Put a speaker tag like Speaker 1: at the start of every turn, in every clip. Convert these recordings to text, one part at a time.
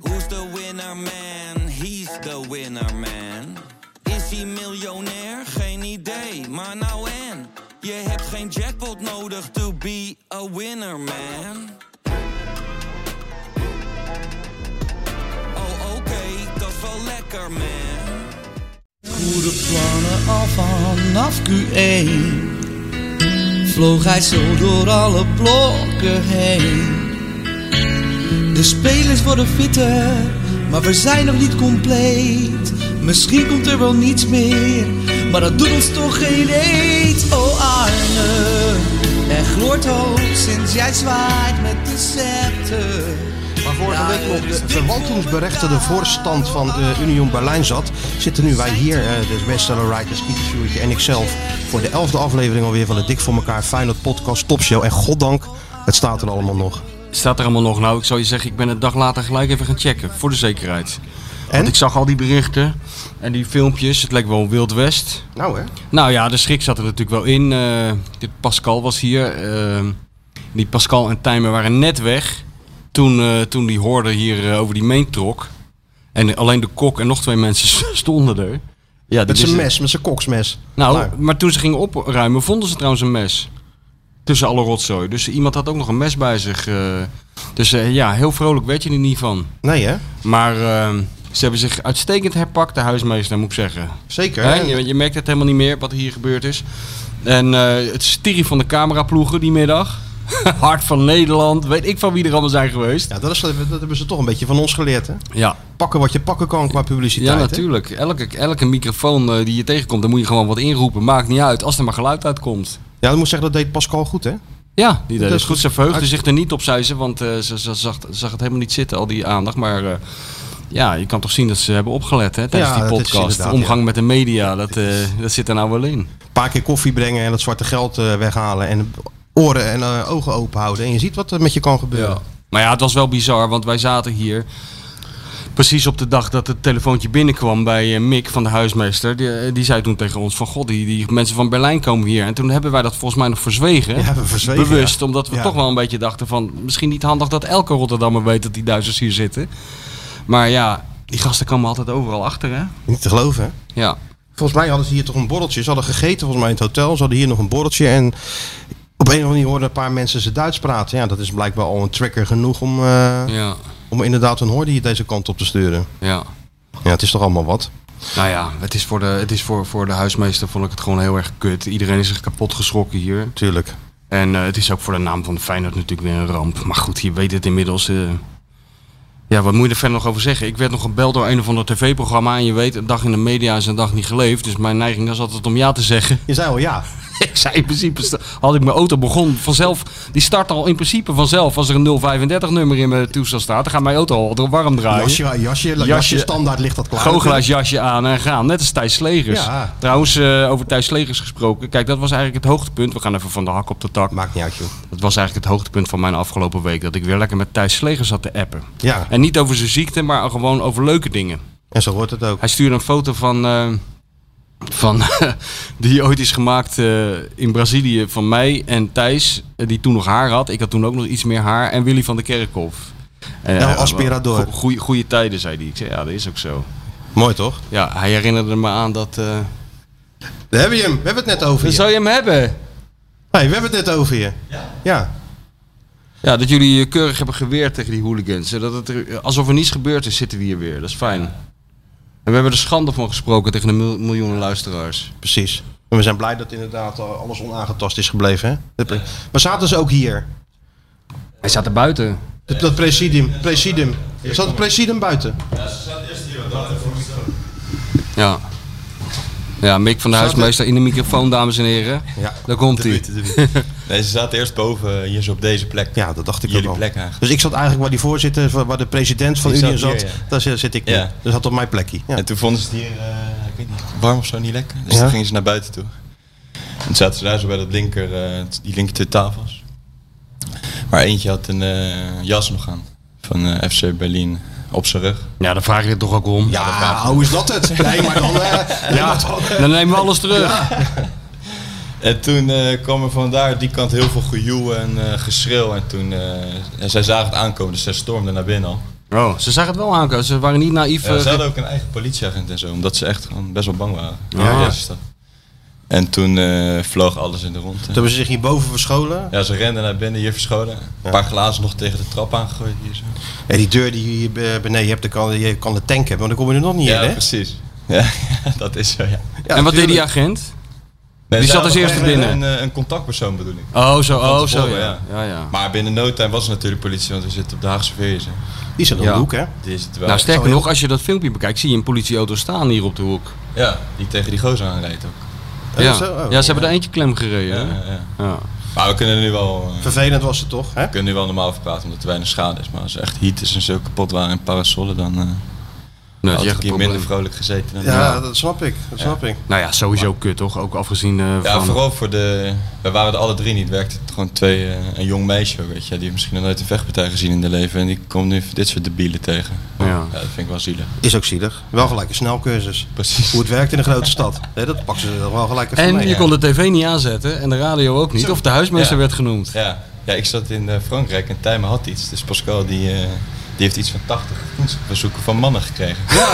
Speaker 1: Who's the winner man? He's the winner man. Is hij miljonair? Geen idee, maar nou en. Je hebt geen jackpot nodig to be a winner man. Oh oké, dat is wel lekker man.
Speaker 2: Goede plannen al vanaf Q1 Vloog hij zo door alle blokken heen De spelers worden fitter Maar we zijn nog niet compleet Misschien komt er wel niets meer Maar dat doet ons toch geen eet Oh Arne Er gloort hoop sinds jij zwaait met de scepter
Speaker 3: Waar vorige week nog de verwaltingsberechtigde voorstand van eh, Union Berlijn zat, zitten nu wij hier, eh de bestseller writers Pieter Sjoertje en ikzelf, voor de elfde aflevering alweer van de Dik voor elkaar Feyenoord podcast topshow. En goddank, het staat er allemaal nog.
Speaker 4: Staat er allemaal nog? Nou, ik zou je zeggen, ik ben een dag later gelijk even gaan checken. Voor de zekerheid.
Speaker 3: En?
Speaker 4: Want ik zag al die berichten en die filmpjes. Het leek wel een Wild West.
Speaker 3: Nou hè?
Speaker 4: Nou ja, de schrik zat er natuurlijk wel in. Eh, dit Pascal was hier. eh, die Pascal en Tijmen waren net weg. Toen, eh, toen die hoorde hier eh, over die main trok. En alleen de kok en nog twee mensen stonden er. Ja, die
Speaker 3: Met zijn
Speaker 4: wisten-
Speaker 3: mes, met zijn koksmes.
Speaker 4: nou,
Speaker 3: Nou.
Speaker 4: maar toen ze gingen opruimen, vonden ze trouwens een mes. Tussen alle rotzooi. Dus iemand had ook nog een mes bij zich. eh. dus eh, ja, heel vrolijk werd je er niet van.
Speaker 3: Nee hè?
Speaker 4: Maar eh, ze hebben zich uitstekend herpakt, de huismeester, moet ik zeggen.
Speaker 3: Zeker.
Speaker 4: Hè?
Speaker 3: hè?
Speaker 4: Je, je merkt het helemaal niet meer, wat hier gebeurd is. En eh, het stirie van de cameraploegen die middag. Hart van Nederland, weet ik van wie er allemaal zijn geweest.
Speaker 3: Ja, dat, is, dat hebben ze toch een beetje van ons geleerd hè?
Speaker 4: Ja,
Speaker 3: Pakken wat je pakken kan qua publiciteit.
Speaker 4: ja
Speaker 3: hè?
Speaker 4: natuurlijk. Elke, elke microfoon eh, die je tegenkomt, daar moet je gewoon wat inroepen. Maakt niet uit, als er maar geluid uitkomt.
Speaker 3: Ja, dat moet ik zeggen, dat deed Pascal goed hè?
Speaker 4: Ja, die deed
Speaker 3: Dat
Speaker 4: het
Speaker 3: is
Speaker 4: goed. Ze
Speaker 3: goed.
Speaker 4: verheugde zich er niet op, zei ze, want eh, ze, ze zag, zag het helemaal niet zitten, al die aandacht. Maar eh, ja, je kan toch zien dat ze hebben opgelet hè, tijdens
Speaker 3: Ja,
Speaker 4: die
Speaker 3: dat is
Speaker 4: podcast.
Speaker 3: inderdaad,
Speaker 4: Omgang met de media, dat, eh, dat zit er nou wel in.
Speaker 3: Een paar keer koffie brengen en dat zwarte geld eh, weghalen en oren en eh, ogen open houden. En je ziet wat er met je kan gebeuren.
Speaker 4: Maar ja, het was wel bizar, want wij zaten hier precies op de dag dat het telefoontje binnenkwam bij eh, Mick van de huismeester. Die, eh, die zei toen tegen ons van, god, die, die mensen van Berlijn komen hier. En toen hebben wij dat volgens mij nog verzwegen.
Speaker 3: Ja, we verzwegen,
Speaker 4: Bewust,
Speaker 3: ja.
Speaker 4: omdat we
Speaker 3: Ja.
Speaker 4: toch wel een beetje dachten van, misschien niet handig dat elke Rotterdammer weet dat die Duitsers hier zitten. Maar ja, die gasten komen altijd overal achter, hè?
Speaker 3: Niet te geloven hè?
Speaker 4: Ja.
Speaker 3: Volgens mij hadden ze hier toch een borreltje. Ze hadden gegeten volgens mij in het hotel. Ze hadden hier nog een borreltje. En op een of andere manier hoorden een paar mensen ze Duits praten. Ja, dat is blijkbaar al een trigger genoeg om, eh,
Speaker 4: Ja,
Speaker 3: om inderdaad een hoorde hier deze kant op te sturen.
Speaker 4: ja.
Speaker 3: Ja, het is toch allemaal wat.
Speaker 4: Nou ja, het is, voor de, het is voor, voor de huismeester vond ik het gewoon heel erg kut. Iedereen is zich kapot geschrokken hier.
Speaker 3: Tuurlijk.
Speaker 4: En eh, het is ook voor de naam van Feyenoord natuurlijk weer een ramp. Maar goed, je weet het inmiddels. eh. ja, wat moet je er verder nog over zeggen? Ik werd nog gebeld door een of ander tv-programma. En je weet, een dag in de media is een dag niet geleefd. Dus mijn neiging was altijd om ja te zeggen.
Speaker 3: Je zei al ja.
Speaker 4: ik zei in principe, sta- had ik mijn auto begon vanzelf. Die start al in principe vanzelf. Als er een 035 nummer in mijn toestel staat, dan gaat mijn auto al warm draaien.
Speaker 3: Jasje, jasje, Ah, jasje,
Speaker 4: Jasje.
Speaker 3: standaard ligt dat klaar.
Speaker 4: Goochelaars aan en gaan. Net als Thijs Slegers.
Speaker 3: Ja.
Speaker 4: Trouwens, eh, over Thijs Slegers gesproken. Kijk, dat was eigenlijk het hoogtepunt. We gaan even van de hak op de tak.
Speaker 3: Maakt niet uit joh.
Speaker 4: Dat was eigenlijk het hoogtepunt van mijn afgelopen week. Dat ik weer lekker met Thijs Slegers zat te appen.
Speaker 3: Ja,
Speaker 4: En niet over zijn ziekte, maar gewoon over leuke dingen.
Speaker 3: en zo hoort het ook.
Speaker 4: Hij stuurde een foto van. eh, van die ooit is gemaakt eh, in Brazilië van mij en Thijs, eh, die toen nog haar had. Ik had toen ook nog iets meer haar. En Willy van de Kerkhof. Eh,
Speaker 3: El Aspirador.
Speaker 4: go- goeie- Goede tijden, zei hij. Ik zei, ja, dat is ook zo.
Speaker 3: Mooi toch?
Speaker 4: Ja, hij herinnerde me aan dat... eh
Speaker 3: Daar hebben je hem. We hebben het net over
Speaker 4: Dan
Speaker 3: je.
Speaker 4: zou je hem hebben.
Speaker 3: Hey, we hebben het net over je. Ja.
Speaker 4: Ja, dat jullie je keurig hebben geweerd tegen die hooligans. En Dat het er, eh, alsof er niets gebeurd is, zitten we hier weer. Dat is fijn. En we hebben er schande van gesproken tegen de mil- miljoenen luisteraars.
Speaker 3: precies. En we zijn blij dat inderdaad eh, alles onaangetast is gebleven hè. Maar zaten ze ook hier?
Speaker 4: Hij staat er buiten.
Speaker 3: Dat, dat presidium, presidium. Er zat het presidium buiten.
Speaker 4: Ja. Ja, Mick van de
Speaker 3: Staat er-
Speaker 4: huismeester in de microfoon, dames en heren.
Speaker 3: Ja.
Speaker 4: Daar komt hij.
Speaker 5: Debuut, debuut. Nee, ze zaten eerst boven, eh, hier zo op deze plek.
Speaker 3: Ja, dat dacht ik
Speaker 5: Jullie
Speaker 3: ook al.
Speaker 5: plek eigenlijk.
Speaker 3: Dus ik zat eigenlijk waar die voorzitter, waar- waar de president van
Speaker 5: Ik
Speaker 3: Unie
Speaker 5: zat
Speaker 3: zat,
Speaker 5: hier,
Speaker 3: daar zit zit ik nu.
Speaker 5: Ja.
Speaker 3: Dus dat op mijn plekje. Ja.
Speaker 5: En toen vonden ze het hier, eh, ik weet niet, warm of zo niet lekker. Dus
Speaker 3: Ja.
Speaker 5: toen gingen ze naar buiten toe. En toen zaten ze daar zo bij dat linker, eh, t- die linker twee tafels. Maar eentje had een eh, jas nog aan van eh, FC Berlin op zijn rug.
Speaker 4: Ja, dan vraag je het toch ook om.
Speaker 3: Ja, Ah, hoe is dat het? Nee, maar dan... eh,
Speaker 4: Ja, dan nemen we alles terug.
Speaker 5: En toen eh, kwam er vandaar die kant heel veel gejoel en eh, geschreeuw. En toen, eh, en zij zagen het aankomen, dus zij stormden naar binnen al.
Speaker 4: Oh, ze zagen het wel aankomen. Ze waren niet naïef.
Speaker 6: Ja,
Speaker 4: eh,
Speaker 6: ze hadden ook een eigen politieagent en zo, omdat ze echt gewoon best wel bang waren.
Speaker 4: Ah. Ja.
Speaker 6: Ja, deze stad. En toen eh, vloog alles in de rondte.
Speaker 3: Toen hebben ze zich hierboven verscholen.
Speaker 6: Ja, ze renden naar binnen, hier verscholen. Een paar glazen nog tegen de trap aangegooid hier zo.
Speaker 3: En die deur die je hier eh, beneden hebt, daar kan, je kan de tank hebben, want dan kom je er nog niet
Speaker 6: Ja,
Speaker 3: in, hè?
Speaker 6: precies. Ja, dat is zo, ja.
Speaker 3: Ja,
Speaker 4: en wat deed die
Speaker 3: tuurlijk.
Speaker 4: agent?
Speaker 6: Nee,
Speaker 4: Die
Speaker 6: ze
Speaker 4: zat als
Speaker 6: hadden
Speaker 4: eerste
Speaker 6: gewoon
Speaker 4: binnen.
Speaker 6: Een, eh, een contactpersoon bedoel ik.
Speaker 4: Oh, zo, oh,
Speaker 6: Van
Speaker 4: zo.
Speaker 6: tevoren,
Speaker 4: Ja, Nou, ja. ja.
Speaker 6: Maar binnen no time was het natuurlijk politie, want we zitten op de Haagse Veerjes. hè.
Speaker 3: Die zat aan
Speaker 4: Ja.
Speaker 3: de hoek, hè?
Speaker 6: Die is het wel.
Speaker 4: Nou, sterker
Speaker 3: Zo heel-
Speaker 4: nog, als je dat filmpje bekijkt, zie je een politieauto staan hier op de hoek.
Speaker 6: Ja, die tegen die gozer aanrijdt ook.
Speaker 3: Eh,
Speaker 4: ja.
Speaker 3: zo, oh.
Speaker 4: ja, ze hebben er eentje klem gereden.
Speaker 6: Ja,
Speaker 4: hè?
Speaker 6: ja, ja.
Speaker 4: Ja.
Speaker 6: Maar we kunnen er nu wel... eh,
Speaker 3: Vervelend was het toch, hè?
Speaker 6: We kunnen nu wel normaal over praten omdat er weinig schade is. Maar als er echt heat is en zo kapot waren en parasolen, dan eh
Speaker 4: Nou,
Speaker 6: had
Speaker 4: dat is
Speaker 6: ik
Speaker 4: echt een
Speaker 6: hier
Speaker 4: probleem.
Speaker 6: minder vrolijk gezeten. Dan
Speaker 3: Ja, dat snap ik. Dat snap ik.
Speaker 4: Nou ja, sowieso kut toch? Ook afgezien eh,
Speaker 6: Ja,
Speaker 4: van...
Speaker 6: vooral voor de... We waren er alle drie niet. Werkte het gewoon twee... eh, een jong meisje, ook, weet je. Die heeft misschien nog nooit een vechtpartij gezien in haar leven. En die komt nu dit soort debielen tegen.
Speaker 4: Ja.
Speaker 6: dat vind ik wel zielig.
Speaker 3: Is ook zielig. Wel gelijk een snelcursus.
Speaker 6: Precies.
Speaker 3: Hoe het werkt in een grote stad. Hè, dat pakken ze er wel gelijk even
Speaker 4: En
Speaker 3: mee.
Speaker 4: je kon de tv niet aanzetten en de radio ook niet. Of de huismeester
Speaker 6: Ja.
Speaker 4: werd genoemd.
Speaker 6: Ja. ja, ik zat in eh, Frankrijk en Tijmen had iets. Dus Pascal, die, eh, die heeft iets van 80 vriendschapsverzoeken van mannen gekregen.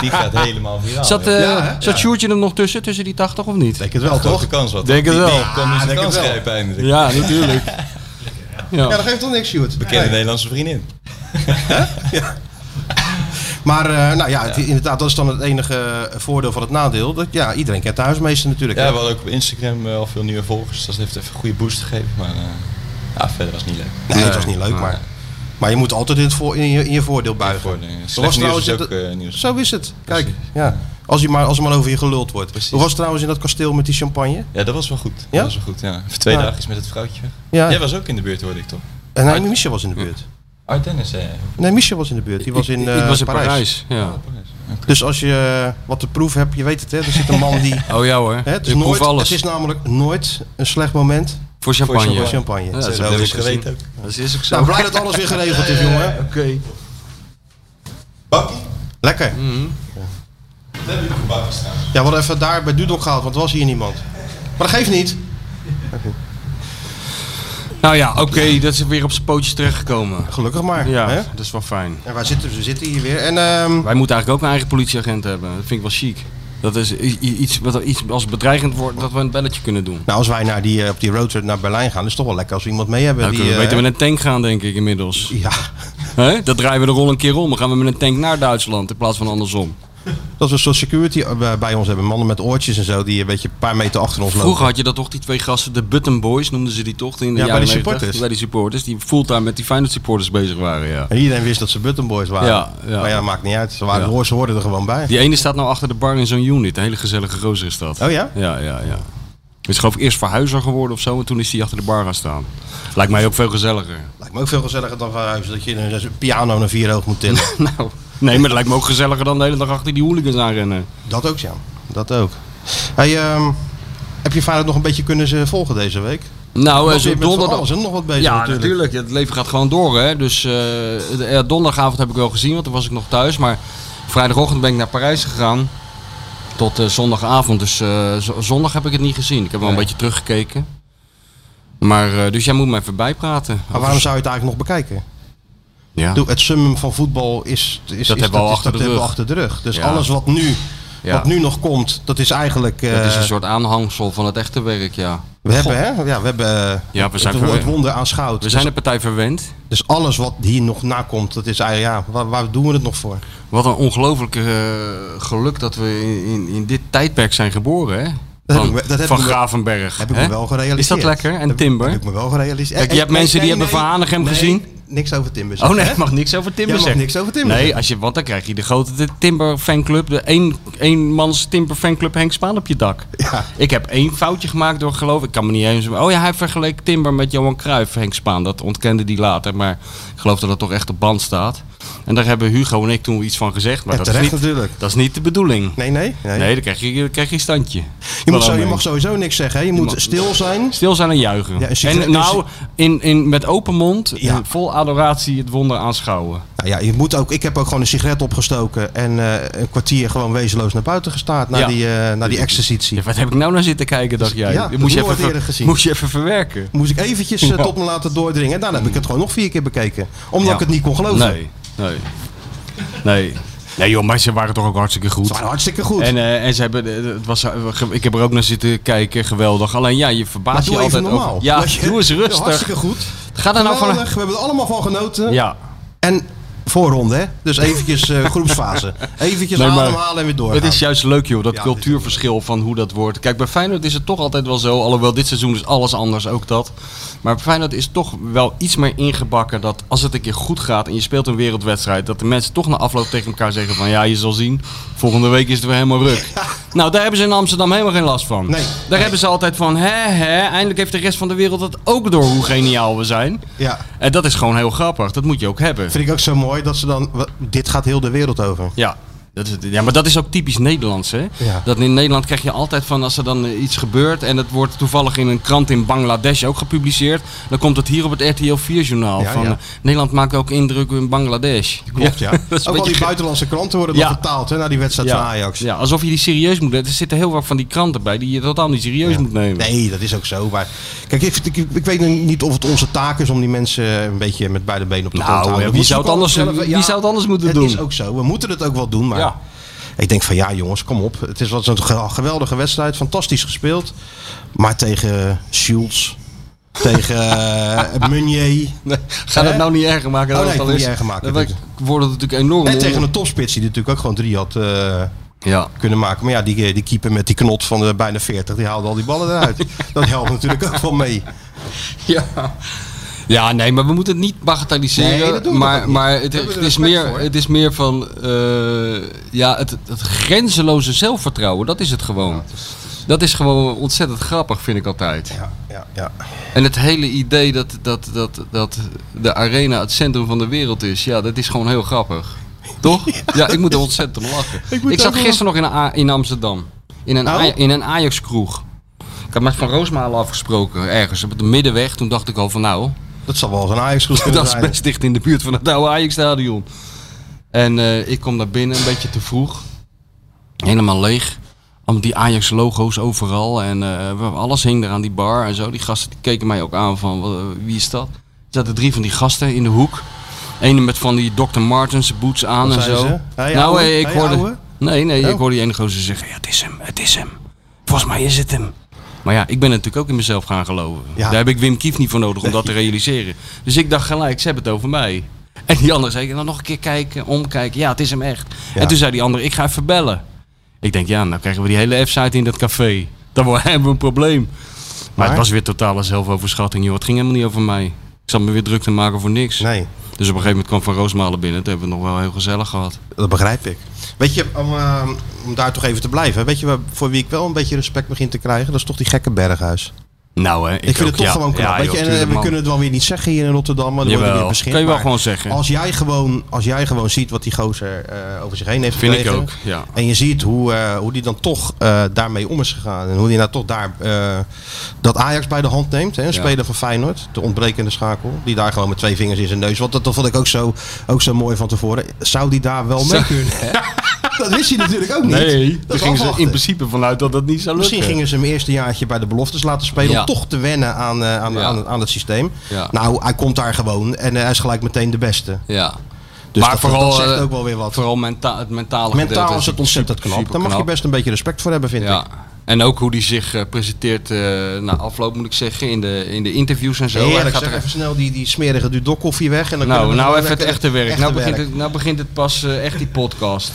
Speaker 6: Die gaat helemaal viraal.
Speaker 4: Zat,
Speaker 6: joh.
Speaker 4: eh
Speaker 3: Ja, hè?
Speaker 4: zat Sjoerdje er nog tussen, tussen die 80 of niet?
Speaker 3: Denk het wel, toch?
Speaker 6: Grote kans wat.
Speaker 4: Denk
Speaker 6: Die-
Speaker 4: het wel.
Speaker 6: Die kon dus
Speaker 3: denk
Speaker 6: een
Speaker 3: het
Speaker 6: kans
Speaker 3: wel.
Speaker 6: grijpen eindelijk.
Speaker 4: Ja, natuurlijk.
Speaker 3: Ja,
Speaker 4: Ja.
Speaker 3: dat geeft toch niks, Sjoerd.
Speaker 6: Bekende
Speaker 3: Nee.
Speaker 6: Nederlandse vriendin.
Speaker 3: Maar eh, nou ja, het- inderdaad, dat is dan het enige eh, voordeel van het nadeel. Dat, ja, iedereen kent de huismeester natuurlijk.
Speaker 6: Ja,
Speaker 3: hè?
Speaker 6: we hadden ook op Instagram eh, al veel nieuwe volgers. Dus dat heeft even een goede boost gegeven. Maar eh, ja, verder was het niet leuk.
Speaker 3: Nee, het was niet leuk, maar, maar je moet altijd in, het voor, in, je, in je voordeel buigen.
Speaker 6: Voor de- slecht
Speaker 3: Er was
Speaker 6: nieuws
Speaker 3: trouwens
Speaker 6: is
Speaker 3: in
Speaker 6: ook
Speaker 3: dat-
Speaker 6: eh, nieuws.
Speaker 3: Zo is het. Kijk,
Speaker 6: Precies.
Speaker 3: ja. als, je maar, als er maar over je geluld wordt.
Speaker 6: Precies.
Speaker 3: Hoe was het trouwens in dat kasteel met die champagne?
Speaker 6: Ja, dat was wel goed. Dat
Speaker 3: Ja?
Speaker 6: was wel goed, ja. Even twee
Speaker 3: Ja.
Speaker 6: dagen is met het vrouwtje weg.
Speaker 3: Ja.
Speaker 6: Jij was ook in de buurt, hoorde ik toch?
Speaker 3: En Eh, nee, Michel was in de buurt.
Speaker 6: Art Dennis, eh.
Speaker 3: Nee, Michel was in de buurt. Die was in,
Speaker 4: Ik-
Speaker 3: eh,
Speaker 4: ik was in
Speaker 3: Parijs.
Speaker 4: Parijs. Ja.
Speaker 3: Dus als je eh, wat te proef hebt, je weet het hè. Er zit een man die...
Speaker 4: Oh ja hoor,
Speaker 3: Hè, het, is
Speaker 4: ik proef
Speaker 3: nooit,
Speaker 4: alles.
Speaker 3: het is namelijk nooit een slecht moment
Speaker 4: Voor champagne.
Speaker 3: voor champagne.
Speaker 4: Ja, dat is
Speaker 3: Zo
Speaker 4: wel
Speaker 6: Dat
Speaker 3: is
Speaker 6: heb ik
Speaker 3: het.
Speaker 6: geweten ook.
Speaker 4: Dat is ook zo.
Speaker 3: Nou, blij dat alles weer geregeld is, jongen.
Speaker 4: Oké.
Speaker 6: Bakkie?
Speaker 3: Lekker.
Speaker 4: Mhm.
Speaker 6: Dat heb ik nog een bakkie staan.
Speaker 3: Ja, we hadden even daar bij Dudok gehaald, want er was hier niemand. Maar dat geeft niet.
Speaker 4: Nou ja, oké, dat is weer op zijn pootjes terechtgekomen.
Speaker 3: Gelukkig maar.
Speaker 4: Ja,
Speaker 3: Hè?
Speaker 4: dat is wel fijn.
Speaker 3: En waar zitten we? We zitten hier weer. En ehm,
Speaker 4: Wij moeten eigenlijk ook een eigen politieagent hebben. Dat vind ik wel chic. Dat is i- i- iets wat iets als bedreigend wordt dat we een belletje kunnen doen.
Speaker 3: nou, als wij naar die, eh, op die roadtrip naar Berlijn gaan, is het toch wel lekker als we iemand mee hebben.
Speaker 4: Dan
Speaker 3: die,
Speaker 4: kunnen Nou, we
Speaker 3: eh,
Speaker 4: beter met een tank gaan, denk ik inmiddels.
Speaker 3: Ja,
Speaker 4: Hè? Dat draaien we de rol een keer om. Dan gaan we met een tank naar Duitsland in plaats van andersom.
Speaker 3: dat we een soort security eh, bij ons hebben. Mannen met oortjes en zo, die een beetje een paar meter achter ons lopen.
Speaker 4: Vroeger had je dat toch, die twee gasten, de Button Boys noemden ze die toch? In de
Speaker 3: Ja, bij
Speaker 4: jaren
Speaker 3: die
Speaker 4: 90?
Speaker 3: supporters.
Speaker 4: Bij die supporters, die fulltime met die Feyenoord supporters bezig waren, ja.
Speaker 3: En iedereen wist dat ze Buttonboys waren.
Speaker 4: Ja, ja.
Speaker 3: Maar ja, maakt niet uit. Ze, waren,
Speaker 4: Ja.
Speaker 3: ze hoorden er gewoon bij.
Speaker 4: Die ene staat nou achter de bar in zo'n unit. Een hele gezellige gozer is dat.
Speaker 3: Oh ja?
Speaker 4: Ja, ja, ja. Is geloof ik eerst verhuizer geworden of zo en toen is hij achter de bar gaan staan. Lijkt mij ook veel gezelliger.
Speaker 3: Lijkt me ook veel gezelliger dan verhuizen. Dat je een een piano naar vier hoog moet tillen.
Speaker 4: Nou, nee, maar het lijkt me ook gezelliger dan de hele dag achter die hooligans aanrennen.
Speaker 3: dat ook, ja. Dat ook. Hey, ehm, heb je vader nog een beetje kunnen ze volgen deze week?
Speaker 4: Nou,
Speaker 3: Want
Speaker 4: eh,
Speaker 3: je
Speaker 4: zo
Speaker 3: bent van
Speaker 4: donderdag.
Speaker 3: alles en nog wat bezig
Speaker 4: Ja,
Speaker 3: natuurlijk.
Speaker 4: natuurlijk. Het leven gaat gewoon door, hè. Dus eh, de- ja, donderdagavond heb ik wel gezien, want toen was ik nog thuis. Maar vrijdagochtend ben ik naar Parijs gegaan. Tot eh, zondagavond. Dus eh, z- zondag heb ik het niet gezien. Ik heb wel een beetje teruggekeken. Maar, eh, dus jij moet me even bijpraten.
Speaker 3: Maar waarom zou je het eigenlijk nog bekijken?
Speaker 4: Ja.
Speaker 3: Doe, het summum van voetbal is, is, is-
Speaker 4: hebben we al
Speaker 3: is-
Speaker 4: achter de
Speaker 3: dat hebben we
Speaker 4: rug.
Speaker 3: achter de rug. Dus
Speaker 4: Ja.
Speaker 3: alles wat nu,
Speaker 4: Ja.
Speaker 3: wat nu nog komt, dat is eigenlijk... eh,
Speaker 4: Dat is een soort aanhangsel van het echte werk, ja.
Speaker 3: we, hebben, hè? Ja, we hebben eh,
Speaker 4: Ja, we zijn
Speaker 3: het, wo- het
Speaker 4: verwe-
Speaker 3: wonder aanschouwd.
Speaker 4: We zijn de
Speaker 3: dus,
Speaker 4: partij verwend.
Speaker 3: dus alles wat hier nog nakomt, dat is eigenlijk... Ja, waar, waar doen we het nog voor?
Speaker 4: Wat een ongelooflijk eh, geluk dat we in, in, in dit tijdperk zijn geboren, hè?
Speaker 3: heb
Speaker 4: Van,
Speaker 3: ik me- dat heb
Speaker 4: van
Speaker 3: ik me-
Speaker 4: Gravenberg.
Speaker 3: Heb ik
Speaker 4: hè?
Speaker 3: me wel gerealiseerd.
Speaker 4: Is dat lekker? En
Speaker 3: Heb-
Speaker 4: Timber?
Speaker 3: Heb ik me wel gerealiseerd.
Speaker 4: Kijk, je
Speaker 3: Eh,
Speaker 4: hebt
Speaker 3: eh,
Speaker 4: mensen die hebben Van Hanegem
Speaker 3: nee,
Speaker 4: gezien.
Speaker 3: niks over Timber
Speaker 4: Oh
Speaker 3: zeggen,
Speaker 4: nee,
Speaker 3: hè?
Speaker 4: je mag niks over Timber
Speaker 3: Jij mag
Speaker 4: zeggen.
Speaker 3: niks over Timber
Speaker 4: Nee,
Speaker 3: zeggen.
Speaker 4: als je, want dan krijg je de grote Timber fanclub, de één, eenmans Timber fanclub Henk Spaan op je dak.
Speaker 3: Ja.
Speaker 4: Ik heb één foutje gemaakt door geloof ik, kan me niet eens... Oh ja, hij vergeleek Timber met Johan Cruijff, Henk Spaan. Dat ontkende die later, maar ik geloof dat dat toch echt op band staat. En daar hebben Hugo en ik toen iets van gezegd. Maar
Speaker 3: Ja,
Speaker 4: dat, is
Speaker 3: terecht
Speaker 4: niet,
Speaker 3: natuurlijk.
Speaker 4: dat is niet de bedoeling.
Speaker 3: Nee, nee. nee.
Speaker 4: Nee, dan krijg je, dan krijg je een standje.
Speaker 3: je, moet zo-
Speaker 4: Waarom,
Speaker 3: je
Speaker 4: eh,
Speaker 3: mag sowieso niks zeggen. hè. Je moet
Speaker 4: mag-
Speaker 3: stil zijn.
Speaker 4: Stil zijn en juichen.
Speaker 3: Ja, een sigaret-
Speaker 4: en nou, in, in, met open mond,
Speaker 3: Ja.
Speaker 4: en vol adoratie het wonder aanschouwen.
Speaker 3: Nou ja, je moet ook, ik heb ook gewoon een sigaret opgestoken en eh, een kwartier gewoon wezenloos naar buiten gestaard na
Speaker 4: Ja.
Speaker 3: die, eh na die exercitie.
Speaker 4: Ja, wat heb ik nou naar zitten kijken, dacht jij?
Speaker 3: Ja,
Speaker 4: Dit
Speaker 3: dat
Speaker 4: moest, je
Speaker 3: nooit
Speaker 4: even ver-
Speaker 3: eerder gezien.
Speaker 4: moest je even verwerken.
Speaker 3: Moest ik eventjes eh, tot me laten doordringen. En daarna heb ik het gewoon nog vier keer bekeken. Omdat
Speaker 4: Ja.
Speaker 3: ik het niet kon geloven.
Speaker 4: Nee. Nee. Nee. Nee joh, maar ze waren toch ook hartstikke goed.
Speaker 3: Ze waren hartstikke goed.
Speaker 4: En, eh, en ze hebben, eh, het was, eh, ge- ik heb er ook naar zitten kijken, geweldig. Alleen ja, je
Speaker 3: maar
Speaker 4: verbaast
Speaker 3: doe
Speaker 4: je
Speaker 3: even
Speaker 4: altijd
Speaker 3: normaal.
Speaker 4: over- Ja,
Speaker 3: Weet je,
Speaker 4: doe eens
Speaker 3: Hartstikke
Speaker 4: rustig.
Speaker 3: goed.
Speaker 4: Ga daar nou
Speaker 3: Geweldig,
Speaker 4: van...
Speaker 3: we hebben er allemaal van genoten.
Speaker 4: Ja,
Speaker 3: En voorronde, hè? Dus eventjes eh, groepsfase. Eventjes
Speaker 4: Nee, maar
Speaker 3: ademhalen en weer doorgaan.
Speaker 4: het is juist leuk joh, dat
Speaker 3: Ja,
Speaker 4: cultuurverschil van hoe dat wordt. Kijk, bij Feyenoord is het toch altijd wel zo, alhoewel dit seizoen is alles anders, ook dat. Maar bij Feyenoord is toch wel iets meer ingebakken dat als het een keer goed gaat en je speelt een wereldwedstrijd, dat de mensen toch na afloop tegen elkaar zeggen van ja, je zal zien, volgende week is het weer helemaal ruk. Nou, daar hebben ze in Amsterdam helemaal geen last van.
Speaker 3: Nee.
Speaker 4: Daar hebben ze altijd van, hè, hè, eindelijk heeft de rest van de wereld dat ook door hoe geniaal we zijn.
Speaker 3: Ja.
Speaker 4: En dat is gewoon heel grappig, dat moet je ook hebben.
Speaker 3: Vind ik ook zo mooi dat ze dan... wa- Dit gaat heel de wereld over.
Speaker 4: Ja. Dat is, het. ja, maar dat is ook typisch Nederlands, hè?
Speaker 3: Ja.
Speaker 4: Dat in Nederland krijg je altijd van als er dan eh, iets gebeurt en het wordt toevallig in een krant in Bangladesh ook gepubliceerd, dan komt het hier op het RTL 4 journaal
Speaker 3: Ja,
Speaker 4: van
Speaker 3: ja.
Speaker 4: eh, Nederland maakt ook indruk in Bangladesh.
Speaker 3: Klopt, ja.
Speaker 4: dat is een
Speaker 3: Ook al
Speaker 4: beetje
Speaker 3: die
Speaker 4: gek.
Speaker 3: buitenlandse kranten worden
Speaker 4: Ja.
Speaker 3: dan vertaald hè, naar die wedstrijd van Ajax.
Speaker 4: Ja, alsof je die serieus moet nemen. Er zitten heel wat van die kranten bij die je totaal niet serieus moet nemen.
Speaker 3: Nee, dat is ook zo. Maar kijk, ik, ik, ik weet niet of het onze taak is om die mensen een beetje met beide benen op de
Speaker 4: Nou,
Speaker 3: grond te houden.
Speaker 4: ja, wie
Speaker 3: We
Speaker 4: zou het
Speaker 3: moeten
Speaker 4: anders-
Speaker 3: zelf-
Speaker 4: wie zou het anders moeten
Speaker 3: het
Speaker 4: doen?
Speaker 3: is ook zo. We moeten het ook wel doen. Maar
Speaker 4: Ja.
Speaker 3: ik denk van ja, jongens, kom op. Het is wat een ge- geweldige wedstrijd. Fantastisch gespeeld. Maar tegen Schultz. tegen eh, Meunier.
Speaker 4: Nee, ga dat
Speaker 3: Hè?
Speaker 4: nou niet erger maken dan
Speaker 3: Oh, nee,
Speaker 4: het al
Speaker 3: ik wil
Speaker 4: is.
Speaker 3: niet erger maken,
Speaker 4: Dan wordt wordt het natuurlijk enorm.
Speaker 3: En
Speaker 4: on-
Speaker 3: tegen een topspits die natuurlijk ook gewoon drie had eh,
Speaker 4: Ja.
Speaker 3: kunnen maken. Maar ja, die, die keeper met die knot van eh, bijna 40, die haalde al die ballen eruit. dat helpt natuurlijk ook wel mee.
Speaker 4: Ja. Ja, nee, maar we moeten het niet bagatelliseren.
Speaker 3: Nee, dat doen we
Speaker 4: maar
Speaker 3: toch ook niet.
Speaker 4: maar
Speaker 3: We
Speaker 4: het,
Speaker 3: hebben er
Speaker 4: het is
Speaker 3: respect
Speaker 4: meer,
Speaker 3: voor.
Speaker 4: het is meer van eh, ja, het, het grenzeloze zelfvertrouwen, dat is het gewoon. Dat is gewoon ontzettend grappig, vind ik altijd.
Speaker 3: Ja, ja, ja.
Speaker 4: En het hele idee dat, dat, dat, dat de arena het centrum van de wereld is, ja, dat is gewoon heel grappig. Toch? Ja, ik moet er ontzettend om lachen. Ik,
Speaker 3: moet
Speaker 4: zat
Speaker 3: ook wel-
Speaker 4: gisteren nog in, een A- in Amsterdam. In een,
Speaker 3: Oh?
Speaker 4: Aj- in een Ajax-kroeg. Ik had met Van Roosmalen afgesproken, ergens op de middenweg. Toen dacht ik al van nou,
Speaker 3: Dat zal wel zo'n Ajax-groep kunnen
Speaker 4: dat is
Speaker 3: zijn.
Speaker 4: best dicht in de buurt van het oude Ajax-stadion. En eh, ik kom daar binnen een beetje te vroeg. Helemaal leeg. Al die Ajax-logo's overal. En eh, we- alles hing er aan die bar en zo. Die gasten die keken mij ook aan van "Wat, eh, wie is dat? Er zaten drie van die gasten in de hoek. Eén met van die Dr. Martens boots aan
Speaker 3: Wat
Speaker 4: en
Speaker 3: zeiden
Speaker 4: zo.
Speaker 3: ze? Hey,
Speaker 4: nou,
Speaker 3: ouwe.
Speaker 4: eh, ik
Speaker 3: Hey, ouwe.
Speaker 4: hoorde... Nee, nee, ik
Speaker 3: Oh.
Speaker 4: hoorde die ene gozer zeggen, ja, het is hem, het is hem. Volgens mij is het hem. Maar ja, ik ben natuurlijk ook in mezelf gaan geloven.
Speaker 3: Ja.
Speaker 4: Daar heb ik Wim Kief niet voor nodig om dat te realiseren. Dus ik dacht gelijk, ze hebben het over mij. En die andere zei, nou nog een keer kijken, omkijken. Ja, het is hem echt.
Speaker 3: Ja.
Speaker 4: En toen zei die andere, ik ga even bellen. Ik denk, ja, nou krijgen we die hele F-site in dat café. Dan wo- hebben we een probleem. Maar,
Speaker 3: Maar?
Speaker 4: het was weer totale zelfoverschatting, joh. Het ging helemaal niet over mij. Ik zat me weer druk te maken voor niks.
Speaker 3: Nee,
Speaker 4: Dus op een gegeven moment kwam Van Roosmalen binnen. Toen hebben we het nog wel heel gezellig gehad.
Speaker 3: dat begrijp ik. Weet je, om, eh, om daar toch even te blijven. Weet je waar- voor wie ik wel een beetje respect begin te krijgen? Dat is toch die gekke Berghuis.
Speaker 4: Nou, hè,
Speaker 3: Ik, vind het toch gewoon knap. weet je, en, eh, we kunnen het wel weer niet zeggen hier in Rotterdam. Maar dan worden we
Speaker 4: Jawel,
Speaker 3: weer beschikt.
Speaker 4: kan je wel
Speaker 3: Maar
Speaker 4: gewoon zeggen.
Speaker 3: Als jij gewoon, als jij gewoon ziet wat die gozer eh, over zich heen heeft
Speaker 4: Vind ik
Speaker 3: gekregen,
Speaker 4: ook, ja.
Speaker 3: En je ziet hoe, eh, hoe die dan toch eh, daarmee om is gegaan. En hoe die nou toch daar eh, dat Ajax bij de hand neemt. Hè, een
Speaker 4: Ja.
Speaker 3: speler van Feyenoord, de ontbrekende schakel. Die daar gewoon met twee vingers in zijn neus. Want dat, dat vond ik ook zo, ook zo mooi van tevoren. Zou die daar wel mee kunnen? dat wist hij natuurlijk ook niet.
Speaker 4: Nee,
Speaker 3: dat
Speaker 4: daar
Speaker 3: is
Speaker 4: gingen ze in
Speaker 3: afwachten.
Speaker 4: principe vanuit dat dat niet zou lukken.
Speaker 3: Misschien gingen ze hem eerst een jaartje bij de beloftes laten spelen
Speaker 4: Ja.
Speaker 3: om toch te wennen aan, eh, aan,
Speaker 4: Ja.
Speaker 3: aan, aan het systeem.
Speaker 4: Ja.
Speaker 3: Nou, hij komt daar gewoon en eh, hij is gelijk meteen de beste.
Speaker 4: Ja.
Speaker 3: Dus
Speaker 4: maar
Speaker 3: dat-
Speaker 4: vooral,
Speaker 3: dat zegt
Speaker 4: eh,
Speaker 3: ook wel weer wat.
Speaker 4: Vooral menta het mentale gedeelte
Speaker 3: Mentaal is het ontzettend
Speaker 4: super-
Speaker 3: knap. Daar mag je
Speaker 4: superknap.
Speaker 3: best een beetje respect voor hebben, vind
Speaker 4: Ja.
Speaker 3: ik.
Speaker 4: En ook hoe die zich eh, presenteert eh, na afloop, moet ik zeggen, in de, in de interviews en zo. Hij
Speaker 3: Heerlijk,
Speaker 4: gaat
Speaker 3: zeg
Speaker 4: er-
Speaker 3: even snel die, die smerige Dudok koffie weg. En dan kunnen
Speaker 4: nou,
Speaker 3: we
Speaker 4: nou
Speaker 3: gewoon
Speaker 4: even het
Speaker 3: lekker
Speaker 4: echte werk.
Speaker 3: echte
Speaker 4: nou, begint
Speaker 3: werk.
Speaker 4: Het, nou begint het pas eh, echt die podcast.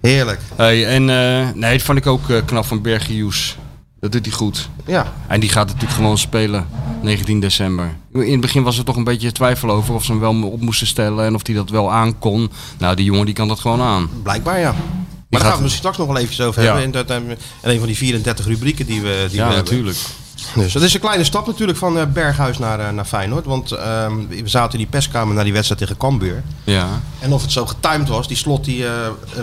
Speaker 3: Heerlijk,
Speaker 4: Hey, en eh, nee, dat vond ik ook eh, knap van Bergius. Dat doet hij goed.
Speaker 3: ja.
Speaker 4: En die gaat natuurlijk gewoon spelen, 19 december. In het begin was er toch een beetje twijfel over of ze hem wel op moesten stellen en of hij dat wel aan kon. Nou, die jongen die kan dat gewoon aan.
Speaker 3: Blijkbaar ja. Maar
Speaker 4: gaat-
Speaker 3: daar gaan we het straks nog wel eventjes over
Speaker 4: Ja.
Speaker 3: hebben. En, dat, en, en een van die 34 rubrieken die we, die
Speaker 4: Ja,
Speaker 3: we hebben.
Speaker 4: natuurlijk.
Speaker 3: Dus dat is een kleine stap natuurlijk van eh, Berghuis naar, eh, naar Feyenoord. Want ehm, we zaten in die perskamer naar die wedstrijd tegen Cambuur.
Speaker 4: Ja.
Speaker 3: En of het zo getimed was, die slot die eh,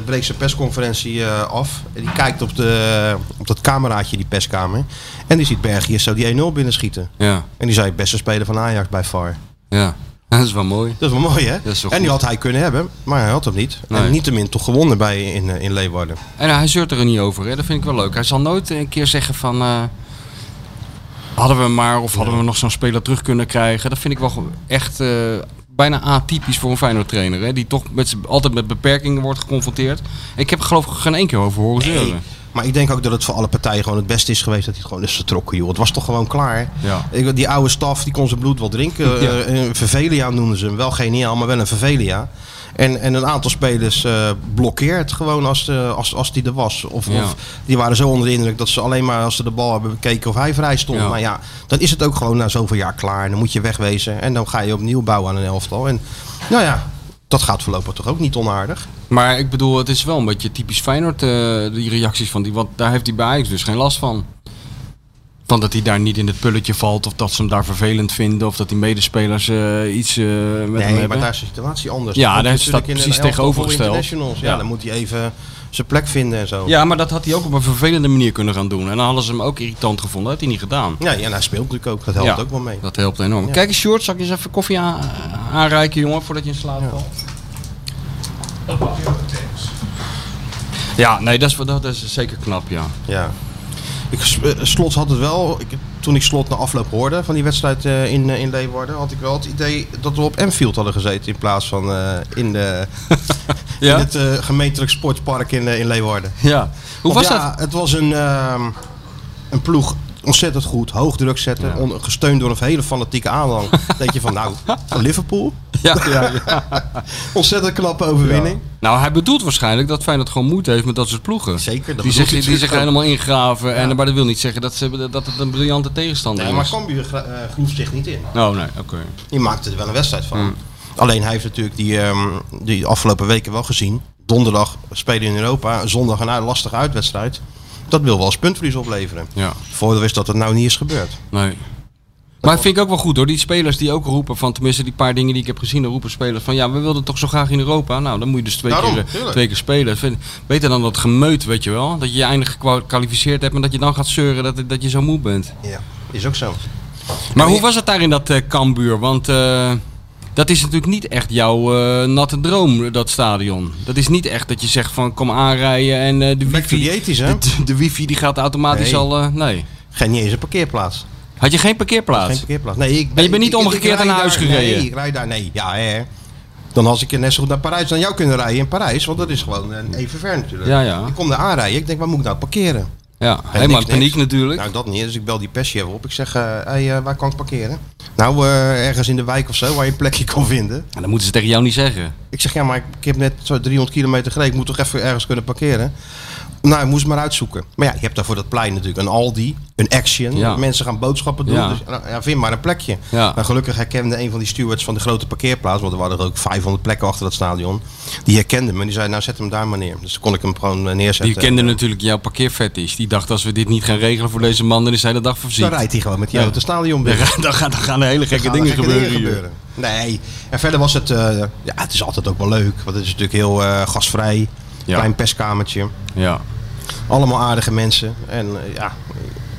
Speaker 3: breekt zijn persconferentie eh, af. En die kijkt op, de, op dat cameraatje, die perskamer. En die ziet Bergius zo die 1-0 binnenschieten.
Speaker 4: Ja,
Speaker 3: En die zei, beste speler van Ajax bij far.
Speaker 4: ja. Dat is wel mooi.
Speaker 3: Dat is wel mooi, hè?
Speaker 4: Dat is wel
Speaker 3: en die
Speaker 4: goed.
Speaker 3: had hij kunnen hebben, maar hij had hem niet.
Speaker 4: Nee.
Speaker 3: En niettemin toch gewonnen bij, in, eh, in Leeuwarden.
Speaker 4: En hij zeurt er niet over, hè? dat vind ik wel leuk. Hij zal nooit een keer zeggen van... eh, hadden we hem maar of hadden we nog zo'n speler terug kunnen krijgen. Dat vind ik wel echt eh, bijna atypisch voor een Feyenoord trainer. Hè? Die toch met, z'n- altijd met beperkingen wordt geconfronteerd. Ik heb er geloof ik geen één keer over horen
Speaker 3: Nee.
Speaker 4: zeuren.
Speaker 3: Maar ik denk ook dat het voor alle partijen gewoon het beste is geweest dat hij het gewoon is vertrokken, joh. Het was toch gewoon klaar.
Speaker 4: Ja.
Speaker 3: Ik, die oude staf, die kon zijn bloed wel drinken.
Speaker 4: Ja.
Speaker 3: Eh, een Vervelia noemden ze hem. Wel geniaal, maar wel een Vervelia. En, en een aantal spelers eh, blokkeert gewoon als, eh, als, als die er was. Of,
Speaker 4: Ja.
Speaker 3: of die waren zo onder de indruk dat ze alleen maar als ze de bal hebben bekeken of hij vrij stond.
Speaker 4: Ja.
Speaker 3: Maar ja, dan is het ook gewoon na zoveel jaar klaar. En dan moet je wegwezen. En dan ga je opnieuw bouwen aan een elftal. En nou ja, dat gaat voorlopig toch ook niet onaardig.
Speaker 4: Maar ik bedoel, het is wel een beetje typisch Feyenoord, eh, die reacties van die. Want daar heeft hij bij Ajax dus geen last van. Van dat hij daar niet in het pulletje valt, of dat ze hem daar vervelend vinden, of dat die medespelers eh, iets eh, met hem
Speaker 3: Nee,
Speaker 4: hebben.
Speaker 3: maar daar is de situatie anders.
Speaker 4: Ja,
Speaker 3: komt
Speaker 4: daar
Speaker 3: hij
Speaker 4: staat
Speaker 3: natuurlijk in een
Speaker 4: precies
Speaker 3: elftal voor
Speaker 4: tegenovergesteld.
Speaker 3: internationals. Ja,
Speaker 4: Ja.
Speaker 3: dan moet hij even zijn plek vinden en zo. Ja.
Speaker 4: Ja, maar dat had hij ook op een vervelende manier kunnen gaan doen. En dan hadden ze hem ook irritant gevonden, had hij niet gedaan.
Speaker 3: Ja, en hij speelt natuurlijk ook. Dat helpt
Speaker 4: Ja,
Speaker 3: ook wel mee.
Speaker 4: Dat helpt enorm.
Speaker 3: Ja.
Speaker 4: Kijk eens, Short, zal ik je eens even koffie aan- aanreiken, jongen, voordat je in slaap valt? Ja, nee, dat is, dat is zeker knap, ja.
Speaker 3: Ja. Ik, eh, slot had het wel, ik, toen ik Slot na afloop hoorde van die wedstrijd eh, in, eh, in Leeuwarden, had ik wel het idee dat we op Enfield hadden gezeten in plaats van eh, in, de,
Speaker 4: Ja?
Speaker 3: in het eh, gemeentelijk sportpark in, eh, in Leeuwarden.
Speaker 4: Ja. Hoe was
Speaker 3: Want ja,
Speaker 4: dat?
Speaker 3: Het was een, ehm, een ploeg ontzettend goed, hoog druk zetten, on- gesteund door een hele fanatieke aanhang. Denk je van, nou, van Liverpool?
Speaker 4: Ja.
Speaker 3: Ontzettend knappe overwinning.
Speaker 4: Nou, hij bedoelt waarschijnlijk dat Feyenoord gewoon moeite heeft met dat soort ploegen.
Speaker 3: Zeker, dat
Speaker 4: die
Speaker 3: bedoelt
Speaker 4: zich,
Speaker 3: hij
Speaker 4: die zich
Speaker 3: natuurlijk
Speaker 4: helemaal ingraven. En, maar dat wil niet zeggen dat, ze, dat het een briljante tegenstander
Speaker 3: Nee, maar
Speaker 4: is.
Speaker 3: Cambuur gra- eh, groeft zich niet in.
Speaker 4: Oh, nee, oké.
Speaker 3: Die maakte er wel een wedstrijd van.
Speaker 4: Hmm.
Speaker 3: Alleen hij heeft natuurlijk die, ehm, die afgelopen weken wel gezien. Donderdag spelen in Europa, zondag een uit- lastige uitwedstrijd. Dat wil wel eens puntverlies opleveren.
Speaker 4: Ja,
Speaker 3: Voordeel is dat het nou niet is gebeurd.
Speaker 4: nee. Maar ik vind ik ook wel goed hoor. Die spelers die ook roepen van, tenminste die paar dingen die ik heb gezien, dan roepen spelers van, ja, we wilden toch zo graag in Europa. Nou, dan moet je dus twee,
Speaker 3: Daarom,
Speaker 4: keer,
Speaker 3: tuurlijk.
Speaker 4: twee keer spelen. Dat Vind, beter dan dat gemeut, weet je wel. Dat je je eindig gekwalificeerd hebt en dat je dan gaat zeuren dat, dat je zo moe bent.
Speaker 3: Ja, is ook zo.
Speaker 4: Maar hoe was het daar in dat eh Kambuur? Want eh, dat is natuurlijk niet echt jouw eh, natte droom, dat stadion. Dat is niet echt dat je zegt van kom aanrijden en eh, de
Speaker 3: Back to the
Speaker 4: wifi...
Speaker 3: 80s, hè?
Speaker 4: De, de wifi die gaat automatisch
Speaker 3: Nee.
Speaker 4: al... eh, nee.
Speaker 3: Geen niet eens een parkeerplaats.
Speaker 4: Had je geen parkeerplaats?
Speaker 3: Geen parkeerplaats. Nee, ik,
Speaker 4: Maar je bent niet
Speaker 3: ik- ik- ik
Speaker 4: omgekeerd
Speaker 3: rijd
Speaker 4: naar huis
Speaker 3: daar-
Speaker 4: gereden?
Speaker 3: Nee, ik rijd daar. Nee, ja hè. Dan als ik net zo goed naar Parijs dan jou kunnen rijden in Parijs. Want dat is gewoon eh, even ver natuurlijk.
Speaker 4: Ja, ja.
Speaker 3: Ik kom daar aanrijden. Ik denk, waar moet ik nou parkeren?
Speaker 4: Ja, helemaal in
Speaker 3: niks,
Speaker 4: paniek
Speaker 3: niks.
Speaker 4: natuurlijk.
Speaker 3: Nou, dat niet. Dus ik bel die persje even op. Ik zeg, eh, hey, eh, waar kan ik parkeren? Nou, eh, ergens in de wijk of zo, waar je een plekje kan vinden.
Speaker 4: En dat moeten ze tegen jou niet zeggen.
Speaker 3: Ik zeg, ja, maar ik, ik heb net zo 300 kilometer gereden. Ik moet toch even ergens kunnen parkeren? Nou, ik moest maar uitzoeken. Maar ja, je hebt daarvoor dat plein natuurlijk een Aldi, een Action.
Speaker 4: Ja.
Speaker 3: Mensen gaan boodschappen doen.
Speaker 4: Ja.
Speaker 3: Dus nou, ja, vind maar een plekje.
Speaker 4: Ja.
Speaker 3: Maar gelukkig herkende een van die stewards van de grote parkeerplaats. Want er waren er ook 500 plekken achter dat stadion. Die herkende me. En die zei, nou zet hem daar maar neer. Dus toen kon ik hem gewoon eh,
Speaker 4: Die
Speaker 3: neerzetten.
Speaker 4: kende natuurlijk jouw parkeerfetish. Die dacht als we dit niet gaan regelen voor deze man, dan is hij de dag
Speaker 3: Dan
Speaker 4: voorzien.
Speaker 3: rijdt hij gewoon met die
Speaker 4: Ja.
Speaker 3: auto het stadion
Speaker 4: Dan
Speaker 3: binnen.
Speaker 4: gaan, dan gaan- dan gaan er hele gekke
Speaker 3: Gaan er
Speaker 4: dingen
Speaker 3: gekke
Speaker 4: gebeuren hier.
Speaker 3: Nee, en verder was het, eh, ja, het is altijd ook wel leuk. Want het is natuurlijk heel eh, gastvrij.
Speaker 4: Ja.
Speaker 3: Klein perskamertje.
Speaker 4: Ja.
Speaker 3: Allemaal aardige mensen. En eh, ja,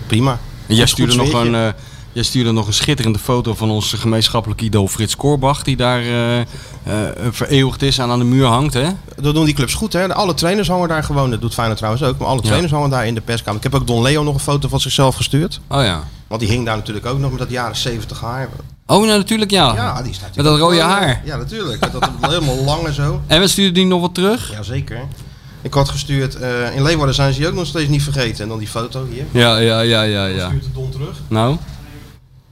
Speaker 3: prima.
Speaker 4: En jij
Speaker 3: Goed
Speaker 4: stuurde, nog
Speaker 3: sfeertje.
Speaker 4: een, eh, jij stuurde nog een schitterende foto van onze gemeenschappelijke idool Frits Korbach. Die daar eh, eh, vereeuwigd is en aan de muur hangt. Hè?
Speaker 3: Dat doen die clubs goed, hè? Alle trainers hangen daar gewoon. Dat doet Feyenoord trouwens ook. Maar alle trainers hangen daar in de perskamer. Ik heb ook Don Leo nog een foto van zichzelf gestuurd.
Speaker 4: Oh ja.
Speaker 3: Want die hing daar natuurlijk ook nog met dat jaren 70 haar.
Speaker 4: Oh, nou natuurlijk ja.
Speaker 3: Ja, die staat
Speaker 4: Met dat rode haar.
Speaker 3: Ja, natuurlijk. Met dat helemaal lang en zo.
Speaker 4: En we stuurden die nog wat terug.
Speaker 3: Jazeker. Ik had gestuurd, eh, in Leeuwarden zijn ze je ook nog steeds niet vergeten. En dan die foto hier.
Speaker 4: Ja, ja, ja, ja, ja.
Speaker 3: Stuurt de Don terug.
Speaker 4: Nou.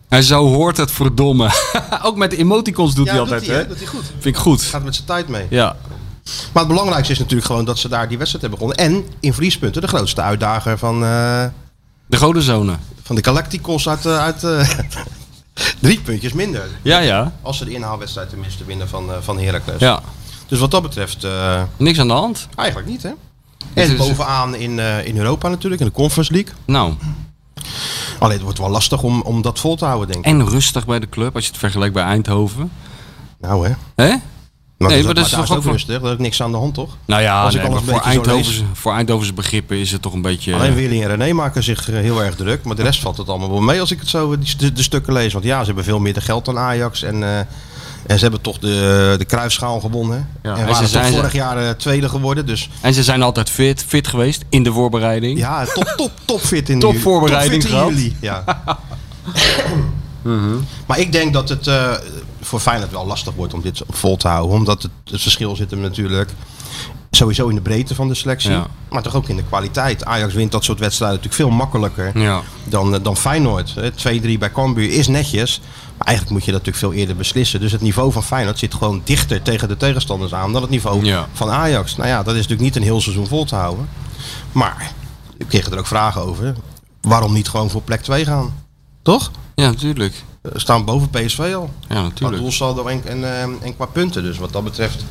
Speaker 4: En zo hoort het verdomme. Ook met de emoticons doet
Speaker 3: Ja,
Speaker 4: hij
Speaker 3: doet
Speaker 4: altijd.
Speaker 3: hij,
Speaker 4: hè?
Speaker 3: hè? Doet hij goed.
Speaker 4: Vind ik goed.
Speaker 3: Gaat met zijn tijd mee.
Speaker 4: Ja.
Speaker 3: Maar het belangrijkste is natuurlijk gewoon dat ze daar die wedstrijd hebben gewonnen. En in vriespunten de grootste uitdager van, eh,
Speaker 4: De Godenzone.
Speaker 3: van de Galacticos uit... eh, uit eh, drie puntjes minder.
Speaker 4: Ja, ja.
Speaker 3: Als ze de inhaalwedstrijd tenminste winnen van, eh, van Heracles.
Speaker 4: Ja.
Speaker 3: Dus wat dat betreft eh,
Speaker 4: Niks aan de hand.
Speaker 3: eigenlijk niet, hè?
Speaker 4: Het
Speaker 3: En
Speaker 4: is-
Speaker 3: bovenaan in, eh, in Europa natuurlijk, in de Conference League.
Speaker 4: Nou.
Speaker 3: Alleen het wordt wel lastig om, om dat vol te houden, denk ik.
Speaker 4: En rustig bij de club als je het vergelijkt bij Eindhoven.
Speaker 3: Nou, hè?
Speaker 4: Hè?
Speaker 3: Maar
Speaker 4: Nee,
Speaker 3: dat,
Speaker 4: maar dat is
Speaker 3: daar
Speaker 4: toch
Speaker 3: is ook
Speaker 4: ook voor-
Speaker 3: rustig. Daar is niks aan de hand, toch?
Speaker 4: Nou ja,
Speaker 3: Als ik
Speaker 4: nee,
Speaker 3: al
Speaker 4: maar
Speaker 3: een
Speaker 4: voor,
Speaker 3: beetje zo lees.
Speaker 4: Eindhovense, voor Eindhovense begrippen is het toch een beetje...
Speaker 3: Alleen Willy en René maken zich eh, heel erg druk. Maar de rest valt het allemaal wel mee als ik het zo eh, die st- de, stukken lees. Want ja, ze hebben veel meer geld dan Ajax. En, eh, en ze hebben toch de, de kruisschaal gewonnen.
Speaker 4: Ja, en
Speaker 3: en
Speaker 4: ze
Speaker 3: waren toch
Speaker 4: zijn-
Speaker 3: vorig jaar eh, tweede geworden. Dus
Speaker 4: En ze zijn altijd fit, fit geweest in de voorbereiding.
Speaker 3: ja, top, top, top fit in
Speaker 4: Top
Speaker 3: ju-
Speaker 4: voorbereiding Mhm.
Speaker 3: top fit in
Speaker 4: gehad.
Speaker 3: juli, Ja. maar ik denk dat het eh, voor Feyenoord wel lastig wordt om dit vol te houden. Omdat het, het verschil zit hem natuurlijk sowieso in de breedte van de selectie.
Speaker 4: Ja.
Speaker 3: Maar toch ook in de kwaliteit. Ajax wint dat soort wedstrijden natuurlijk veel makkelijker
Speaker 4: Ja.
Speaker 3: dan, eh, dan Feyenoord. hè. 2-3 bij Cambuur is netjes. Maar eigenlijk moet je dat natuurlijk veel eerder beslissen. Dus het niveau van Feyenoord zit gewoon dichter tegen de tegenstanders aan dan het niveau
Speaker 4: Ja.
Speaker 3: van Ajax. Nou ja, dat is natuurlijk niet een heel seizoen vol te houden. Maar ik kreeg er ook vragen over. Waarom niet gewoon voor plek 2 gaan? Toch?
Speaker 4: Ja, natuurlijk.
Speaker 3: We staan boven PSV al.
Speaker 4: Ja,
Speaker 3: Qua
Speaker 4: natuurlijk.
Speaker 3: doelsaldo en, en, eh, en qua punten. Dus wat dat betreft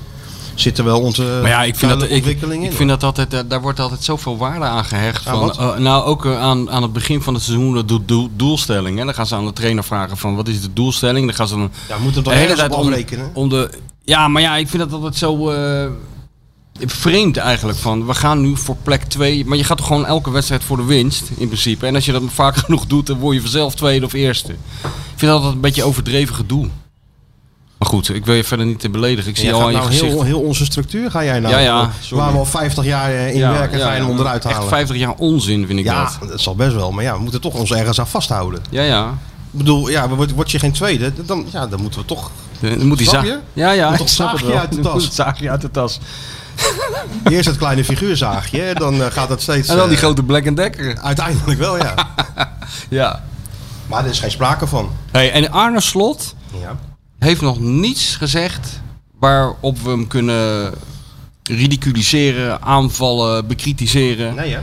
Speaker 3: zitten wel onze
Speaker 4: Maar ja, ik vind dat,
Speaker 3: eh, duidelijke
Speaker 4: ik,
Speaker 3: ontwikkelingen
Speaker 4: ik
Speaker 3: in.
Speaker 4: vind dat altijd, eh, daar wordt altijd zoveel waarde aan gehecht.
Speaker 3: Aan
Speaker 4: van,
Speaker 3: wat?
Speaker 4: eh, nou, ook eh, aan, aan het begin van het seizoen de doel- doel- doelstelling. Hè. Dan gaan ze aan de trainer vragen van wat is de doelstelling. Dan gaan ze dan
Speaker 3: Ja, we moeten hem
Speaker 4: de
Speaker 3: toch
Speaker 4: hele
Speaker 3: ergens
Speaker 4: tijd
Speaker 3: op
Speaker 4: om,
Speaker 3: afrekenen.
Speaker 4: om de... Ja, maar ja, ik vind dat altijd zo eh, vreemd eigenlijk. Van, we gaan nu voor plek 2. Maar je gaat toch gewoon elke wedstrijd voor de winst in principe. En als je dat vaak genoeg doet, dan word je vanzelf tweede of eerste. Ik vind dat altijd een beetje overdreven gedoe. Maar goed, ik wil je verder niet te beledigen. Ik zie
Speaker 3: Jij
Speaker 4: al
Speaker 3: gaat
Speaker 4: aan je
Speaker 3: nou
Speaker 4: gezicht.
Speaker 3: heel, heel onze structuur ga jij nou.
Speaker 4: Ja, ja, sorry.
Speaker 3: Waar we al 50 jaar eh, in werken, ga je hem onderuit
Speaker 4: echt
Speaker 3: halen.
Speaker 4: 50 jaar onzin vind ik
Speaker 3: ja,
Speaker 4: dat.
Speaker 3: dat zal best wel. Maar ja, we moeten toch ons ergens aan vasthouden.
Speaker 4: Ja, ja.
Speaker 3: Ik bedoel, ja, wordt, wordt je geen tweede, dan, ja, dan moeten we toch
Speaker 4: Dan moet die
Speaker 3: Snap
Speaker 4: za-
Speaker 3: je?
Speaker 4: Ja, ja.
Speaker 3: Moet toch
Speaker 4: ik snap het
Speaker 3: zaagje
Speaker 4: wel.
Speaker 3: uit de
Speaker 4: Dan
Speaker 3: tas.
Speaker 4: moet het zaagje uit de tas.
Speaker 3: eerst het kleine figuurzaagje. hè, Dan eh, gaat het steeds...
Speaker 4: En dan die
Speaker 3: eh,
Speaker 4: grote Black Decker.
Speaker 3: Uiteindelijk wel, ja.
Speaker 4: Ja.
Speaker 3: Maar er is geen sprake van.
Speaker 4: Hey, en Arne Slot
Speaker 3: Ja.
Speaker 4: heeft nog niets gezegd waarop we hem kunnen ridiculiseren, aanvallen, bekritiseren.
Speaker 3: Nee, hè?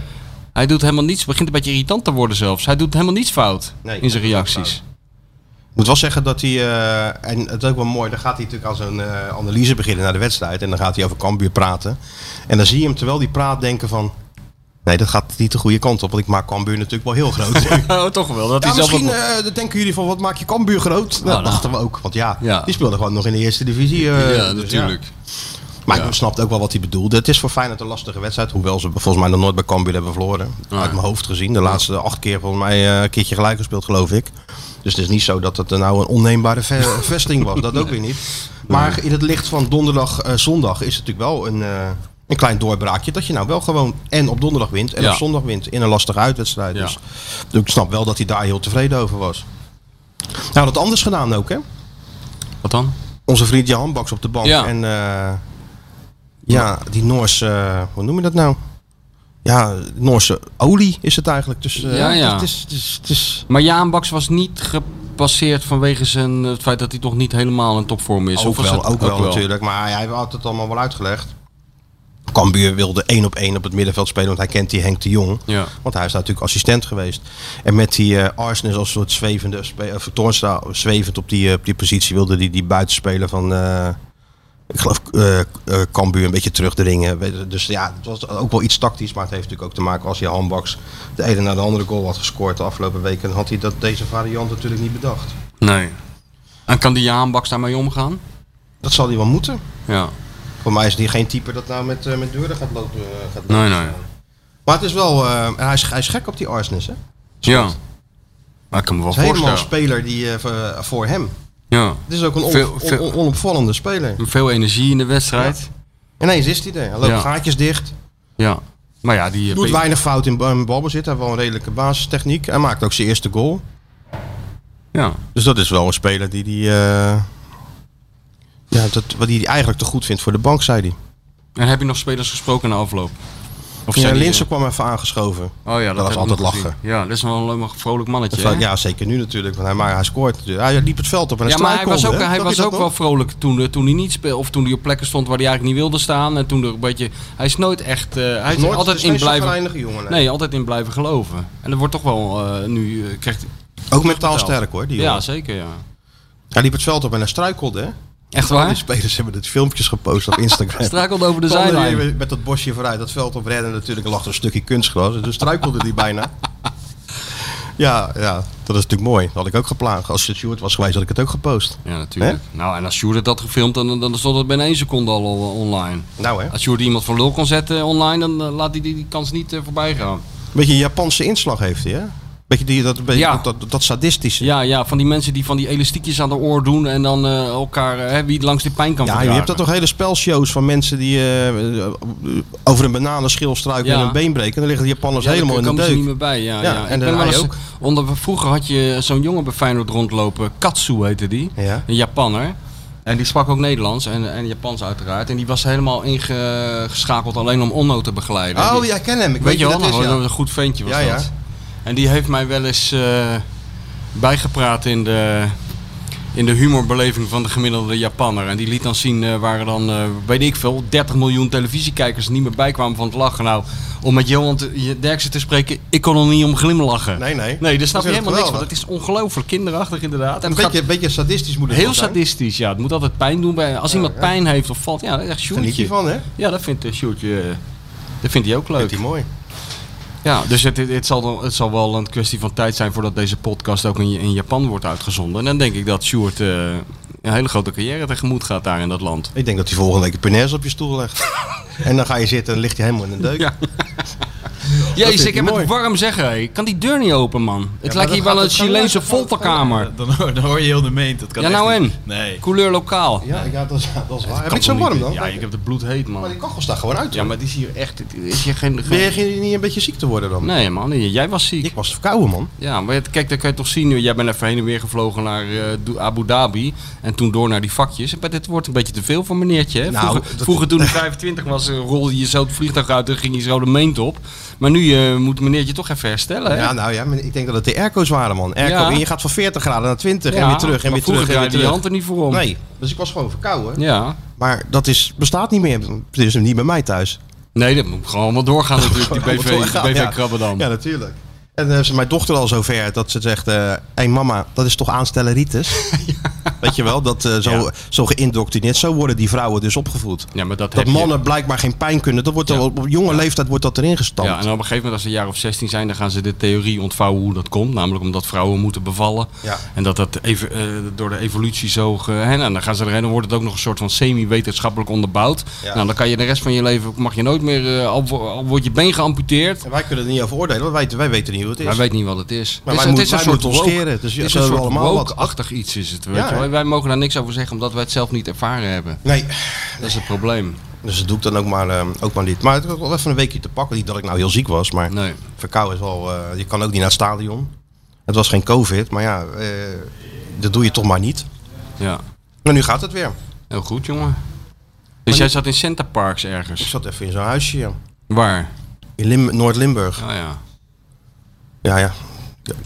Speaker 4: Hij doet helemaal niets. Begint een beetje irritant te worden zelfs. Hij doet helemaal niets fout
Speaker 3: Nee,
Speaker 4: in zijn
Speaker 3: hij doet niets
Speaker 4: reacties.
Speaker 3: Ik moet wel zeggen dat hij, eh, en het is ook wel mooi, dan gaat hij natuurlijk aan zo'n eh, analyse beginnen naar de wedstrijd. En dan gaat hij over Cambuur praten. En dan zie je hem terwijl hij praat denken van, nee dat gaat niet de goede kant op. Want ik maak Cambuur natuurlijk wel heel groot. ja,
Speaker 4: Oh, toch wel. Dat is
Speaker 3: misschien eh, denken jullie van, wat maak je Cambuur groot? Nou,
Speaker 4: nou.
Speaker 3: dat dachten we ook. Want ja,
Speaker 4: Ja.
Speaker 3: die speelde gewoon nog in de eerste divisie. eh, dus
Speaker 4: ja, natuurlijk.
Speaker 3: Maar ik snapte ook wel wat hij bedoelde. Het is voor Feyenoord een lastige wedstrijd. Hoewel ze volgens mij nog nooit bij Cambuur hebben verloren. Uit mijn hoofd gezien. De laatste acht keer volgens mij eh, een keertje gelijk gespeeld, geloof ik. Dus het is niet zo dat het eh, nou een onneembare ve- vesting was. Dat ook weer niet. Maar in het licht van donderdag, eh, zondag is het natuurlijk wel een, eh, een klein doorbraakje. Dat je nou wel gewoon en op donderdag wint en
Speaker 4: Ja.
Speaker 3: op zondag wint. In een lastige uitwedstrijd.
Speaker 4: Ja.
Speaker 3: Dus ik snap wel dat hij daar heel tevreden over was. Nou, dat anders gedaan ook hè
Speaker 4: Wat dan?
Speaker 3: onze vriend Jan Baks op de bank.
Speaker 4: Ja.
Speaker 3: En eh, ja, die Noorse, eh, hoe noem je dat nou? Ja, Noorse olie is het eigenlijk. Dus eh,
Speaker 4: Ja, ja.
Speaker 3: Het is, het is, het is,
Speaker 4: Maar Jaan Baks was niet gepasseerd vanwege zijn, eh, het feit dat hij toch niet helemaal in topvorm is.
Speaker 3: ook,
Speaker 4: Of was
Speaker 3: wel, ook,
Speaker 4: het-
Speaker 3: wel, natuurlijk. Maar hij had het allemaal wel uitgelegd. Cambuur wilde één op één op het middenveld spelen, want hij kent die Henk de Jong.
Speaker 4: Ja.
Speaker 3: Want hij is daar natuurlijk assistent geweest. En met die eh Arsenis als soort zwevende, spe- eh, of Toornstra zwevend op die, eh, op die positie wilde die, die buitenspeler van, eh, ik geloof, eh eh, Cambuur een beetje terugdringen. Weet je, Dus ja, het was ook wel iets tactisch, maar het heeft natuurlijk ook te maken als je handbaks de ene naar de andere goal had gescoord de afgelopen weken, dan had hij dat, deze variant natuurlijk niet bedacht.
Speaker 4: Nee. En kan die Jaan Baks daarmee omgaan?
Speaker 3: Dat zal hij wel moeten.
Speaker 4: Ja.
Speaker 3: Voor mij is die geen type dat nou met, eh, met deuren gaat lopen. eh, gaat
Speaker 4: Nee,
Speaker 3: lopen
Speaker 4: nee.
Speaker 3: staan. Maar het is wel, eh, en hij, is, hij is gek op die Arsenis, hè?
Speaker 4: Ja. Maar ik kan me wel
Speaker 3: Het is helemaal een
Speaker 4: voorstellen.
Speaker 3: speler die eh, voor- voor hem.
Speaker 4: Ja.
Speaker 3: Het is ook een on-
Speaker 4: Veel- veel-
Speaker 3: on- on- onopvallende speler.
Speaker 4: Veel energie in de wedstrijd.
Speaker 3: En ineens is hij er. Hij loopt
Speaker 4: Ja.
Speaker 3: gaatjes dicht.
Speaker 4: Ja. Maar ja, die... eh,
Speaker 3: Doet weinig fout in ba- in balbezit. Hij heeft wel een redelijke basistechniek. Hij maakt ook zijn eerste goal.
Speaker 4: Ja.
Speaker 3: Dus dat is wel een speler die, die, eh, ja, dat, wat die die eigenlijk te goed vindt voor de bank, zei hij.
Speaker 4: En heb je nog spelers gesproken na afloop? Of
Speaker 3: Ja,
Speaker 4: zijn die-
Speaker 3: Linsen kwam even aangeschoven.
Speaker 4: Oh ja, dat,
Speaker 3: was
Speaker 4: heb ik
Speaker 3: altijd
Speaker 4: nog
Speaker 3: lachen.
Speaker 4: gezien. Ja, dat is wel een leuk vrolijk mannetje.
Speaker 3: Ja,
Speaker 4: hè?
Speaker 3: ja, zeker nu natuurlijk. Want hij, maar hij scoort. natuurlijk. Hij liep het veld op en
Speaker 4: Ja,
Speaker 3: hij
Speaker 4: maar hij was ook,
Speaker 3: struikelde, hè?
Speaker 4: hij
Speaker 3: Zag
Speaker 4: was
Speaker 3: je dat
Speaker 4: ook
Speaker 3: nog?
Speaker 4: wel vrolijk toen, eh, toen hij niet speelde. Of toen hij op plekken stond waar hij eigenlijk niet wilde staan. En toen er een beetje... Hij is nooit echt... eh, hij is
Speaker 3: Nooit-
Speaker 4: altijd
Speaker 3: het is
Speaker 4: in
Speaker 3: geen
Speaker 4: blijven...
Speaker 3: chagrijnige jongen. Nee.
Speaker 4: Nee, altijd in blijven geloven. En er wordt toch wel eh, nu... eh, krijgt,
Speaker 3: Ook mentaal sterk hoor, die
Speaker 4: ja,
Speaker 3: jongen.
Speaker 4: zeker, ja.
Speaker 3: Hij liep het veld op en hij struikelde. hè?
Speaker 4: Echt
Speaker 3: Die
Speaker 4: waar?
Speaker 3: spelers hebben het filmpjes gepost op Instagram.
Speaker 4: Strakelde over de
Speaker 3: Kwam er
Speaker 4: zijlijn.
Speaker 3: weer Met dat bosje vooruit, dat veld op rennen natuurlijk. Er lag een stukje kunstgras, dus struikelde die bijna. Ja, ja, dat is natuurlijk mooi. Dat had ik ook geplaagd. Als het Sjoerd was geweest, had ik het ook gepost.
Speaker 4: Ja, natuurlijk. Nou, en als Sjoerd het had gefilmd, dan, dan stond het binnen één seconde al eh, online.
Speaker 3: Nou hè,
Speaker 4: Als Sjoerd iemand voor lul kon zetten online, dan eh, laat hij die, die kans niet eh, voorbij gaan.
Speaker 3: een beetje een Japanse inslag heeft hij hè? Beetje die, dat, beetje
Speaker 4: Ja.
Speaker 3: dat, dat sadistische.
Speaker 4: Ja, ja, van die mensen die van die elastiekjes aan de oor doen en dan eh, elkaar, eh, wie het langs de pijn kan
Speaker 3: Ja, je
Speaker 4: verdragen.
Speaker 3: hebt dat toch hele spelshows van mensen die eh, over een bananenschil struiken
Speaker 4: Ja,
Speaker 3: en een been breken. En dan liggen de Japanners
Speaker 4: Ja, daar
Speaker 3: helemaal in de
Speaker 4: komen ze
Speaker 3: deuk.
Speaker 4: niet meer bij. Ja,
Speaker 3: Ja,
Speaker 4: ja,
Speaker 3: en
Speaker 4: Ik
Speaker 3: dan
Speaker 4: ben wel
Speaker 3: hij
Speaker 4: eens-
Speaker 3: ook.
Speaker 4: Onder, vroeger had je zo'n jongen bij Feyenoord rondlopen, Katsu heette die,
Speaker 3: Ja.
Speaker 4: een Japanner. En die sprak ook Nederlands en, en Japans uiteraard. En die was helemaal ingeschakeld alleen om Onno te begeleiden.
Speaker 3: Oh,
Speaker 4: Die-
Speaker 3: ja, ik ken hem. Ik
Speaker 4: Weet, je wel
Speaker 3: wie dat
Speaker 4: nog, hoor,
Speaker 3: is,
Speaker 4: dat
Speaker 3: ja.
Speaker 4: was een goed ventje was
Speaker 3: Ja, ja.
Speaker 4: dat. En die heeft mij wel eens eh, bijgepraat in de, in de humorbeleving van de gemiddelde Japanner. En die liet dan zien eh waar er dan, eh, weet ik veel, 30 miljoen televisiekijkers niet meer bij kwamen van het lachen. Nou, om met Johan te, Derksen te spreken, ik kon er niet om glimlachen.
Speaker 3: Nee, nee.
Speaker 4: Nee, daar snap je
Speaker 3: Dat is
Speaker 4: helemaal niks van.
Speaker 3: geweldig.
Speaker 4: Het is ongelooflijk kinderachtig inderdaad. En
Speaker 3: Een
Speaker 4: het gaat
Speaker 3: beetje, een beetje sadistisch moet het
Speaker 4: heel
Speaker 3: wel zijn.
Speaker 4: sadistisch, ja. Het moet altijd pijn doen. Bij, als iemand pijn heeft of valt, ja, dat is echt
Speaker 3: Geniet je
Speaker 4: Sjoerdje.
Speaker 3: van, hè?
Speaker 4: Ja, dat vindt eh, Sjoerdje, eh, dat vindt hij ook leuk.
Speaker 3: Vindt hij mooi.
Speaker 4: Ja, dus het, het, het zal, dan- het zal wel een kwestie van tijd zijn voordat deze podcast ook in, in Japan wordt uitgezonden. En dan denk ik dat Sjoerd eh, een hele grote carrière tegemoet gaat daar in dat land.
Speaker 3: Ik denk dat hij volgende week een punaise op je stoel legt. en dan ga je zitten en ligt hij helemaal in de deuk.
Speaker 4: Ja.
Speaker 3: vindt
Speaker 4: Jezus,
Speaker 3: hij
Speaker 4: ik heb
Speaker 3: mooi.
Speaker 4: het warm zeggen. hé. Ik kan die deur niet open, man. Het
Speaker 3: maar
Speaker 4: lijkt
Speaker 3: dat
Speaker 4: hier wel
Speaker 3: gaat-
Speaker 4: een
Speaker 3: dat gaat
Speaker 4: Chileense
Speaker 3: lukken.
Speaker 4: folterkamer.
Speaker 6: Dan, hoor, dan hoor je heel de meent. Dat kan
Speaker 4: Ja,
Speaker 6: echt
Speaker 4: nou
Speaker 6: niet.
Speaker 4: en?
Speaker 6: Nee.
Speaker 4: Couleur lokaal.
Speaker 3: Ja, ja, dat, is, dat is waar. Heb
Speaker 4: Kan
Speaker 3: ik zo
Speaker 4: toch
Speaker 3: warm
Speaker 4: niet?
Speaker 3: dan?
Speaker 4: Ja, ik heb het bloed heet,
Speaker 3: Maar die
Speaker 4: man.
Speaker 3: kachel staat gewoon uit.
Speaker 4: Ja,
Speaker 3: hoor.
Speaker 4: maar het is hier echt... het Is hier geen... geen-
Speaker 3: Probeer je niet een beetje ziek te worden dan?
Speaker 4: Nee, man. Jij was ziek.
Speaker 3: Ik was verkouden, man.
Speaker 4: Ja, maar het- kijk, dat kan je toch zien nu. Jij bent even heen en weer gevlogen naar eh, Do- Abu Dhabi. En toen door naar die vakjes. Maar dit wordt een beetje te veel voor meneertje. Hè?
Speaker 3: Nou,
Speaker 4: Vroeger,
Speaker 3: dat-
Speaker 4: vroeger toen ik 25 was, eh, rolde je zo het vliegtuig uit en ging je zo de meent op. Maar nu eh, moet meneertje toch even herstellen. Hè?
Speaker 3: Ja, nou ja, maar ik denk dat het de airco's waren, man. Airco,
Speaker 4: Ja.
Speaker 3: En je gaat van 40 graden naar 20 en
Speaker 4: Ja,
Speaker 3: weer terug en
Speaker 4: maar
Speaker 3: weer terug
Speaker 4: vroeger
Speaker 3: en weer
Speaker 4: draaide je
Speaker 3: terug.
Speaker 4: hand er niet voor om.
Speaker 3: Nee, dus ik was gewoon verkouden.
Speaker 4: Ja.
Speaker 3: Maar dat is, bestaat niet meer. Het is niet bij mij thuis. Oh,
Speaker 4: Nee, dat moet gewoon allemaal doorgaan natuurlijk. Die BV,
Speaker 3: Allemaal doorgaan,
Speaker 4: die BV
Speaker 3: ja.
Speaker 4: Krabbedam.
Speaker 3: Ja, natuurlijk. En dan heeft ze mijn dochter al zover dat ze zegt: eh, Hé mama, dat is toch aanstelleritis? Weet je wel, dat eh, zo,
Speaker 4: Ja.
Speaker 3: zo geïndoctrineerd. Zo worden die vrouwen dus opgevoed.
Speaker 4: Ja, maar dat,
Speaker 3: Dat
Speaker 4: heb je-
Speaker 3: mannen blijkbaar geen pijn kunnen. Dat wordt
Speaker 4: Ja.
Speaker 3: al, op jonge leeftijd wordt dat erin gestampt.
Speaker 4: Ja, en op een gegeven moment als ze een jaar of 16 zijn, dan gaan ze de theorie ontvouwen hoe dat komt. Namelijk omdat vrouwen moeten bevallen.
Speaker 3: Ja.
Speaker 4: En dat dat even, eh, door de evolutie zo... Ge, hè, nou, dan gaan ze erheen, dan wordt het ook nog een soort van semi-wetenschappelijk onderbouwd.
Speaker 3: Ja.
Speaker 4: Nou, dan kan je de rest van je leven, mag je nooit meer... eh, al, wo- al wordt je been geamputeerd.
Speaker 3: En wij kunnen er niet over oordelen, want wij, wij weten niet hoe het is.
Speaker 4: Wij weten niet wat het is.
Speaker 3: Maar
Speaker 4: het is,
Speaker 3: wij
Speaker 4: het
Speaker 3: moeten- wij moeten ons scheren, dus
Speaker 4: het is
Speaker 3: zo
Speaker 4: een soort
Speaker 3: hebben we allemaal wat.
Speaker 4: woke-achtig iets is het. Weet
Speaker 3: Ja,
Speaker 4: je wel.
Speaker 3: hè?
Speaker 4: Wij mogen daar niks over zeggen omdat wij het zelf niet ervaren hebben.
Speaker 3: Nee,
Speaker 4: Dat is het probleem.
Speaker 3: dus dat doe ik dan ook maar, eh, ook maar niet. Maar het is ook wel even een weekje te pakken. Niet dat ik nou heel ziek was, maar
Speaker 4: Nee.
Speaker 3: verkouden is wel... eh, je kan ook niet naar het stadion. Het was geen covid, maar ja, eh, dat doe je toch maar niet.
Speaker 4: Ja.
Speaker 3: Maar nu gaat het weer.
Speaker 4: Heel goed, jongen. Dus jij zat in Center Parks
Speaker 3: Ik
Speaker 4: ergens.
Speaker 3: zat even in zo'n huisje ja.
Speaker 4: Waar?
Speaker 3: in Lim- Noord-Limburg.
Speaker 4: Ah ja.
Speaker 3: Ja, ja.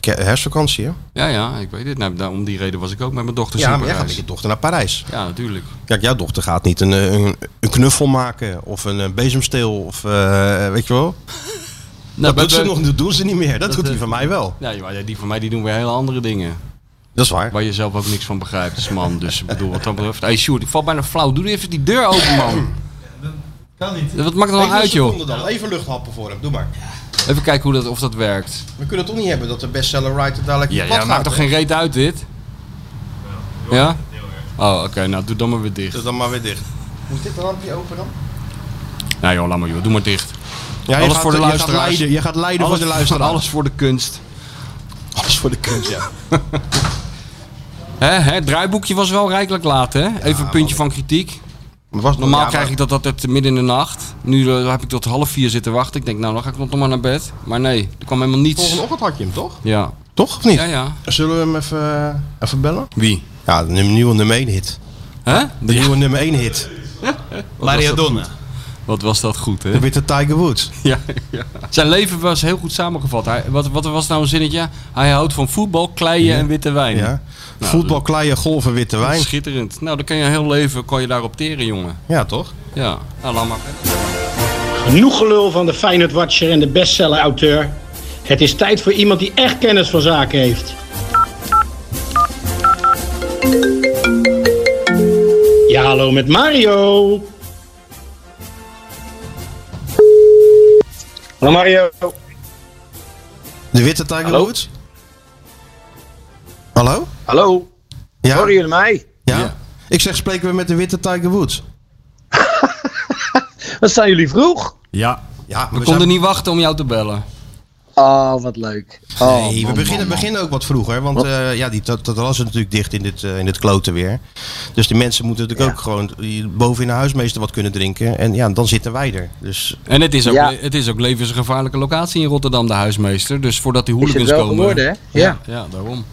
Speaker 3: Ke- Herfstvakantie, hè?
Speaker 4: Ja, ja, ik weet het. Nou, daar- om die reden was ik ook met mijn dochter
Speaker 3: Ja,
Speaker 4: ja,
Speaker 3: maar jij gaat met je dochter naar Parijs.
Speaker 4: Ja, natuurlijk.
Speaker 3: Kijk, jouw dochter gaat niet een, eh, een, een knuffel maken of een, eh, bezemsteel of eh, weet je wel.
Speaker 4: Nou,
Speaker 3: dat doet ze nog, dat doen ze niet meer. Dat, doet die van mij wel.
Speaker 4: Nee, maar die van mij die doen weer hele andere dingen.
Speaker 3: Dat is waar.
Speaker 4: Waar je zelf ook niks van begrijpt als man. Dus ik bedoel, wat dat betreft... Hey Sjoerd, ik val bijna flauw. Doe even die deur open, man.
Speaker 6: Kan niet.
Speaker 4: Wat maakt het nou uit, joh?
Speaker 3: Dan. Even luchthappen voor hem, doe maar.
Speaker 4: Even kijken hoe dat, of dat werkt.
Speaker 3: We kunnen toch niet hebben dat de bestseller writer dadelijk
Speaker 4: Ja,
Speaker 3: plat
Speaker 4: ja maakt toch geen reet uit, dit? Ja? Oh, oké. nou, doe dan maar weer dicht.
Speaker 3: Doe Dus dan maar weer dicht. Moet dit lampje open dan?
Speaker 4: Nou joh, laat maar joh. Doe maar dicht.
Speaker 3: Ja,
Speaker 4: Alles voor de luisteraars.
Speaker 3: Je gaat leiden, je gaat leiden voor de luisteraar.
Speaker 4: Alles voor de kunst.
Speaker 3: alles voor de kunst, ja.
Speaker 4: Hè, hè, het draaiboekje was wel rijkelijk laat, hè? Even een puntje van kritiek.
Speaker 7: Oh,
Speaker 4: Normaal krijg ik dat altijd midden in de nacht. Nu eh, heb ik tot half vier zitten wachten. Ik denk, nou, dan ga ik nog maar naar bed. Maar nee, er kwam helemaal niets.
Speaker 3: Volgende ochtend had je hem, toch?
Speaker 4: Ja,
Speaker 3: Toch, of niet?
Speaker 4: ja, ja.
Speaker 3: Zullen we hem even, eh, even bellen?
Speaker 4: Wie?
Speaker 3: Ja, de num- nieuwe nummer 1 hit.
Speaker 4: Hè?
Speaker 3: De nieuwe nummer 1 hit.
Speaker 6: Mariadonna.
Speaker 4: Wat was dat goed, hè?
Speaker 3: De witte Tiger Woods.
Speaker 4: Ja, ja. Zijn leven was heel goed samengevat. Hij, wat, wat was nou een zinnetje? Hij houdt van voetbal, kleien en witte wijn.
Speaker 3: Ja. Nou, dus- Voetbal, kleien, golven, witte wijn.
Speaker 4: Schitterend. Nou, dan kan je heel leven kan je daarop teren, jongen.
Speaker 3: Ja, toch?
Speaker 4: Ja, nou, laat maar.
Speaker 8: Genoeg gelul van de Feyenoord Watcher en de bestseller-auteur. Het is tijd voor iemand die echt kennis van zaken heeft. Ja, hallo met Mario. Hallo Mario.
Speaker 3: De witte Tiger
Speaker 7: Hallo?
Speaker 3: Woods. Hallo?
Speaker 7: Hallo,
Speaker 3: Ja?
Speaker 7: horen jullie mij?
Speaker 3: Ja?
Speaker 4: Ja.
Speaker 3: Ik zeg, spreken we met de witte Tiger Woods?
Speaker 7: Wat zijn jullie vroeg?
Speaker 4: Ja.
Speaker 3: Ja, maar
Speaker 4: We konden niet wachten om jou te bellen.
Speaker 7: Oh, wat leuk. Oh,
Speaker 3: Nee, we
Speaker 7: man,
Speaker 3: beginnen,
Speaker 7: man, man.
Speaker 3: beginnen ook wat vroeger. Want eh, ja, die dat was natuurlijk dicht in dit, eh, in dit klote weer. Dus die mensen moeten natuurlijk
Speaker 7: Ja.
Speaker 3: ook gewoon eh, boven in de huismeester wat kunnen drinken. En ja, dan zitten wij er. Dus
Speaker 4: En het is, ook,
Speaker 7: Ja.
Speaker 4: het is ook levensgevaarlijke locatie in Rotterdam, de huismeester. Dus voordat die
Speaker 7: Is het
Speaker 4: hooligans
Speaker 7: wel
Speaker 4: komen...
Speaker 7: geworden, hè? Ja.
Speaker 4: Ja, daarom.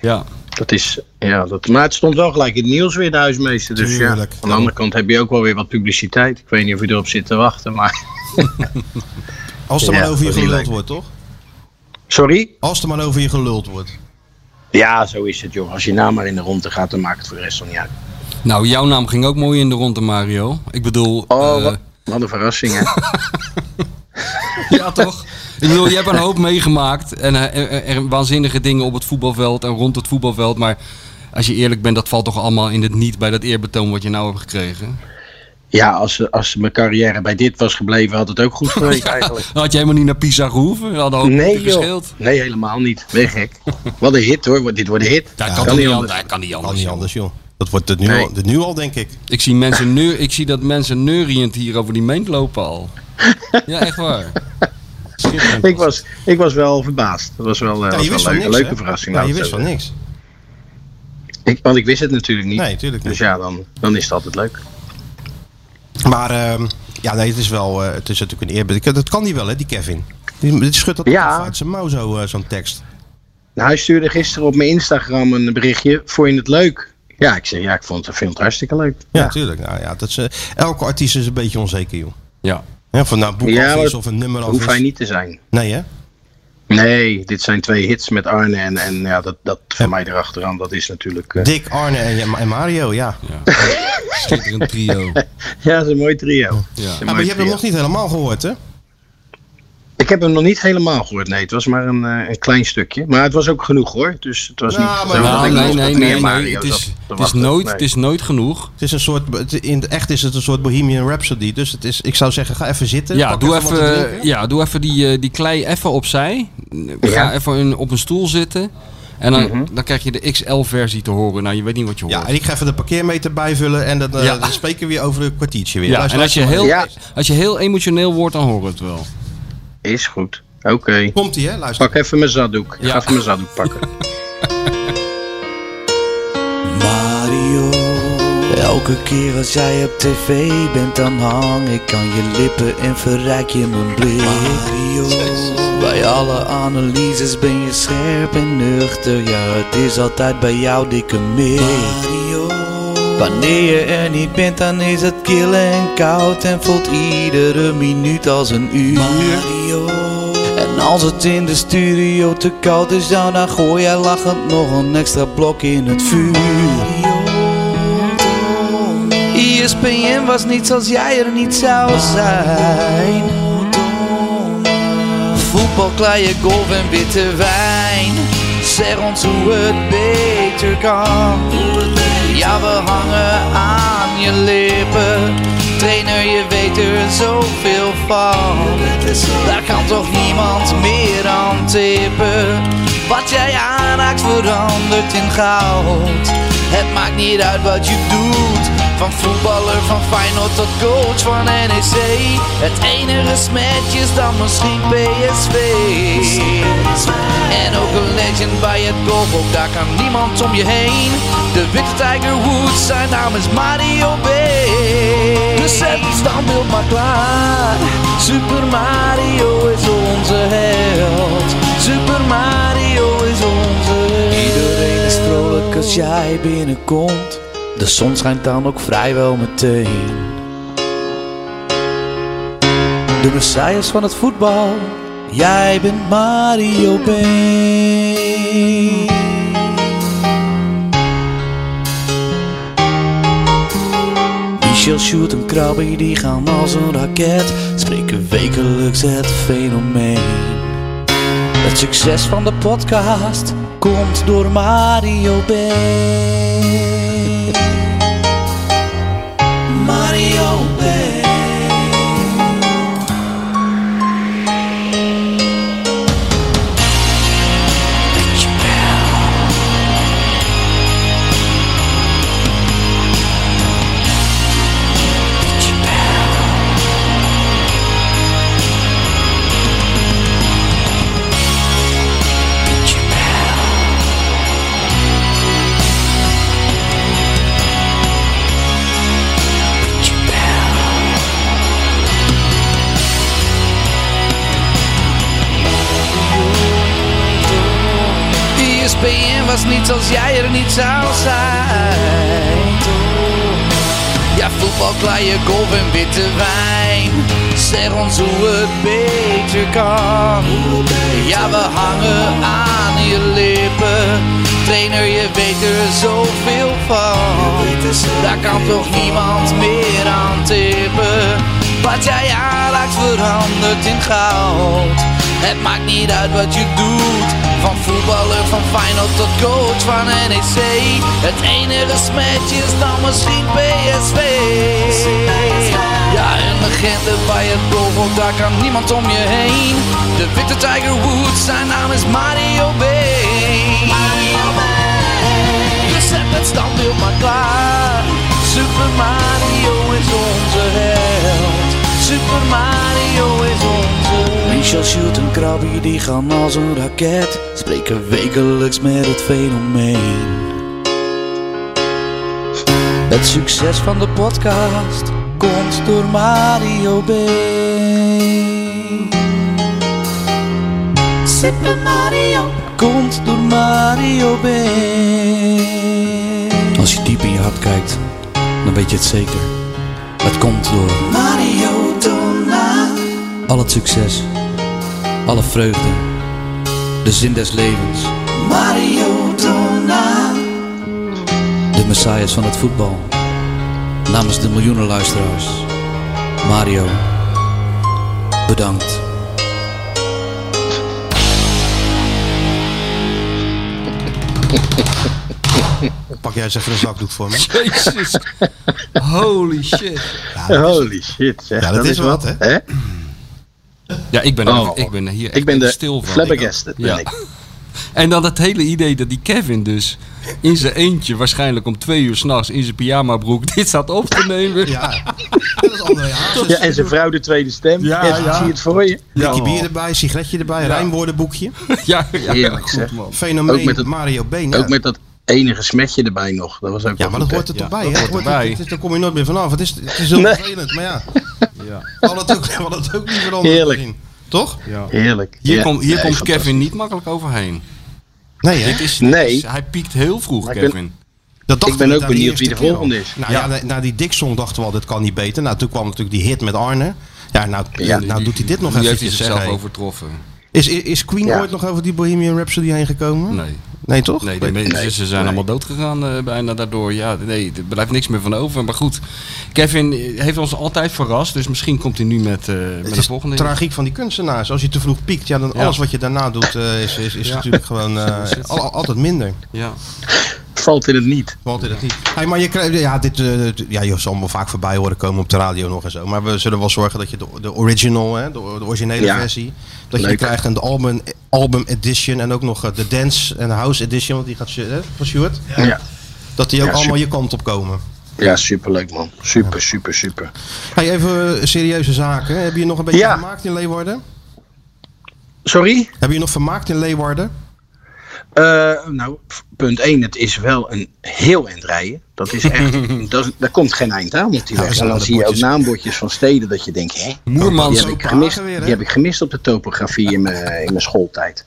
Speaker 4: Ja,
Speaker 7: Dat is, ja dat, maar het stond wel gelijk in het nieuws weer de huismeester. Dus ja,
Speaker 3: Tuurlijk.
Speaker 7: aan de andere kant heb je ook wel weer wat publiciteit. Ik weet niet of je erop zit te wachten, maar...
Speaker 3: als er
Speaker 7: Ja,
Speaker 3: maar over je
Speaker 7: dat is
Speaker 3: geluld
Speaker 7: leuk.
Speaker 3: wordt, toch?
Speaker 7: Sorry?
Speaker 3: Als er maar over je geluld wordt.
Speaker 7: Ja, zo is het, joh. Als je naam maar in de ronde gaat, dan maakt het voor de rest dan niet uit.
Speaker 4: nou jouw naam ging ook mooi in de ronde, Mario. Ik bedoel...
Speaker 7: Oh,
Speaker 4: eh,
Speaker 7: wat, wat een verrassing, hè?
Speaker 4: Ja, toch? Ik bedoel, je hebt een hoop meegemaakt. En eh, er, er- er waanzinnige dingen op het voetbalveld en rond het voetbalveld. Maar als je eerlijk bent, dat valt toch allemaal in het niet bij dat eerbetoon wat je nou hebt gekregen.
Speaker 7: Ja, als, als mijn carrière bij dit was gebleven, had het ook goed geweest eigenlijk.
Speaker 4: Dan Nou, had je helemaal niet naar Pisa gehoeven. Dat had ook
Speaker 7: Nee, joh.
Speaker 4: gescheeld.
Speaker 7: Nee, helemaal niet. Ben je gek? Wat een hit, hoor. Dit wordt een hit.
Speaker 4: Dat
Speaker 7: Ja,
Speaker 4: kan, toch niet anders. Dat kan niet
Speaker 3: Kan
Speaker 4: anders.
Speaker 3: niet
Speaker 4: joh.
Speaker 3: anders, joh. Dat wordt het nu,
Speaker 7: Nee.
Speaker 3: al, het nu al, denk ik.
Speaker 4: Ik zie, mensen neur, ik zie dat mensen neuriënd hier over die meent lopen al. Ja, echt waar. Schitterend.
Speaker 7: Ik was, ik was wel verbaasd. Dat was wel, eh
Speaker 3: Ja,
Speaker 7: was
Speaker 3: je wist
Speaker 7: wel
Speaker 3: van
Speaker 7: leuk.
Speaker 3: niks,
Speaker 7: een
Speaker 3: hè?
Speaker 7: leuke verrassing.
Speaker 3: Ja, je
Speaker 7: laat ik
Speaker 3: wist
Speaker 7: zo
Speaker 3: van niks.
Speaker 7: zeggen. Ik, want ik wist het natuurlijk niet.
Speaker 3: Nee, tuurlijk
Speaker 7: Dus
Speaker 3: niet.
Speaker 7: ja, dan, dan is het altijd leuk.
Speaker 3: Maar ehm, ja, nee, het is wel, eh, het is natuurlijk een eerbied. Dat kan die wel, hè, die Kevin. Die, die schudt dat
Speaker 7: Ja.
Speaker 3: af uit zijn mouw, zo, eh, zo'n tekst.
Speaker 7: Nou, hij stuurde gisteren op mijn Instagram een berichtje. Vond je het leuk? Ja, ik zei ja, ik vond het, vind het hartstikke leuk.
Speaker 3: Ja, natuurlijk. Nou, ja, dat is, eh, elke artiest is een beetje onzeker, joh.
Speaker 4: Ja.
Speaker 3: Ja, of het nou een boek
Speaker 7: Ja,
Speaker 3: af
Speaker 7: maar
Speaker 3: is
Speaker 7: dat
Speaker 3: of een nummer af
Speaker 7: Hoef hij
Speaker 3: is.
Speaker 7: niet te zijn.
Speaker 3: Nee, hè?
Speaker 7: Nee, dit zijn twee hits met Arne en, en ja, dat, dat van mij erachteraan, dat is natuurlijk... eh,
Speaker 3: Dick, Arne en, en Mario, ja.
Speaker 4: ja. Schitterend trio.
Speaker 7: ja, dat is een mooi trio.
Speaker 4: Ja.
Speaker 3: Ja, maar je hebt hem nog niet helemaal gehoord, hè?
Speaker 7: Ik heb hem nog niet helemaal gehoord, nee. Het was maar een, eh, een klein stukje. Maar het was ook genoeg hoor. Dus het was
Speaker 3: Nou,
Speaker 7: niet...
Speaker 3: maar-
Speaker 7: zo
Speaker 3: Nou,
Speaker 7: dat
Speaker 4: Nou, nee,
Speaker 7: ik nog
Speaker 4: nee,
Speaker 7: tot meer
Speaker 4: nee. nee.
Speaker 7: Mario
Speaker 4: Het,
Speaker 7: zat
Speaker 4: is,
Speaker 7: te
Speaker 4: het, is
Speaker 7: wachten.
Speaker 4: nooit,
Speaker 7: Nee.
Speaker 4: het is nooit genoeg.
Speaker 3: Het is een soort, het- in het echt is het een soort Bohemian Rhapsody. Dus het is, ik zou zeggen, ga even zitten.
Speaker 4: Ja,
Speaker 3: pak
Speaker 4: doe
Speaker 3: wat te
Speaker 4: Dus even, eh,
Speaker 3: drinken.
Speaker 4: ja, doe even die, eh, die klei even opzij.
Speaker 7: Ja. Mhm.
Speaker 4: Ga even in- op een stoel zitten. En dan, dan krijg je de XL-versie te horen. Nou, je weet niet wat je hoort.
Speaker 3: Ja, en ik ga even de parkeermeter bijvullen en dan, eh,
Speaker 4: Ja.
Speaker 3: dan spreken we weer over een kwartiertje weer.
Speaker 4: Ja,
Speaker 3: Luister,
Speaker 4: en als je,
Speaker 3: luister
Speaker 4: heel,
Speaker 7: Ja.
Speaker 4: als je heel emotioneel wordt, dan horen we het wel.
Speaker 7: Is goed. Oké.
Speaker 3: maar. Komt-ie, hè? Luister.
Speaker 7: Pak even mijn zaddoek. Ik
Speaker 4: Ja.
Speaker 7: ga even mijn zaddoek pakken.
Speaker 2: Mario, elke keer als jij op tv bent, dan hang ik aan je lippen en verrijk je mijn blik. Mario, bij alle analyses ben je scherp en nuchter, ja het is altijd bij jou dikke mik. Mario, wanneer je er niet bent, dan is het kil en koud en voelt iedere minuut als een uur. Mario. En als het in de studio te koud is, ja, dan gooi jij lachend nog een extra blok in het vuur. ESPN was niets als jij er niet zou zijn. Voetbal, kleien, golf en witte wijn. Zeg ons hoe het beter kan. Ja, we hangen aan je lippen. Trainer, je weet er zoveel van. Daar kan toch niemand meer aan tippen. Wat jij aanraakt verandert in goud. Het maakt niet uit wat je doet. Van voetballer, van Feyenoord tot coach van NEC. Het enige smetje is dan misschien PSV. En ook een legend bij het golf, ook daar kan niemand om je heen. De witte Tiger Woods, zijn naam is Mario B. Dus zet het standbeeld maar klaar. Super Mario is onze held. Super Mario is onze held. Iedereen is vrolijk als jij binnenkomt. De zon schijnt dan ook vrijwel meteen. De messias van het voetbal, jij bent Mario Been. Michel Sjoerd en Krabbe die gaan als een raket, spreken wekelijks het fenomeen. Het succes van de podcast komt door Mario B. Mario B. was niets als jij er niet zou zijn. Ja, voetbal, kleien, golf en witte wijn. Zeg ons hoe het beter kan. Ja, we hangen aan je lippen. Trainer, je weet er zoveel van. Daar kan toch niemand meer aan tippen. Wat jij aanraakt verandert in goud. Het maakt niet uit wat je doet. Van voetballer, van Feyenoord tot coach van NEC. Het enige smetje is dan misschien PSV. Ja, een legende bij het doelvol, daar kan niemand om je heen. De witte Tiger Woods, zijn naam is Mario B. Dus zet het standbeeld maar klaar. Super Mario is onze held. Super Mario is onze Michel Schuurt en Krabby die gaan als een raket. Spreken wekelijks met het fenomeen. Het succes van de podcast komt door Mario B. Super Mario komt door Mario B. Als je diep in je hart kijkt, dan weet je het zeker. Het komt door Mario Dona. Al het succes, alle vreugde, de zin des levens. Mario Dona. De messias van het voetbal. Namens de miljoenen luisteraars. Mario, bedankt.
Speaker 3: Pak jij eens even een zakdoek voor me.
Speaker 4: Jezus. Holy shit.
Speaker 3: Ja, dat is-
Speaker 7: Holy shit, zeg.
Speaker 3: Ja, dat is wat, hè?
Speaker 4: Ja, ik ben,
Speaker 7: Oh.
Speaker 4: er- ik ben er hier
Speaker 7: Ik ben
Speaker 4: echt
Speaker 7: de
Speaker 4: stil van.
Speaker 7: flabbergasted, ben
Speaker 4: Ja.
Speaker 7: ik.
Speaker 4: En dan het hele idee dat die Kevin dus in zijn eentje, waarschijnlijk om twee uur s'nachts in zijn pyjamabroek, dit staat op te nemen.
Speaker 3: Ja, dat is André Hazes.
Speaker 7: Ja, en zijn vrouw de tweede stem.
Speaker 6: Ja,
Speaker 7: en
Speaker 6: ja.
Speaker 7: zie je het voor je.
Speaker 3: Blikje bier erbij, sigaretje erbij, rijmwoordenboekje.
Speaker 4: Ja, ja,
Speaker 7: Heerlijk, zeg.
Speaker 4: man.
Speaker 3: Fenomeen
Speaker 7: Ook met het-
Speaker 3: Mario B.
Speaker 7: Ook met dat enige smetje erbij nog. Dat was ook
Speaker 3: Ja,
Speaker 7: wel
Speaker 3: maar
Speaker 7: goed,
Speaker 3: dat
Speaker 7: hè?
Speaker 3: hoort er toch
Speaker 4: Ja,
Speaker 3: bij,
Speaker 4: dat
Speaker 3: hè?
Speaker 4: hoort
Speaker 3: Hoort-
Speaker 4: erbij.
Speaker 3: het is- Daar kom je nooit meer vanaf. Het is, het is heel
Speaker 7: Nee.
Speaker 3: vervelend, maar ja.
Speaker 4: Ja.
Speaker 3: Al het ook, we hadden het ook niet veranderd.
Speaker 7: Heerlijk.
Speaker 3: gezien. Toch?
Speaker 7: Heerlijk.
Speaker 4: Hier,
Speaker 7: Ja.
Speaker 4: komt- hier
Speaker 7: Nee,
Speaker 4: komt
Speaker 7: fantastisch.
Speaker 4: Kevin niet makkelijk overheen.
Speaker 3: Nee,
Speaker 4: Dit
Speaker 3: hè?
Speaker 4: is, dit
Speaker 7: Nee.
Speaker 4: is- hij piekt heel vroeg,
Speaker 7: Maar ik ben-
Speaker 4: Kevin.
Speaker 3: Dat dachten
Speaker 7: Ik ben
Speaker 3: we
Speaker 7: ook
Speaker 3: na die
Speaker 7: benieuwd wie de
Speaker 3: eerste keer al.
Speaker 7: volgende is.
Speaker 3: Nou ja, na, na die Dick-song dachten we al, dit kan niet beter. Nou, toen kwam natuurlijk die hit met Arne. Ja, nou,
Speaker 7: Ja.
Speaker 3: nou doet hij dit nog
Speaker 4: Nu
Speaker 3: even.
Speaker 4: heeft hij zichzelf overtroffen.
Speaker 3: Is, is- is Queen
Speaker 7: Ja.
Speaker 3: ooit nog over die Bohemian Rhapsody heen gekomen?
Speaker 4: Nee.
Speaker 3: Nee, toch?
Speaker 4: Nee, die mensen ze zijn allemaal dood gegaan eh, bijna daardoor. Ja, nee, er blijft niks meer van over. Maar goed, Kevin eh, heeft ons altijd verrast. Dus misschien komt hij nu met, eh met
Speaker 3: Het
Speaker 4: de
Speaker 3: is
Speaker 4: volgende.
Speaker 3: tragiek van die kunstenaars. Als je te vroeg piekt, ja, dan
Speaker 4: Ja.
Speaker 3: alles wat je daarna doet eh, is, is, is
Speaker 4: Ja.
Speaker 3: natuurlijk gewoon eh,
Speaker 4: is het.
Speaker 3: al- al- altijd minder.
Speaker 4: Ja.
Speaker 7: Valt in het niet.
Speaker 3: Valt in het niet. Hey, maar je krijgt, ja, dit, eh, dit- ja, je zal hem wel vaak voorbij horen komen op de radio nog en zo. Maar we zullen wel zorgen dat je de, de original, hè, de, de originele
Speaker 7: Ja.
Speaker 3: versie, dat je die
Speaker 7: Leuk.
Speaker 3: krijgt en de album, album edition en ook nog eh, de dance en de house edition, want die gaat Sjo- hè, van Stuart.
Speaker 7: Ja, ja.
Speaker 3: Dat die ook
Speaker 7: Ja,
Speaker 3: allemaal je kant op komen.
Speaker 7: superleuk man. Super, super, super.
Speaker 3: Hey, even eh, serieuze zaken. Heb je nog een beetje
Speaker 7: Ja.
Speaker 3: vermaakt in Leeuwarden?
Speaker 7: Sorry?
Speaker 3: Heb je nog vermaakt in Leeuwarden?
Speaker 7: Eh, nou, f- punt 1, het is wel een heel eind rijden. Dat is echt, dat, is- daar komt geen eind aan op die
Speaker 3: Ja,
Speaker 7: weg.
Speaker 3: dat
Speaker 7: En dan
Speaker 3: zijn
Speaker 7: zie je ook
Speaker 3: bordjes.
Speaker 7: naambordjes van steden dat je denkt, hè?
Speaker 4: Moermans.
Speaker 7: Die
Speaker 3: Zo
Speaker 7: heb, ik
Speaker 3: Pragen
Speaker 7: gemist,
Speaker 3: weer, hè?
Speaker 7: die heb ik gemist op de topografie in mijn, eh, in mijn schooltijd.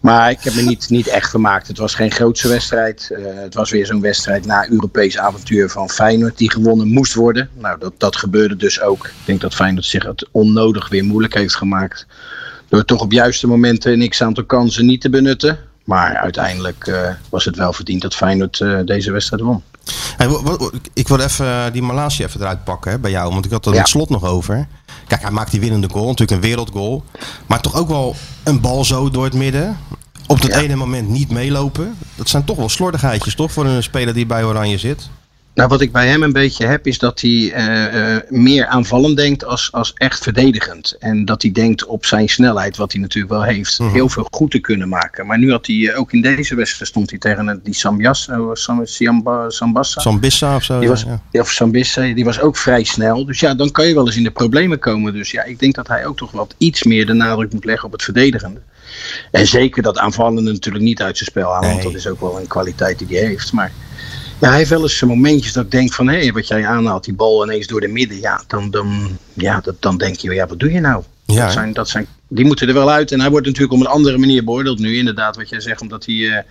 Speaker 7: Maar ik heb me niet, niet echt vermaakt. Het was geen grootse wedstrijd. Eh, het was weer zo'n wedstrijd na Europees avontuur van Feyenoord die gewonnen moest worden. Nou, dat, dat gebeurde dus ook. Ik denk dat Feyenoord zich het onnodig weer moeilijk heeft gemaakt. Door toch op juiste momenten een x-aantal kansen niet te benutten. Maar uiteindelijk eh, was het wel verdiend dat Feyenoord eh, deze wedstrijd won.
Speaker 3: Hey, wa- wa- wa- ik wil even eh, die Malasia even eruit pakken hè, bij jou, want ik had er
Speaker 7: Ja.
Speaker 3: het slot nog over. Kijk, hij maakt die winnende goal, natuurlijk een wereldgoal. Maar toch ook wel een bal zo door het midden. Op dat
Speaker 7: Ja.
Speaker 3: ene moment niet meelopen. Dat zijn toch wel slordigheidjes, toch? Voor een speler die bij Oranje zit.
Speaker 7: Nou, wat ik bij hem een beetje heb, is dat hij eh, eh, meer aanvallend denkt als, als echt verdedigend. En dat hij denkt op zijn snelheid, wat hij natuurlijk wel heeft, heel veel goed te kunnen maken. Maar nu had hij, eh, ook in deze wedstrijd stond hij tegen een- die Samjas, eh, Sam, Siamba, Sambassa.
Speaker 3: Zambissa of zo.
Speaker 7: Die
Speaker 3: ja,
Speaker 7: was,
Speaker 3: ja.
Speaker 7: Of Sambissa, eh, die was ook vrij snel. Dus ja, dan kan je wel eens in de problemen komen. Dus ja, ik denk dat hij ook toch wat iets meer de nadruk moet leggen op het verdedigende. En zeker dat aanvallende natuurlijk niet uit zijn spel halen. Want
Speaker 3: Nee.
Speaker 7: dat is ook wel een kwaliteit die hij heeft. Maar ja, hij heeft wel eens zijn momentjes dat ik denk van... Hé, wat jij aanhaalt, die bal ineens door de midden. Ja, dan, dan, ja, dat, dan denk je, ja, wat doe je nou?
Speaker 3: Ja,
Speaker 7: dat
Speaker 3: hè?
Speaker 7: zijn, dat zijn, die moeten er wel uit. En hij wordt natuurlijk op een andere manier beoordeeld nu. Inderdaad, wat jij zegt, omdat hij eh,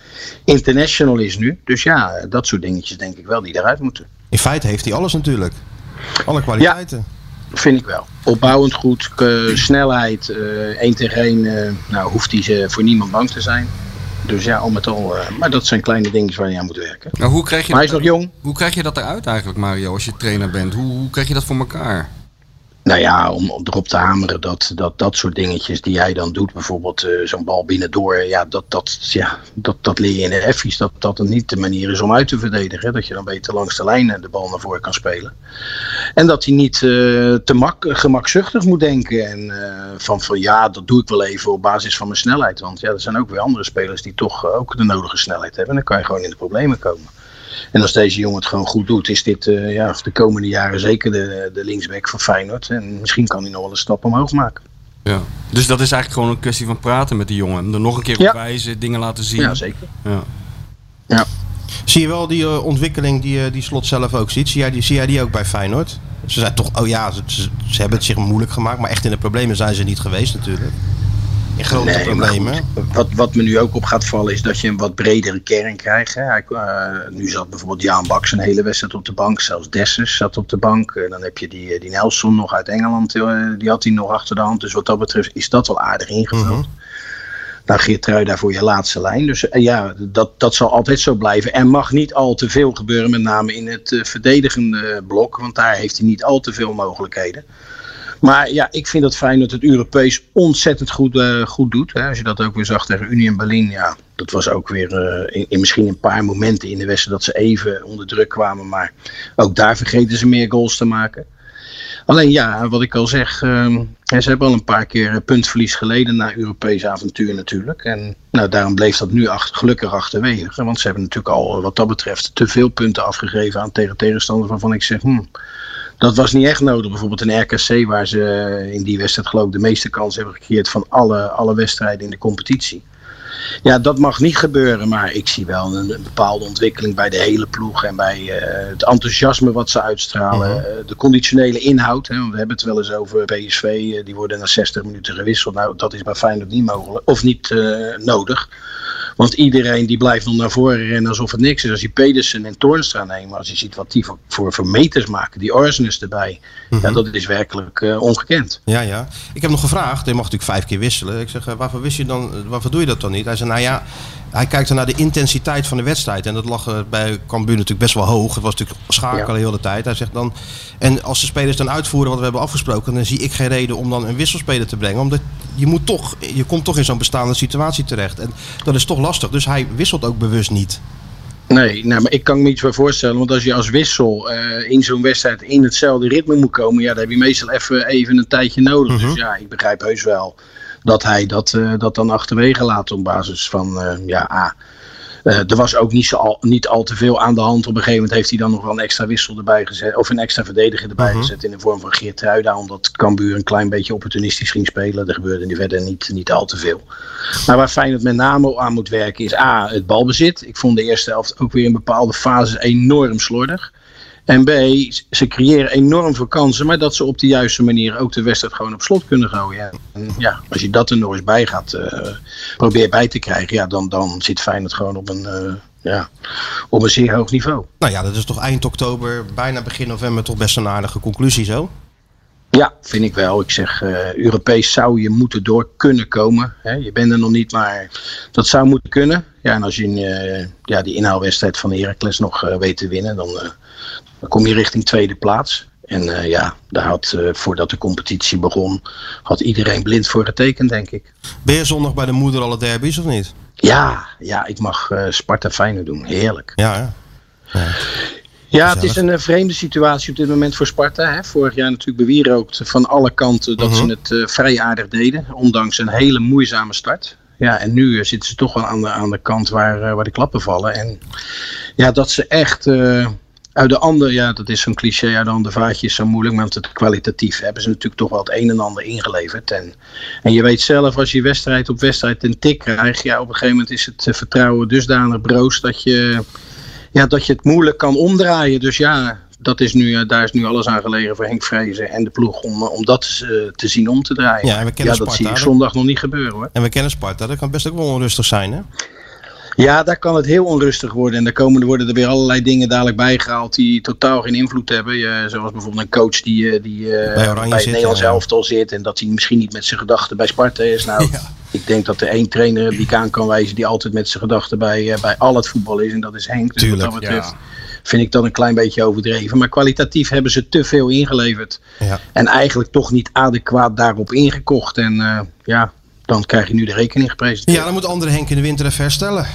Speaker 7: international is nu. Dus ja, eh, dat soort dingetjes denk ik wel die eruit moeten.
Speaker 3: In feite heeft hij alles natuurlijk. Alle kwaliteiten.
Speaker 7: Vind ik wel. Opbouwend goed, eh, snelheid, eh één tegen één. eh, nou, hoeft hij ze voor niemand bang te zijn. Dus ja, al met al. eh, maar dat zijn kleine dingetjes waar je aan moet werken.
Speaker 4: Nou, hoe, krijg je
Speaker 7: Maar hij is
Speaker 4: dat,
Speaker 7: nog jong.
Speaker 4: hoe krijg je dat eruit eigenlijk, Mario, als je trainer bent? Hoe, hoe krijg je dat voor elkaar?
Speaker 7: Nou ja, om om erop te hameren dat dat, dat soort dingetjes die jij dan doet, bijvoorbeeld eh, zo'n bal binnendoor, ja, dat, dat, ja, dat, dat leer je in de effies. Dat dat het niet de manier is om uit te verdedigen. hè. Dat je dan beter langs de lijnen de bal naar voren kan spelen. En dat hij niet eh, te mak gemakzuchtig moet denken. En eh, van, van ja, dat doe ik wel even op basis van mijn snelheid. Want ja, er zijn ook weer andere spelers die toch eh, ook de nodige snelheid hebben. En dan kan je gewoon in de problemen komen. En als deze jongen het gewoon goed doet, is dit eh, ja, de komende jaren zeker de, de linksback van Feyenoord. En misschien kan hij nog wel een stap omhoog maken.
Speaker 4: Ja. Dus dat is eigenlijk gewoon een kwestie van praten met die jongen. Hem er nog een keer op
Speaker 7: Ja.
Speaker 4: wijzen, dingen laten zien.
Speaker 7: Ja, zeker.
Speaker 4: Ja.
Speaker 7: Ja.
Speaker 3: Zie je wel die eh, ontwikkeling die, eh, die Slot zelf ook ziet? Zie jij, die, zie jij die ook bij Feyenoord? Ze zijn toch, oh ja, ze, ze- ze hebben het zich moeilijk gemaakt. Maar echt in de problemen zijn ze niet geweest natuurlijk. In grote
Speaker 7: Nee, maar
Speaker 3: problemen.
Speaker 7: Wat, wat me nu ook op gaat vallen is dat je een wat bredere kern krijgt. Hè. Hij, eh, nu zat bijvoorbeeld Jaan Baks een hele wedstrijd op de bank. Zelfs Dessers zat op de bank. En dan heb je die, eh, die Nelson nog uit Engeland. eh, die had hij nog achter de hand. Dus wat dat betreft is dat wel aardig ingevuld. Nou, Geertrui daarvoor je laatste lijn. Dus eh, ja, dat, dat zal altijd zo blijven. En mag niet al te veel gebeuren, met name in het eh, verdedigende blok. Want daar heeft hij niet al te veel mogelijkheden. Maar ja, ik vind het fijn dat het Europees ontzettend goed, eh, goed doet. Hè. Als je dat ook weer zag tegen Unie en Berlin. Ja, dat was ook weer eh, in, in misschien een paar momenten in de wedstrijd dat ze even onder druk kwamen. Maar ook daar vergeten ze meer goals te maken. Alleen ja, wat ik al zeg, ehm, hè, ze hebben al een paar keer eh, puntverlies geleden na Europees avontuur natuurlijk. En nou, daarom bleef dat nu achter, gelukkig achterwege. Want ze hebben natuurlijk al eh, wat dat betreft te veel punten afgegeven aan tegen tegenstanders waarvan ik zeg, hmm, dat was niet echt nodig. Bijvoorbeeld in RKC, waar ze eh, in die wedstrijd geloof ik de meeste kansen hebben gecreëerd van alle, alle wedstrijden in de competitie. Ja, dat mag niet gebeuren, maar ik zie wel een, een bepaalde ontwikkeling bij de hele ploeg en bij eh, het enthousiasme wat ze uitstralen. eh, de conditionele inhoud, hè, want we hebben het wel eens over PSV, eh, die worden na 60 minuten gewisseld. Nou, dat is bij Feyenoord niet mogelijk, of niet eh, nodig. Want iedereen die blijft nog naar voren rennen alsof het niks is. Als je Pedersen en Toornstra nemen, als je ziet wat die voor, voor, voor meters maken, die Arsenis erbij. Ja, dat is werkelijk eh, ongekend.
Speaker 3: Ja, ja. Ik heb nog gevraagd. Hij mag natuurlijk vijf keer wisselen. Ik zeg, eh, waarvoor, wist je dan, eh, waarvoor doe je dat dan niet? Hij zei, nou ja, hij kijkt dan naar de intensiteit van de wedstrijd. En dat lag eh, bij Cambuur natuurlijk best wel hoog. Het was natuurlijk schakelen
Speaker 7: Ja.
Speaker 3: de hele tijd. Hij zegt dan, en als de spelers dan uitvoeren wat we hebben afgesproken... dan zie ik geen reden om dan een wisselspeler te brengen. Omdat je, moet toch, je komt toch in zo'n bestaande situatie terecht. En dat is toch lastig. Dus hij wisselt ook bewust niet.
Speaker 7: Nee, nou, maar ik kan me iets bij voorstellen. Want als je als wissel eh, in zo'n wedstrijd in hetzelfde ritme moet komen, ja, dan heb je meestal even, even een tijdje nodig. Dus ja, ik begrijp heus wel dat hij dat, eh, dat dan achterwege laat op basis van, eh, ja, A. Eh, er was ook niet, zo al, niet al te veel aan de hand. Op een gegeven moment heeft hij dan nog wel een extra wissel erbij gezet. Of een extra verdediger erbij gezet in de vorm van Geert Ruida. Omdat Cambuur een klein beetje opportunistisch ging spelen. Er gebeurde verder niet, niet al te veel. Maar waar Feyenoord met name aan moet werken is A, het balbezit. Ik vond de eerste helft ook weer in bepaalde fases enorm slordig. En B, ze creëren enorm veel kansen, maar dat ze op de juiste manier ook de wedstrijd gewoon op slot kunnen gooien. En ja, als je dat er nog eens bij gaat, eh, probeer bij te krijgen, ja, dan, dan zit Feyenoord gewoon op een, eh, ja, op een zeer hoog niveau.
Speaker 3: Nou ja, dat is toch eind oktober, bijna begin november... toch best een aardige conclusie zo.
Speaker 7: Ja, vind ik wel. Ik zeg, eh, Europees zou je moeten door kunnen komen. Hè? Je bent er nog niet, maar dat zou moeten kunnen. Ja, en als je eh, ja, die inhaalwedstrijd van Heracles nog eh, weet te winnen, dan, eh, dan kom je richting tweede plaats. En eh, ja, daar had, eh, voordat de competitie begon, had iedereen blind voor getekend, denk ik.
Speaker 3: Ben je zondag bij de moeder alle derbies of niet?
Speaker 7: Ja, ja ik mag eh, Sparta Feyenoord doen. Heerlijk.
Speaker 3: Ja, ja.
Speaker 7: Ja, het is een eh, vreemde situatie op dit moment voor Sparta. Hè. Vorig jaar natuurlijk bewierookt van alle kanten dat ze het eh, vrij aardig deden. Ondanks een hele moeizame start. Ja, en nu eh, zitten ze toch wel aan de, aan de kant waar, eh, waar de klappen vallen. En ja, dat ze echt eh, uit de ander... Ja, dat is zo'n cliché, uit de ander vaatje is zo moeilijk. Maar het kwalitatief hebben ze natuurlijk toch wel het een en ander ingeleverd. En, en je weet zelf, als je wedstrijd op wedstrijd een tik krijgt... Ja, op een gegeven moment is het eh, vertrouwen dusdanig broos dat je ja, dat je het moeilijk kan omdraaien. Dus ja, dat is nu, eh, daar is nu alles aan gelegen voor Henk Vrezen en de ploeg om, eh, om dat eh, te zien om te draaien.
Speaker 3: Ja, en we kennen
Speaker 7: dat
Speaker 3: Sparta,
Speaker 7: zie ik
Speaker 3: hè?
Speaker 7: zondag nog niet gebeuren hoor.
Speaker 3: En we kennen Sparta, dat kan best ook wel onrustig zijn, hè?
Speaker 7: Ja, daar kan het heel onrustig worden. En daar komen, er worden er weer allerlei dingen dadelijk bijgehaald die totaal geen invloed hebben. Je- zoals bijvoorbeeld een coach die, eh, die
Speaker 3: Bij
Speaker 7: eh, bij,
Speaker 3: Oranje
Speaker 7: het
Speaker 3: zit,
Speaker 7: Nederlands
Speaker 3: ja.
Speaker 7: elftal zit. En dat hij misschien niet met zijn gedachten bij Sparta is. Nou, ik denk dat er één trainer die ik aan kan wijzen die altijd met zijn gedachten bij, eh, bij al het voetbal is. En dat is Henk. Dus
Speaker 3: Tuurlijk,
Speaker 7: wat dat betreft vind ik dat een klein beetje overdreven. Maar kwalitatief hebben ze te veel ingeleverd.
Speaker 3: Ja.
Speaker 7: En eigenlijk toch niet adequaat daarop ingekocht. En eh, ja, dan krijg je nu de rekening gepresenteerd.
Speaker 3: Ja, dan moet andere Henk in de winter even herstellen.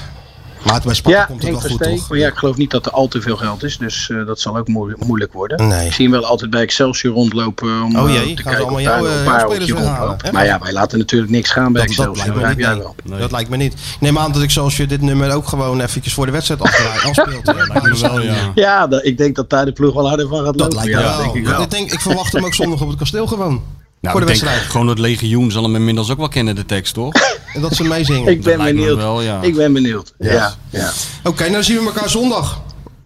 Speaker 3: Maar bij Sparta
Speaker 7: Ja,
Speaker 3: komt het
Speaker 7: Henk
Speaker 3: wel goed,
Speaker 7: Versteeg.
Speaker 3: toch?
Speaker 7: Maar ja, ik geloof niet dat er al te veel geld is. Dus eh, dat zal ook moe- moeilijk worden.
Speaker 3: Nee.
Speaker 7: Ik zie hem wel altijd bij Excelsior rondlopen. Om,
Speaker 3: Oh
Speaker 7: eh,
Speaker 3: jee,
Speaker 7: te
Speaker 3: gaan ze
Speaker 7: kijken of
Speaker 3: allemaal
Speaker 7: daar
Speaker 3: jouw,
Speaker 7: nog een
Speaker 3: eh,
Speaker 7: paar
Speaker 3: jouw spelers
Speaker 7: rondjes
Speaker 3: weghalen,
Speaker 7: rondlopen.
Speaker 3: hè?
Speaker 7: Maar ja, wij laten natuurlijk niks gaan bij
Speaker 3: Dat, dat
Speaker 7: Excelsior.
Speaker 3: lijkt me
Speaker 7: begrijp
Speaker 3: niet.
Speaker 7: jij
Speaker 3: nee.
Speaker 7: wel.
Speaker 3: Dat lijkt me niet. Ik neem aan dat ik zoals je dit nummer ook gewoon eventjes voor de wedstrijd afdraai- afspeelt. hè?
Speaker 4: Lijkt me wel, ja.
Speaker 7: Ja, da- ik denk dat daar de ploeg wel harder van
Speaker 3: Dat
Speaker 7: gaat lopen.
Speaker 3: lijkt
Speaker 7: Ja,
Speaker 3: me
Speaker 7: dat
Speaker 3: wel.
Speaker 7: denk ik
Speaker 3: Want
Speaker 7: wel.
Speaker 3: Ik, denk, ik verwacht hem ook zondag op het kasteel gewoon.
Speaker 4: Nou,
Speaker 3: voor de
Speaker 4: ik denk
Speaker 3: wedstrijd.
Speaker 4: gewoon het legioen zal hem inmiddels ook wel kennen, de tekst, toch?
Speaker 3: En dat ze meezingen.
Speaker 7: Ik ben
Speaker 4: lijkt me
Speaker 7: benieuwd.
Speaker 4: wel, ja.
Speaker 7: Ik ben benieuwd. Ja, ja.
Speaker 3: Oké, nou dan zien we elkaar zondag.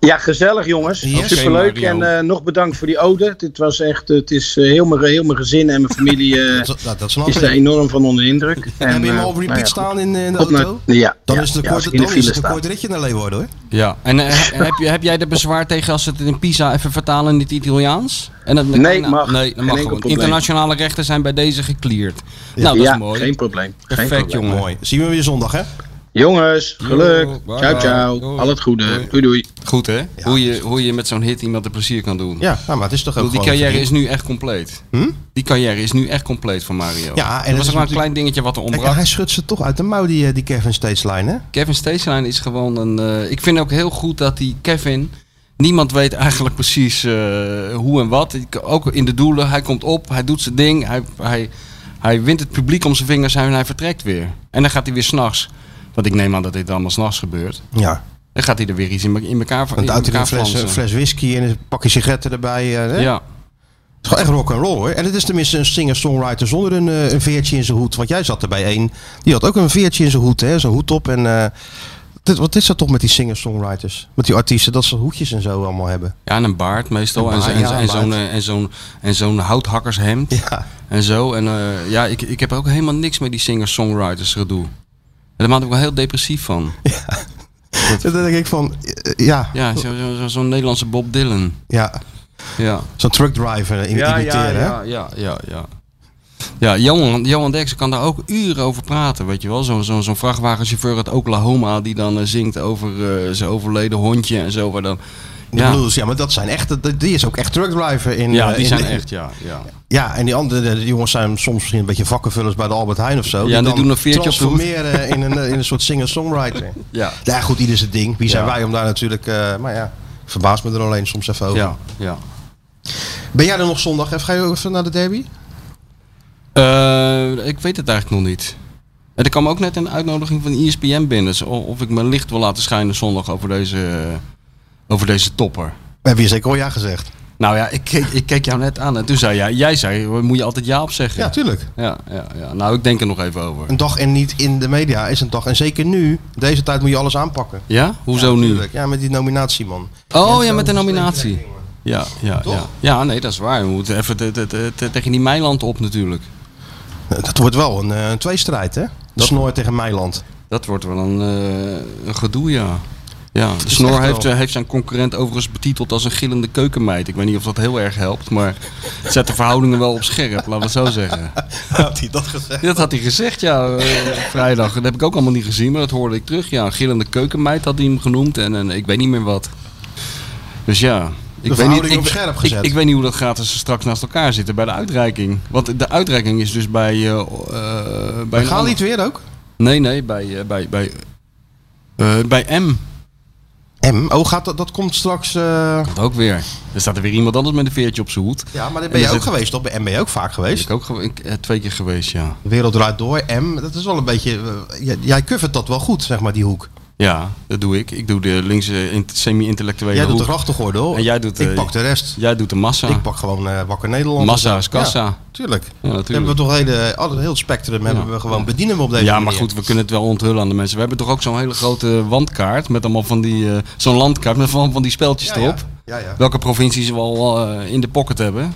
Speaker 7: Ja, gezellig jongens.
Speaker 3: Yes. Oké,
Speaker 7: Superleuk.
Speaker 4: Mario.
Speaker 7: en eh, nog bedankt voor die ode. Dit was echt, eh, het is eh, heel, mijn, heel mijn gezin en mijn familie eh,
Speaker 3: Dat, dat, dat snap
Speaker 7: is
Speaker 3: ik.
Speaker 7: daar
Speaker 3: Heb
Speaker 7: enorm van onder de indruk. En,
Speaker 3: je hem
Speaker 7: eh,
Speaker 3: al repeat
Speaker 7: nou ja, goed.
Speaker 3: staan in, eh, in de
Speaker 7: Op naar-
Speaker 3: auto?
Speaker 7: ja,
Speaker 3: Dan
Speaker 7: ja,
Speaker 3: is het een
Speaker 7: ja, als
Speaker 3: kort,
Speaker 7: ik
Speaker 3: dan
Speaker 7: in de
Speaker 3: is
Speaker 7: file
Speaker 3: het een
Speaker 7: sta.
Speaker 3: kort ritje naar Leeuwarden hoor.
Speaker 4: Ja. En eh, he- heb, je, heb jij er bezwaar tegen als ze het in Pisa even vertalen in het Italiaans? En dat,
Speaker 7: Nee, mag.
Speaker 4: Nee,
Speaker 7: Geen
Speaker 4: dat mag
Speaker 7: enkel
Speaker 4: gewoon.
Speaker 7: probleem.
Speaker 4: Internationale rechten zijn bij deze gecleared. Nou, dat
Speaker 7: ja,
Speaker 4: is mooi.
Speaker 7: geen probleem. Geen
Speaker 4: Perfect,
Speaker 7: probleem.
Speaker 4: jongen.
Speaker 3: Mooi. Zien we weer zondag hè?
Speaker 7: Jongens, geluk.
Speaker 4: Yo, bye
Speaker 7: ciao,
Speaker 4: bye.
Speaker 7: ciao.
Speaker 4: Doei.
Speaker 7: Al het goede. Doei, doei.
Speaker 4: Goed, hè? hoe, je, hoe je met zo'n hit iemand een plezier kan doen.
Speaker 3: Ja, nou, maar het is toch
Speaker 4: Ik
Speaker 3: ook
Speaker 4: bedoel, die
Speaker 3: gewoon
Speaker 4: carrière
Speaker 3: verdiend. Hm?
Speaker 4: is nu echt compleet. Die carrière is nu echt compleet van Mario.
Speaker 3: Ja, en dat is
Speaker 4: er was ook maar een
Speaker 3: natuurlijk-
Speaker 4: klein dingetje wat er
Speaker 3: Kijk,
Speaker 4: ontbrak.
Speaker 3: hij schudt ze toch uit de mouw, die, eh, die Kevin Stageline, hè?
Speaker 4: Kevin Steeslijn is gewoon een. eh, ik vind ook heel goed dat die Kevin. Niemand weet eigenlijk precies eh, hoe en wat. Ik- Ook in de doelen. Hij komt op, hij doet zijn ding. Hij, hij, hij wint het publiek om zijn vingers en hij vertrekt weer. En dan gaat hij weer s'nachts. Want ik neem aan dat dit allemaal s'nachts gebeurt.
Speaker 3: Ja.
Speaker 4: Dan gaat hij er weer iets in, me- in elkaar van.
Speaker 3: Want
Speaker 4: in
Speaker 3: de auto een
Speaker 4: elkaar
Speaker 3: fles, een
Speaker 4: flansen.
Speaker 3: fles whisky en een pakje sigaretten erbij. eh, hè?
Speaker 4: Ja.
Speaker 3: Het is gewoon echt rock and roll hoor. En het is tenminste een singer-songwriter zonder een, eh, een veertje in zijn hoed. Want jij zat er bij één. Die had ook een veertje in zijn hoed, hè? Zo'n hoed op. En eh, dit, wat is dat toch met die singer-songwriters? Met die artiesten, dat ze hoedjes en zo allemaal hebben.
Speaker 4: ja, en een baard meestal.
Speaker 3: Een
Speaker 4: en zo-
Speaker 3: baard,
Speaker 4: en
Speaker 3: ja,
Speaker 4: zo-
Speaker 3: een
Speaker 4: en zo'n
Speaker 3: baard.
Speaker 4: eh, en zo'n- en zo'n houthakkershemd.
Speaker 3: Ja.
Speaker 4: En zo. En eh, ja, ik, ik heb ook helemaal niks met die singer-songwriters gedoe. En daar maak ik wel heel depressief van.
Speaker 3: En dan denk ik van, eh, ja,
Speaker 4: Ja, zo'n zo, zo- zo'n Nederlandse Bob Dylan.
Speaker 3: ja.
Speaker 4: Ja.
Speaker 3: Zo'n truckdriver im imiteren, hè?
Speaker 4: ja, ja, ja, ja. Ja, Johan, Johan Derksen kan daar ook uren over praten, weet je wel. Zo'n zo, zo'n vrachtwagenchauffeur uit Oklahoma die dan eh, zingt over eh, zijn overleden hondje en zo. Waar dan,
Speaker 3: De
Speaker 4: ja,
Speaker 3: blues, ja, maar dat zijn echt, dat- die is ook echt truckdriver in...
Speaker 4: ja,
Speaker 3: eh,
Speaker 4: die
Speaker 3: in-
Speaker 4: zijn echt, ja. ja.
Speaker 3: Ja, en die andere de jongens zijn soms misschien een beetje vakkenvullers bij de Albert Heijn of zo.
Speaker 4: die
Speaker 3: dan
Speaker 4: doen een veertje op de hoed.
Speaker 3: transformeren in een, eh, in een soort singer-songwriter.
Speaker 4: Ja.
Speaker 3: Ja, goed, ieder zijn ding. Wie zijn
Speaker 4: Ja.
Speaker 3: wij om daar natuurlijk... eh, maar ja, ik verbaas me er alleen soms even over.
Speaker 4: ja, ja.
Speaker 3: Ben jij er nog zondag? Even, ga je ook even naar de derby?
Speaker 4: Eh, ik weet het eigenlijk nog niet. En er kwam ook net een uitnodiging van E ESPN binnen. zo- Of ik mijn licht wil laten schijnen zondag over deze, over deze topper.
Speaker 3: Heb je zeker al ja gezegd?
Speaker 4: Nou ja, ik keek, ik keek jou net aan en toen zei jij, jij zei, moet je altijd ja op zeggen?
Speaker 3: Ja, tuurlijk.
Speaker 4: Ja, ja, ja. Nou, ik denk er nog even over.
Speaker 3: Een dag en niet in de media is een dag. En zeker nu, deze tijd moet je alles aanpakken.
Speaker 4: Ja? Hoezo
Speaker 3: ja,
Speaker 4: nu?
Speaker 3: tuurlijk. Ja, met die nominatie, man.
Speaker 4: Oh ja, met de nominatie. Ja, ja, ja.
Speaker 3: Toch?
Speaker 4: Ja, nee, dat is waar. We moeten even te- te- te- te- tegen die Meiland op natuurlijk.
Speaker 3: Eh, Dat wordt wel een, eh, een tweestrijd, hè? De Snoor tegen Meiland.
Speaker 4: Dat wordt wel een, eh, een gedoe, ja. Ja, de
Speaker 3: is
Speaker 4: Snor
Speaker 3: echt
Speaker 4: heeft,
Speaker 3: wel-
Speaker 4: eh, heeft zijn concurrent overigens betiteld als een gillende keukenmeid. Ik weet niet of dat heel erg helpt, maar het zet de verhoudingen wel op scherp, laten we het zo zeggen.
Speaker 3: Had hij dat gezegd?
Speaker 4: Dat had hij gezegd, ja, eh, vrijdag. Dat heb ik ook allemaal niet gezien, maar dat hoorde ik terug. Ja, een gillende keukenmeid had hij hem genoemd en, en ik weet niet meer wat. Dus ja, ik weet, niet,
Speaker 3: verhouding
Speaker 4: ik,
Speaker 3: op scherp
Speaker 4: ik-
Speaker 3: gezet.
Speaker 4: Ik, weet niet hoe dat gaat als ze straks naast elkaar zitten bij de uitreiking. Want de uitreiking is dus bij... eh, eh, bij
Speaker 3: We
Speaker 4: een
Speaker 3: gaan
Speaker 4: ander-
Speaker 3: niet weer ook?
Speaker 4: Nee, nee, bij, eh, bij, bij, eh, bij M.
Speaker 3: M? Oh, gaat dat, dat komt straks... eh,
Speaker 4: Dat ook weer. Er staat er weer iemand anders met een veertje op zijn hoed.
Speaker 3: Ja, maar daar
Speaker 4: En
Speaker 3: ben je
Speaker 4: is
Speaker 3: ook
Speaker 4: het-
Speaker 3: geweest, toch? Bij M ben je ook vaak
Speaker 4: Is
Speaker 3: geweest.
Speaker 4: ik ook gewe- ik, eh, twee keer geweest, ja.
Speaker 3: De Wereld draait door, M. Dat is wel een beetje... eh, jij- jij covert dat wel goed, zeg maar, die hoek.
Speaker 4: Ja, dat doe ik. Ik doe de linkse in- semi-intellectuele
Speaker 3: jij doet de
Speaker 4: hoek.
Speaker 3: grachtengordel.
Speaker 4: En jij doet,
Speaker 3: Ik
Speaker 4: eh,
Speaker 3: pak de rest.
Speaker 4: Jij doet de massa.
Speaker 3: Ik pak gewoon eh, Wakker Nederland.
Speaker 4: Massa is kassa.
Speaker 3: Ja, tuurlijk.
Speaker 4: natuurlijk.
Speaker 3: Dan hebben we toch hele, al het heel spectrum hebben we gewoon bedienen we op deze
Speaker 4: Ja, maar
Speaker 3: manier.
Speaker 4: goed, we kunnen het wel onthullen aan de mensen. We hebben toch ook zo'n hele grote wandkaart met allemaal van die... eh, zo'n landkaart met allemaal van die speltjes
Speaker 3: Ja,
Speaker 4: erop.
Speaker 3: ja. Ja, ja.
Speaker 4: welke provincies we al eh, in de pocket hebben.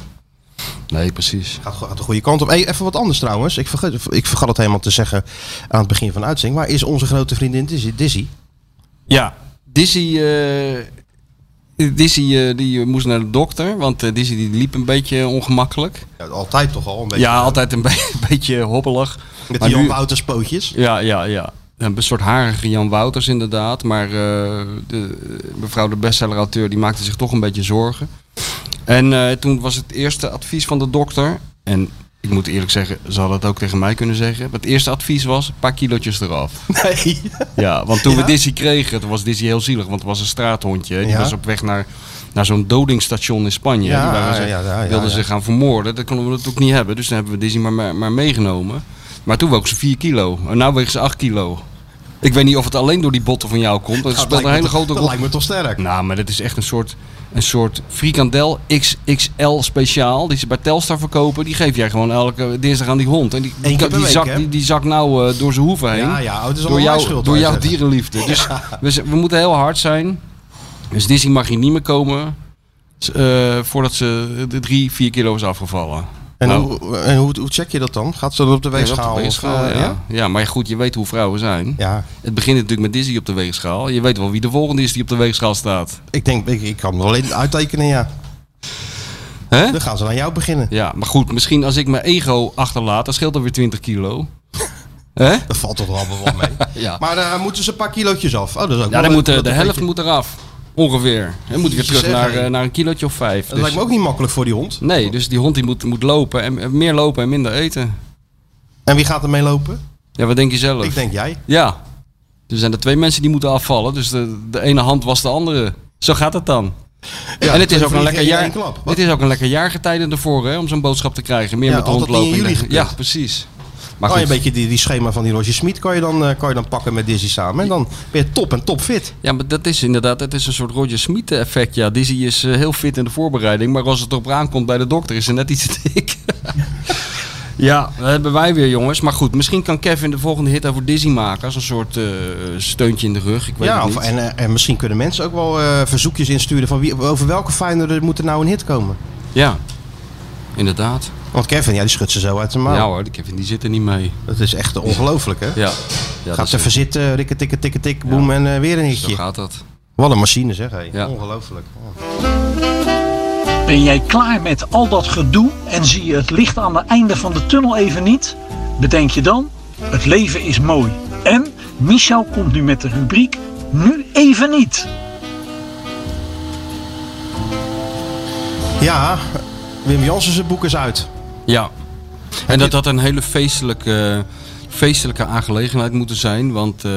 Speaker 4: Nee, precies.
Speaker 3: Gaat, go- gaat de goede kant op. Hey, even wat anders trouwens. Ik vergat, ik vergat het helemaal te zeggen aan het begin van de uitzending. Maar is onze grote vriendin Dizzy? Dizzy?
Speaker 4: Ja, Dizzy, eh, Dizzy eh, die moest naar de dokter, want eh, Dizzy die liep een beetje ongemakkelijk.
Speaker 3: Ja, altijd toch al een beetje.
Speaker 4: Ja, altijd een be- beetje hobbelig.
Speaker 3: Met
Speaker 4: Maar
Speaker 3: die Jan
Speaker 4: nu-
Speaker 3: Wouters pootjes.
Speaker 4: Ja, ja, ja. Een soort harige Jan Wouters inderdaad. Maar eh, de, mevrouw de bestsellerauteur die maakte zich toch een beetje zorgen. En eh, toen was het eerste advies van de dokter. En ik moet eerlijk zeggen, ze hadden het ook tegen mij kunnen zeggen. Maar het eerste advies was, een paar kilootjes eraf.
Speaker 3: Nee.
Speaker 4: Ja, want toen we Dizzy kregen, toen was Dizzy heel zielig. Want het was een straathondje. Die
Speaker 3: Ja.
Speaker 4: was op weg naar, naar zo'n dodingstation in Spanje.
Speaker 3: Ja,
Speaker 4: die waren ze,
Speaker 3: ja, ja, ja,
Speaker 4: wilden
Speaker 3: ja.
Speaker 4: ze gaan vermoorden. Dat konden we natuurlijk niet hebben. Dus dan hebben we Dizzy maar, maar, maar meegenomen. Maar toen woog ze 4 kilo. En nu weegt ze 8 kilo. Ik weet niet of het alleen door die botten van jou komt. Dat
Speaker 3: Dat
Speaker 4: speelt
Speaker 3: lijkt
Speaker 4: een
Speaker 3: me
Speaker 4: hele
Speaker 3: toch-
Speaker 4: grote
Speaker 3: Dat
Speaker 4: rol.
Speaker 3: lijkt me toch sterk.
Speaker 4: Nou, maar dat is echt een soort, een soort frikandel XXL speciaal. Die ze bij Telstar verkopen. Die geef jij gewoon elke dinsdag aan die hond. En die,
Speaker 3: Eén
Speaker 4: die,
Speaker 3: keer per
Speaker 4: die,
Speaker 3: week,
Speaker 4: zak,
Speaker 3: hè?
Speaker 4: die, die zakt nou eh, door zijn hoeven heen
Speaker 3: Ja, ja, oh, het is
Speaker 4: door,
Speaker 3: allemaal mijn
Speaker 4: jou,
Speaker 3: schuld.
Speaker 4: door
Speaker 3: wou
Speaker 4: jouw
Speaker 3: ik zeggen.
Speaker 4: dierenliefde. Dus we, z- we moeten heel hard zijn. Dus Disney mag hier niet meer komen s- eh, voordat ze de drie, vier kilo is afgevallen.
Speaker 3: En,
Speaker 4: Nou,
Speaker 3: hoe, eh, en hoe, hoe check je dat dan? Gaat ze dat op de
Speaker 4: ja,
Speaker 3: weegschaal?
Speaker 4: op de
Speaker 3: of,
Speaker 4: weegschaal,
Speaker 3: eh,
Speaker 4: ja. ja, maar goed, je weet hoe vrouwen zijn.
Speaker 3: Ja,
Speaker 4: Het begint natuurlijk met Disney op de weegschaal. Je weet wel wie de volgende is die op de weegschaal staat.
Speaker 3: ik denk, ik, ik kan er alleen uittekenen, ja.
Speaker 4: Hè?
Speaker 3: Dan gaan ze aan jou beginnen.
Speaker 4: Ja, maar goed, misschien als ik mijn ego achterlaat, dan scheelt er weer 20 kilo. Hè?
Speaker 3: Dat valt toch allemaal wel mee.
Speaker 4: Ja.
Speaker 3: Maar daar moeten ze een paar kilootjes af. Oh, dat is ook wel
Speaker 4: Ja, dan
Speaker 3: leuk.
Speaker 4: moet de,
Speaker 3: Dat
Speaker 4: de
Speaker 3: een
Speaker 4: helft
Speaker 3: beetje-
Speaker 4: moet eraf. Ongeveer. Dan moet weer
Speaker 3: Jezus,
Speaker 4: terug
Speaker 3: hè,
Speaker 4: naar,
Speaker 3: hey.
Speaker 4: eh, naar een kilootje of vijf.
Speaker 3: Dat lijkt me ook niet makkelijk voor die hond.
Speaker 4: Nee, dus die hond die moet, moet lopen. En, en meer lopen en minder eten.
Speaker 3: En wie gaat er mee lopen?
Speaker 4: Ja, wat denk je zelf?
Speaker 3: Ik denk jij.
Speaker 4: Ja. Er zijn er twee mensen die moeten afvallen. Dus de, de ene hand was de andere. Zo gaat het dan.
Speaker 3: Ja,
Speaker 4: en het
Speaker 3: twee
Speaker 4: is ook, een
Speaker 3: vliegen
Speaker 4: lekker
Speaker 3: in één
Speaker 4: jaar,
Speaker 3: klap. Wat?
Speaker 4: het is ook een lekker jaargetijde ervoor hè, om zo'n boodschap te krijgen. Meer
Speaker 3: Ja,
Speaker 4: met de hond
Speaker 3: altijd
Speaker 4: lopen.
Speaker 3: in juli gepland.
Speaker 4: ja, precies. Maar
Speaker 3: Kan Oh, je
Speaker 4: goed.
Speaker 3: een beetje die, die schema van die Roger Smit kan je, dan, eh, kan je dan pakken met Dizzy samen. En dan ben je top en top fit.
Speaker 4: Ja, maar dat is inderdaad dat is een soort Roger Smith effect. Ja, Dizzy is eh, heel fit in de voorbereiding. Maar als het erop aankomt bij de dokter is ze net iets te dik. ja, dat hebben wij weer jongens. Maar goed, misschien kan Kevin de volgende hit over Dizzy maken. Als een soort eh, steuntje in de rug. Ik weet
Speaker 3: Ja,
Speaker 4: het
Speaker 3: of,
Speaker 4: niet.
Speaker 3: en, eh, en misschien kunnen mensen ook wel eh, verzoekjes insturen van wie, over welke Feyenoorder moet er nou een hit komen.
Speaker 4: Ja, inderdaad.
Speaker 3: Want Kevin, ja, die schudt ze zo uit de mouw.
Speaker 4: Ja hoor, die Kevin die zit er niet mee.
Speaker 3: Dat is echt ongelooflijk, hè?
Speaker 4: Ja, ja
Speaker 3: Gaat
Speaker 4: dat
Speaker 3: ze
Speaker 4: is-
Speaker 3: even zitten, rikken, tikken, tikken, tik, boem en eh, weer een
Speaker 4: zo
Speaker 3: hitje.
Speaker 4: gaat dat.
Speaker 3: Wat een machine, zeg. Hey.
Speaker 4: Ja.
Speaker 3: Ongelooflijk. Ja.
Speaker 9: Ben jij klaar met al dat gedoe en zie je het licht aan het einde van de tunnel even niet? Bedenk je dan, het leven is mooi. En Michel komt nu met de rubriek Nu even niet.
Speaker 3: Ja, Wim Jansen zijn boek is uit.
Speaker 4: Ja. En dat had een hele feestelijke, feestelijke aangelegenheid moeten zijn. Want eh,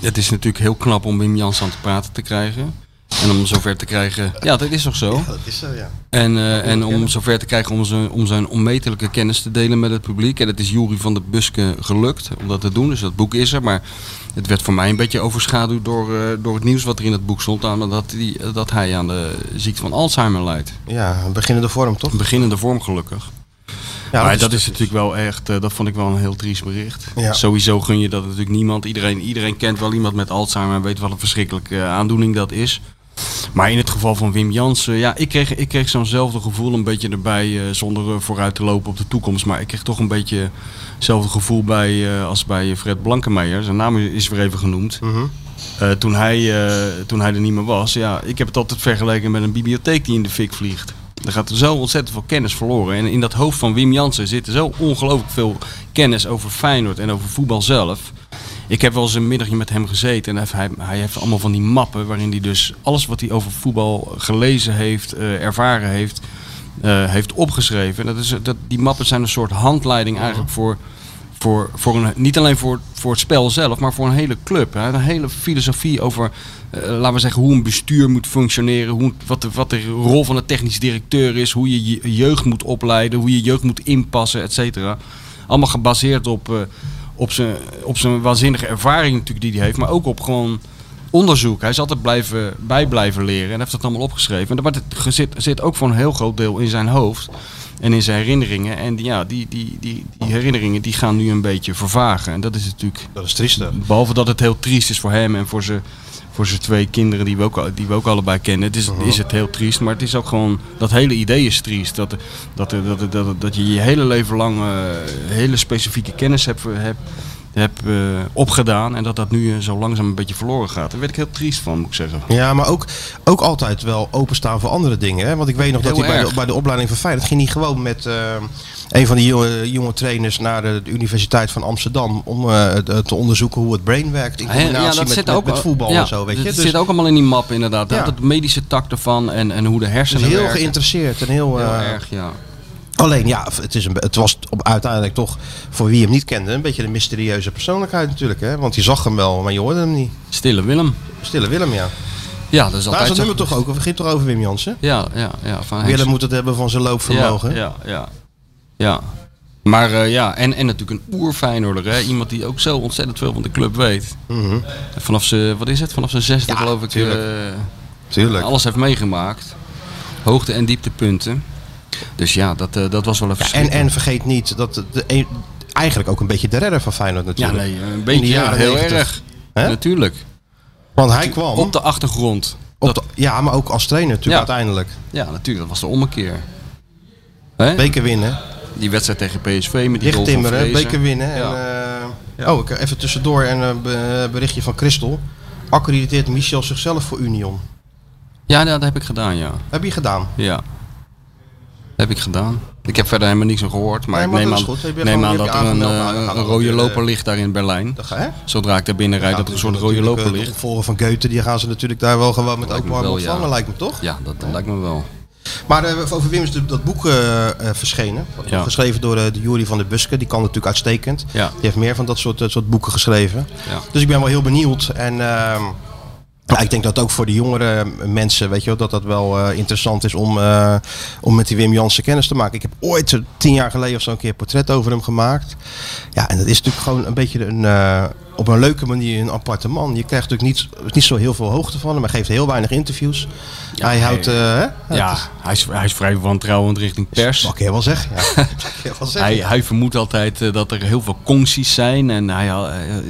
Speaker 4: het is natuurlijk heel knap om Wim Jans aan te praten te krijgen. En om hem zover te krijgen. Ja, dat is toch zo?
Speaker 3: Dat is zo, ja.
Speaker 4: En, eh, en om hem zover te krijgen om zijn, om zijn onmetelijke kennis te delen met het publiek. En het is Jury van de Buske gelukt om dat te doen. Dus dat boek is er. Maar het werd voor mij een beetje overschaduwd door, eh, door het nieuws wat er in dat boek stond. Aan dat, die, dat hij aan de ziekte van Alzheimer lijdt.
Speaker 3: Ja, een beginnende vorm, toch?
Speaker 4: Een beginnende vorm gelukkig.
Speaker 3: Ja,
Speaker 4: maar dat is natuurlijk wel echt, eh, dat vond ik wel een heel triest bericht.
Speaker 3: Ja.
Speaker 4: Sowieso gun je dat natuurlijk niemand. Iedereen, iedereen kent wel iemand met Alzheimer en weet wat een verschrikkelijke eh, aandoening dat is. Maar in het geval van Wim Jansen, ja, ik kreeg, ik kreeg zo'nzelfde gevoel een beetje erbij, eh, zonder eh, vooruit te lopen op de toekomst. Maar ik kreeg toch een beetje hetzelfde gevoel bij, eh, als bij Fred Blankenmeijer. Zijn naam is weer even genoemd. Eh, toen, hij, eh, toen hij er niet meer was, ja, ik heb het altijd vergeleken met een bibliotheek die in de fik vliegt. Er gaat zo ontzettend veel kennis verloren. En in dat hoofd van Wim Jansen zit er zo ongelooflijk veel kennis over Feyenoord en over voetbal zelf. Ik heb wel eens een middagje met hem gezeten en hij, hij- hij heeft allemaal van die mappen waarin hij dus alles wat hij over voetbal gelezen heeft, eh, ervaren heeft, eh, heeft opgeschreven. En dat is, dat, die mappen zijn een soort handleiding eigenlijk voor, voor, voor een, niet alleen voor, voor het spel zelf, maar voor een hele club. Hij had een hele filosofie over, eh, laten we zeggen, hoe een bestuur moet functioneren, hoe, wat, de, wat de rol van de technisch directeur is, hoe je je jeugd moet opleiden, hoe je jeugd moet inpassen, et cetera. Allemaal gebaseerd op, eh, op, zijn, op zijn waanzinnige ervaring natuurlijk die hij heeft, maar ook op gewoon onderzoek. Hij is altijd blijven, bij blijven leren en heeft dat allemaal opgeschreven. En- Maar het ge- zit, zit ook voor een heel groot deel in zijn hoofd en in zijn herinneringen. En die, ja, die, die, die, die herinneringen die gaan nu een beetje vervagen. En dat is natuurlijk,
Speaker 3: dat is triest. hè.
Speaker 4: behalve dat het heel triest is voor hem en voor zijn, voor zijn twee kinderen die we ook, al- die we ook allebei kennen. Het is, is het heel triest, maar het is ook gewoon, dat hele idee is triest. Dat, dat, dat, dat, dat, dat je je hele leven lang eh, hele specifieke kennis hebt, hebt, hebt eh, opgedaan en dat dat nu eh, zo langzaam een beetje verloren gaat. Daar werd ik heel triest van, moet ik zeggen.
Speaker 3: Ja, maar ook, ook altijd wel openstaan voor andere dingen. Hè? Want ik weet nog dat
Speaker 4: Heel
Speaker 3: hij bij de,
Speaker 4: erg.
Speaker 3: bij de opleiding van Feyenoord ging hij gewoon met eh, een van die jonge, jonge trainers naar de, de Universiteit van Amsterdam om eh, de- te onderzoeken hoe het brain werkt in combinatie met, met, met voetbal
Speaker 4: ja,
Speaker 3: en zo. Weet je?
Speaker 4: Dat
Speaker 3: Dus,
Speaker 4: zit ook allemaal in die map inderdaad.
Speaker 3: Ja.
Speaker 4: Dat Het medische tak ervan en, en hoe de
Speaker 3: dus
Speaker 4: hersenen
Speaker 3: heel
Speaker 4: werken.
Speaker 3: geïnteresseerd en heel.
Speaker 4: Heel
Speaker 3: eh,
Speaker 4: erg, ja.
Speaker 3: alleen ja, het, is een, be- het was op, uiteindelijk toch voor wie hem niet kende een beetje een mysterieuze persoonlijkheid natuurlijk. Hè? Want je zag hem wel, maar je hoorde hem niet.
Speaker 4: Stille Willem.
Speaker 3: Stille Willem, ja.
Speaker 4: Ja,
Speaker 3: Daar
Speaker 4: dat is
Speaker 3: is dat
Speaker 4: altijd zo
Speaker 3: nummer toch
Speaker 4: geweest.
Speaker 3: ook. We beginnen toch over Wim Jansen.
Speaker 4: Ja, ja, ja. Van Henk
Speaker 3: Willem moet het hebben van zijn loopvermogen.
Speaker 4: Ja, ja, ja. ja. Maar eh, ja, en, en natuurlijk een oerfijnorder. Hè? Iemand die ook zo ontzettend veel van de club weet.
Speaker 3: Mhm.
Speaker 4: Vanaf zijn, wat is het? Vanaf zijn zesde
Speaker 3: Ja,
Speaker 4: geloof ik.
Speaker 3: tuurlijk.
Speaker 4: eh,
Speaker 3: Tuurlijk.
Speaker 4: alles heeft meegemaakt. Hoogte- en dieptepunten. Dus ja, dat, eh, dat was wel even
Speaker 3: Ja, en, en vergeet niet dat de, de- eigenlijk ook een beetje de redder van Feyenoord
Speaker 4: Ja,
Speaker 3: natuurlijk.
Speaker 4: nee, eh, een
Speaker 3: In
Speaker 4: beetje
Speaker 3: de
Speaker 4: ja,
Speaker 3: jaren
Speaker 4: heel
Speaker 3: 90.
Speaker 4: erg.
Speaker 3: Hè?
Speaker 4: Natuurlijk.
Speaker 3: Want hij kwam
Speaker 4: Op de achtergrond.
Speaker 3: op de- ja, maar ook als trainer natuurlijk
Speaker 4: Ja.
Speaker 3: uiteindelijk.
Speaker 4: Ja, natuurlijk. Dat was de ommekeer. Hè?
Speaker 3: Beker winnen,
Speaker 4: Die wedstrijd tegen PSV met die
Speaker 3: dicht
Speaker 4: rol van
Speaker 3: timmeren,
Speaker 4: Vrezen.
Speaker 3: beker winnen. En, eh, Oh, ik, even tussendoor een eh, be- berichtje van Christel. Accrediteert Michel zichzelf voor Union.
Speaker 4: Ja, dat heb ik gedaan, ja.
Speaker 3: Heb je gedaan?
Speaker 4: Ja. Heb ik gedaan. Ik heb verder helemaal niks aan gehoord. Maar,
Speaker 3: Nee, maar
Speaker 4: ik neem
Speaker 3: dat is
Speaker 4: aan,
Speaker 3: goed. Heb je
Speaker 4: neem
Speaker 3: gewoon-
Speaker 4: aan
Speaker 3: heb
Speaker 4: dat
Speaker 3: je
Speaker 4: er een,
Speaker 3: aangemeld? Nou,
Speaker 4: eh,
Speaker 3: dan gaat
Speaker 4: een
Speaker 3: het
Speaker 4: rode
Speaker 3: natuurlijk,
Speaker 4: loper ligt daar in Berlijn.
Speaker 3: Dat ga hè?
Speaker 4: Zodra ik daar binnen rijd, dat er een soort rode
Speaker 3: Natuurlijk, eh, De
Speaker 4: loper ligt.
Speaker 3: opvolger van Goethe, die gaan ze natuurlijk daar wel gewoon met
Speaker 4: Lijkt
Speaker 3: open
Speaker 4: me
Speaker 3: armen
Speaker 4: wel, ja.
Speaker 3: ontvangen, lijkt me toch?
Speaker 4: Ja, dat, dat lijkt me wel.
Speaker 3: Maar eh, over Wim is de- dat boek eh, eh, verschenen.
Speaker 4: Ja.
Speaker 3: Geschreven door eh, de Jury van de Buske. Die kan natuurlijk uitstekend.
Speaker 4: Ja.
Speaker 3: Die heeft meer van dat soort, eh, soort boeken geschreven.
Speaker 4: Ja.
Speaker 3: Dus ik ben wel heel benieuwd. En ehm, ja, ik denk dat ook voor de jongere mensen, weet je wel, dat dat wel eh, interessant is om, eh, om met die Wim Jansen kennis te maken. Ik heb ooit eh, tien jaar geleden of zo een keer een portret over hem gemaakt. Ja, en dat is natuurlijk gewoon een beetje een, eh, op een leuke manier een aparte man. Je krijgt natuurlijk niet, niet zo heel veel hoogte van hem. Hij geeft heel weinig interviews. hij houdt... eh, hè?
Speaker 4: Ja, hij is, hij is vrij wantrouwend richting pers.
Speaker 3: Mag ik heel wel zeggen. Ja. Mag ik heel wel zeggen.
Speaker 4: Hij, hij vermoedt altijd eh, dat er heel veel concties zijn. En hij, had, eh, eh,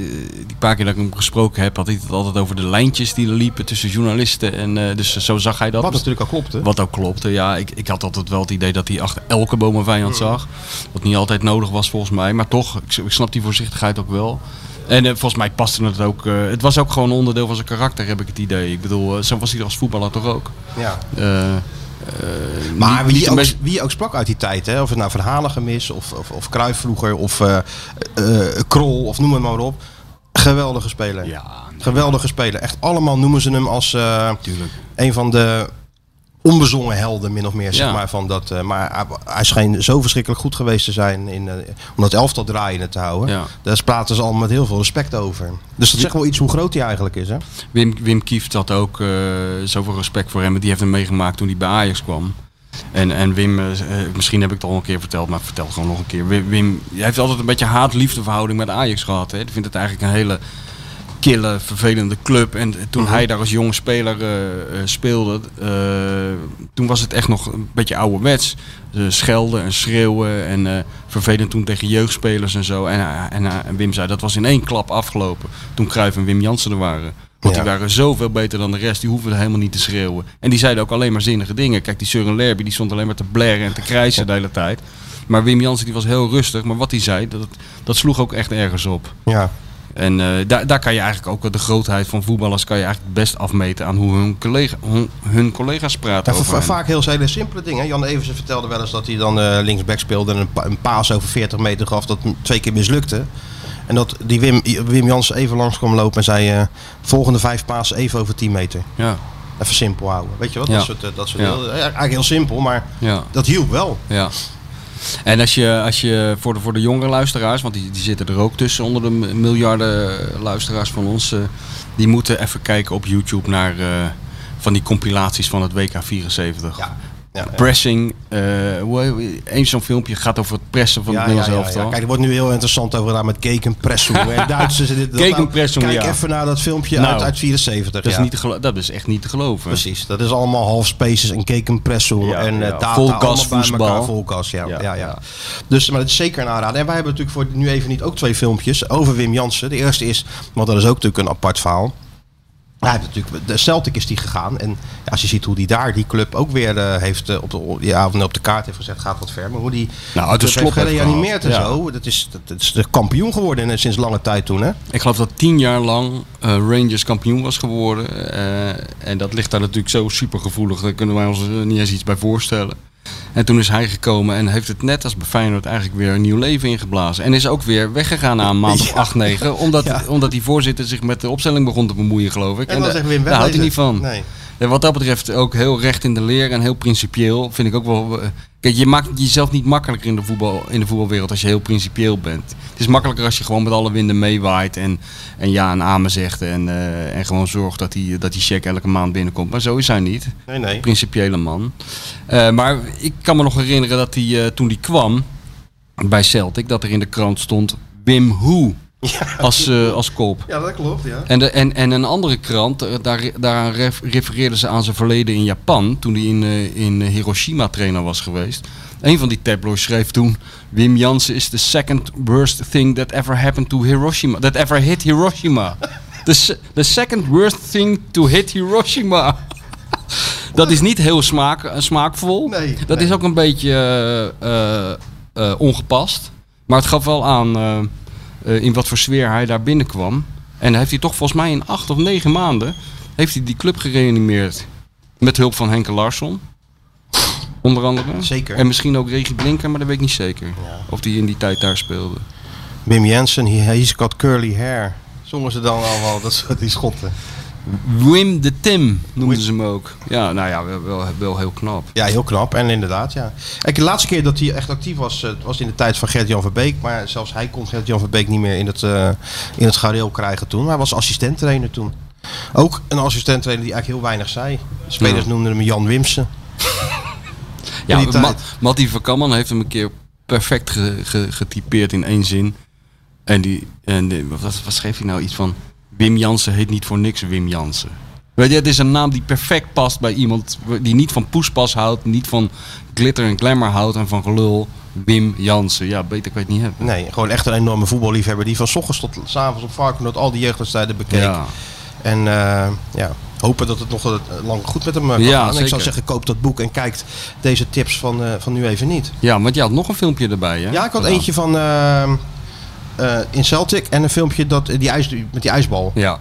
Speaker 4: die paar keer dat ik hem gesproken heb, had hij het altijd over de lijntjes die er liepen tussen journalisten. En, eh, dus zo zag hij dat.
Speaker 3: Wat natuurlijk al klopt, hè?
Speaker 4: Wat ook klopte, ja. Ik, ik had altijd wel het idee dat hij achter elke boom een vijand
Speaker 3: Hmm.
Speaker 4: zag. Wat niet altijd nodig was volgens mij. Maar toch, ik, ik snap die voorzichtigheid ook wel. En eh, volgens mij paste het ook. eh, het was ook gewoon een onderdeel van zijn karakter, heb ik het idee. Ik bedoel, eh, zo was hij er als voetballer toch ook.
Speaker 3: Ja.
Speaker 4: Eh, eh,
Speaker 3: Maar
Speaker 4: niet- niet
Speaker 3: wie
Speaker 4: de
Speaker 3: ook,
Speaker 4: meest-
Speaker 3: wie ook sprak uit die tijd, hè? of het nou Verhalen gemis, of, of, of Cruijff vroeger, of eh, eh, Krol, of noem het maar op. Geweldige speler.
Speaker 4: Ja,
Speaker 3: Geweldige speler. Echt allemaal noemen ze hem als eh,
Speaker 4: natuurlijk.
Speaker 3: een van de onbezongen helden, min of meer. Zeg
Speaker 4: Ja.
Speaker 3: maar, van dat, eh, maar hij, hij schijnt zo verschrikkelijk goed geweest te zijn in, eh, om dat elftal draaiende te houden.
Speaker 4: Ja.
Speaker 3: Daar praten ze allemaal met heel veel respect over. Dus dat zegt wel iets hoe groot hij eigenlijk is. Hè?
Speaker 4: Wim, Wim Kieft had ook eh, zoveel respect voor hem. Die heeft hem meegemaakt toen hij bij Ajax kwam. En, en Wim, eh, eh, misschien heb ik het al een keer verteld, maar ik vertel het gewoon nog een keer. Wim, Wim hij heeft altijd een beetje haat-liefde verhouding met Ajax gehad. Hè. Hij vindt het eigenlijk een hele kille, vervelende club. En toen hij daar als jonge speler eh, eh, speelde, eh, toen was het echt nog een beetje ouderwets. Ze schelden en schreeuwen en eh, vervelend toen tegen jeugdspelers en zo. En, hij- en, hij- en Wim zei, dat was in één klap afgelopen toen Cruijff en Wim Jansen er waren. Want
Speaker 3: Ja.
Speaker 4: die waren zoveel beter dan de rest, die hoefden helemaal niet te schreeuwen. En die zeiden ook alleen maar zinnige dingen. Kijk, die Søren Lerby die stond alleen maar te blaren en te krijsen de hele tijd. Maar Wim Jansen die was heel rustig, maar wat hij zei, dat, dat sloeg ook echt ergens op.
Speaker 3: Ja.
Speaker 4: En eh, daar, daar kan je eigenlijk ook wel de grootheid van voetballers kan je eigenlijk best afmeten aan hoe hun, collega, hun, hun collega's praten.
Speaker 3: Ja,
Speaker 4: over
Speaker 3: va-
Speaker 4: hen.
Speaker 3: vaak heel hele simpele dingen. Jan Eversen vertelde wel eens dat hij dan eh, linksback speelde en een, pa- een paas over 40 meter gaf dat hem twee keer mislukte. En dat die Wim, Wim Jansen even langs kwam lopen en zei: eh, volgende vijf paas even over 10 meter.
Speaker 4: Ja,
Speaker 3: Even simpel houden. Weet je wat?
Speaker 4: Ja.
Speaker 3: Dat soort, eh, dat soort
Speaker 4: Ja.
Speaker 3: heel- eh, eigenlijk heel simpel, maar
Speaker 4: ja,
Speaker 3: dat hielp wel.
Speaker 4: ja. En als je, als je voor, de, voor de jongere luisteraars, want die, die zitten er ook tussen onder de m- miljarden luisteraars van ons, eh, die moeten even kijken op YouTube naar eh, van die compilaties van het WK 74.
Speaker 3: Ja. Ja, ja.
Speaker 4: Pressing, eh, eens zo'n filmpje gaat over het pressen van
Speaker 3: Ja,
Speaker 4: het
Speaker 3: ja, ja,
Speaker 4: Nederlands
Speaker 3: ja.
Speaker 4: elftal.
Speaker 3: Kijk, er wordt nu heel interessant over gedaan met Gekenpressum. en Duitsers en dit, dat.
Speaker 4: Gegenpressum,
Speaker 3: Kijk
Speaker 4: ja.
Speaker 3: even naar dat filmpje
Speaker 4: Nou,
Speaker 3: uit, uit 74.
Speaker 4: dat, is
Speaker 3: ja.
Speaker 4: niet te gelo- dat is echt niet te geloven.
Speaker 3: Precies, dat is allemaal half spaces en kekenpresso
Speaker 4: Ja,
Speaker 3: en eh,
Speaker 4: ja.
Speaker 3: data.
Speaker 4: Vol gas
Speaker 3: allemaal bij
Speaker 4: voetbal.
Speaker 3: elkaar, Vol gas, ja. Ja, ja,
Speaker 4: Ja, ja.
Speaker 3: Dus, maar dat is zeker een aanrader. En wij hebben natuurlijk voor nu even niet ook twee filmpjes over Wim Jansen. De eerste is, want dat is ook natuurlijk een apart verhaal. Hij heeft natuurlijk, de Celtic is die gegaan. En ja, als je ziet hoe die daar die club ook weer eh, heeft eh, op, de, ja, of nou, op de kaart heeft gezet, gaat wat ver. Maar hoe die
Speaker 4: Nou, het
Speaker 3: de
Speaker 4: is
Speaker 3: club heeft
Speaker 4: Slop heeft
Speaker 3: gereanimeerd en
Speaker 4: gehaald, ja.
Speaker 3: zo. Dat is, dat, dat is de kampioen geworden eh, sinds lange tijd toen. Hè?
Speaker 4: Ik geloof dat tien jaar lang eh, Rangers kampioen was geworden. eh, en dat ligt daar natuurlijk zo supergevoelig. Daar kunnen wij ons eh, niet eens iets bij voorstellen. En toen is hij gekomen en heeft het net als bij Feyenoord eigenlijk weer een nieuw leven ingeblazen. En is ook weer weggegaan na een maand of acht, negen. Omdat, omdat die voorzitter zich met de opstelling begon te bemoeien, geloof ik.
Speaker 3: En dan
Speaker 4: da-
Speaker 3: zegt Wim
Speaker 4: eh, daar houdt hij
Speaker 3: Wegwezen.
Speaker 4: niet van.
Speaker 3: Nee.
Speaker 4: En wat dat betreft ook heel recht in de leer en heel principieel. Vind ik ook wel. eh, Kijk, je maakt jezelf niet makkelijker in de, voetbal, in de voetbalwereld als je heel principieel bent. Het is makkelijker als je gewoon met alle winden meewaait en, en ja en amen zegt. En, eh, en gewoon zorgt dat die, dat die check elke maand binnenkomt. Maar zo is hij niet.
Speaker 3: Nee, nee.
Speaker 4: Principiële man. Eh, maar ik kan me nog herinneren dat hij eh, toen die kwam bij Celtic, dat er in de krant stond Wim Hoe als, eh, als kop.
Speaker 3: Ja, dat klopt. Ja.
Speaker 4: En, de, en, en een andere krant, eh, daar, daar ref- refereerden ze aan zijn verleden in Japan. Toen hij in, eh, in Hiroshima trainer was geweest. Een van die tabloids schreef toen... Wim Jansen is the second worst thing that ever happened to Hiroshima. That ever hit Hiroshima. The, se- the second worst thing to hit Hiroshima. Dat is niet heel smaak, eh, smaakvol.
Speaker 3: Nee,
Speaker 4: dat
Speaker 3: nee.
Speaker 4: is ook een beetje eh, eh, eh, ongepast. Maar het gaf wel aan eh, eh, in wat voor sfeer hij daar binnenkwam. En heeft hij toch volgens mij in acht of negen maanden... heeft hij die club gereanimeerd. Met hulp van Henke Larsson. Onder andere.
Speaker 3: Zeker.
Speaker 4: En misschien ook Regie Blinker, maar dat weet ik niet zeker. Of die in die tijd daar speelde.
Speaker 3: Wim Jensen, he, he's got curly hair. Zongen ze dan allemaal, dat soort die schotten.
Speaker 4: Wim de Tim noemden ze hem ook. Ja, nou ja, wel, wel, wel heel knap.
Speaker 3: Ja, heel knap. En inderdaad, ja. Kijk, de laatste keer dat hij echt actief was, eh, was in de tijd van Gert-Jan Verbeek. Maar zelfs hij kon Gert-Jan Verbeek niet meer in het, eh, in het gareel krijgen toen. Hij was assistenttrainer toen. Ook een assistenttrainer die eigenlijk heel weinig zei. De spelers
Speaker 4: Ja.
Speaker 3: noemden hem Jan Wimsen.
Speaker 4: Ja,
Speaker 3: die tijd.
Speaker 4: Ma Mattie Verkamman heeft hem een keer perfect ge- ge- getypeerd in één zin. En, die, en die- wat, wat schreef hij nou? Iets van Wim Jansen heet niet voor niks Wim Jansen. Weet je, het is een naam die perfect past bij iemand die niet van poespas houdt, niet van glitter en glamour houdt en van gelul. Wim Jansen. Ja, beter kan je het niet hebben.
Speaker 3: Nee, gewoon echt een enorme voetballiefhebber die van 's ochtends tot 's avonds op Varkenoord al die jeugdwedstrijden bekeek.
Speaker 4: Ja.
Speaker 3: En eh, ja, hopen dat het nog eh, lang goed met hem eh, kan
Speaker 4: Ja,
Speaker 3: gaan. En Ik zou
Speaker 4: zeker.
Speaker 3: zeggen, koop dat boek en kijkt deze tips van, eh, van nu even niet.
Speaker 4: ja, want je had nog een filmpje erbij, hè?
Speaker 3: Ja, ik had
Speaker 4: Gedaan.
Speaker 3: eentje van eh, eh, in Celtic en een filmpje dat, die ijs, met die ijsbal.
Speaker 4: Ja,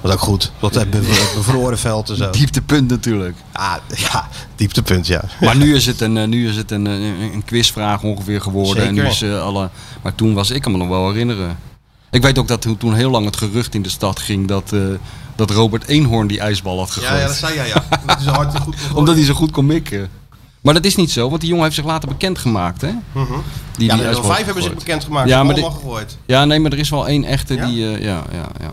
Speaker 3: Was ook goed. Wat eh, bev- bevroren veld en zo.
Speaker 4: dieptepunt natuurlijk.
Speaker 3: Ah, ja, dieptepunt, ja.
Speaker 4: Maar nu is het een, eh, nu is het een, eh, een quizvraag ongeveer geworden. En nu
Speaker 3: Zeker.
Speaker 4: is, eh, alle... Maar toen was ik kan me nog wel herinneren. Ik weet ook dat toen- toen heel lang het gerucht in de stad ging dat, eh, dat Robert Eenhoorn die ijsbal had gegooid.
Speaker 3: zei jij, ja. Dat is hard goed.
Speaker 4: Omdat hij zo goed kon mikken. Maar dat is niet zo, want die jongen heeft zich later bekendgemaakt. Hè? Die,
Speaker 3: Mhm. Ja,
Speaker 4: die
Speaker 3: de
Speaker 4: ijsbal
Speaker 3: vijf
Speaker 4: had
Speaker 3: hebben zich
Speaker 4: gegooid.
Speaker 3: bekendgemaakt.
Speaker 4: Ja,
Speaker 3: Ja, maar
Speaker 4: maar
Speaker 3: allemaal
Speaker 4: dit-
Speaker 3: gegooid.
Speaker 4: Ja, nee, maar er is wel één echte
Speaker 3: Ja?
Speaker 4: die... eh, ja, ja, ja.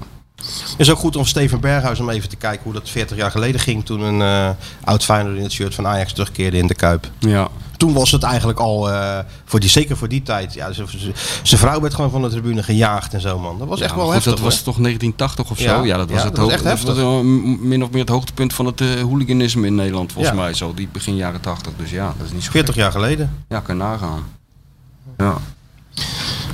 Speaker 3: is ook goed om Steven Berghuis om even te kijken hoe dat 40 jaar geleden ging. Toen een eh oud Feyenoord in het shirt van Ajax terugkeerde in de Kuip.
Speaker 4: ja.
Speaker 3: Toen was het eigenlijk al, eh, voor die, zeker voor die tijd. Ja, z- z- zijn vrouw werd gewoon van de tribune gejaagd en zo, man. Dat was
Speaker 4: Ja,
Speaker 3: echt
Speaker 4: maar
Speaker 3: wel
Speaker 4: goed,
Speaker 3: heftig.
Speaker 4: Dat was
Speaker 3: hoor.
Speaker 4: toch 1980 of zo?
Speaker 3: Ja,
Speaker 4: Ja, dat was
Speaker 3: ja,
Speaker 4: het
Speaker 3: dat was
Speaker 4: hoog-
Speaker 3: echt
Speaker 4: dat was
Speaker 3: heftig.
Speaker 4: wel m- min of meer het hoogtepunt van het eh, hooliganisme in Nederland, volgens
Speaker 3: Ja.
Speaker 4: mij zo. Die begin jaren 80. Dus ja, dat is niet zo
Speaker 3: 40 jaar geleden.
Speaker 4: Ja, kan je nagaan. Ja.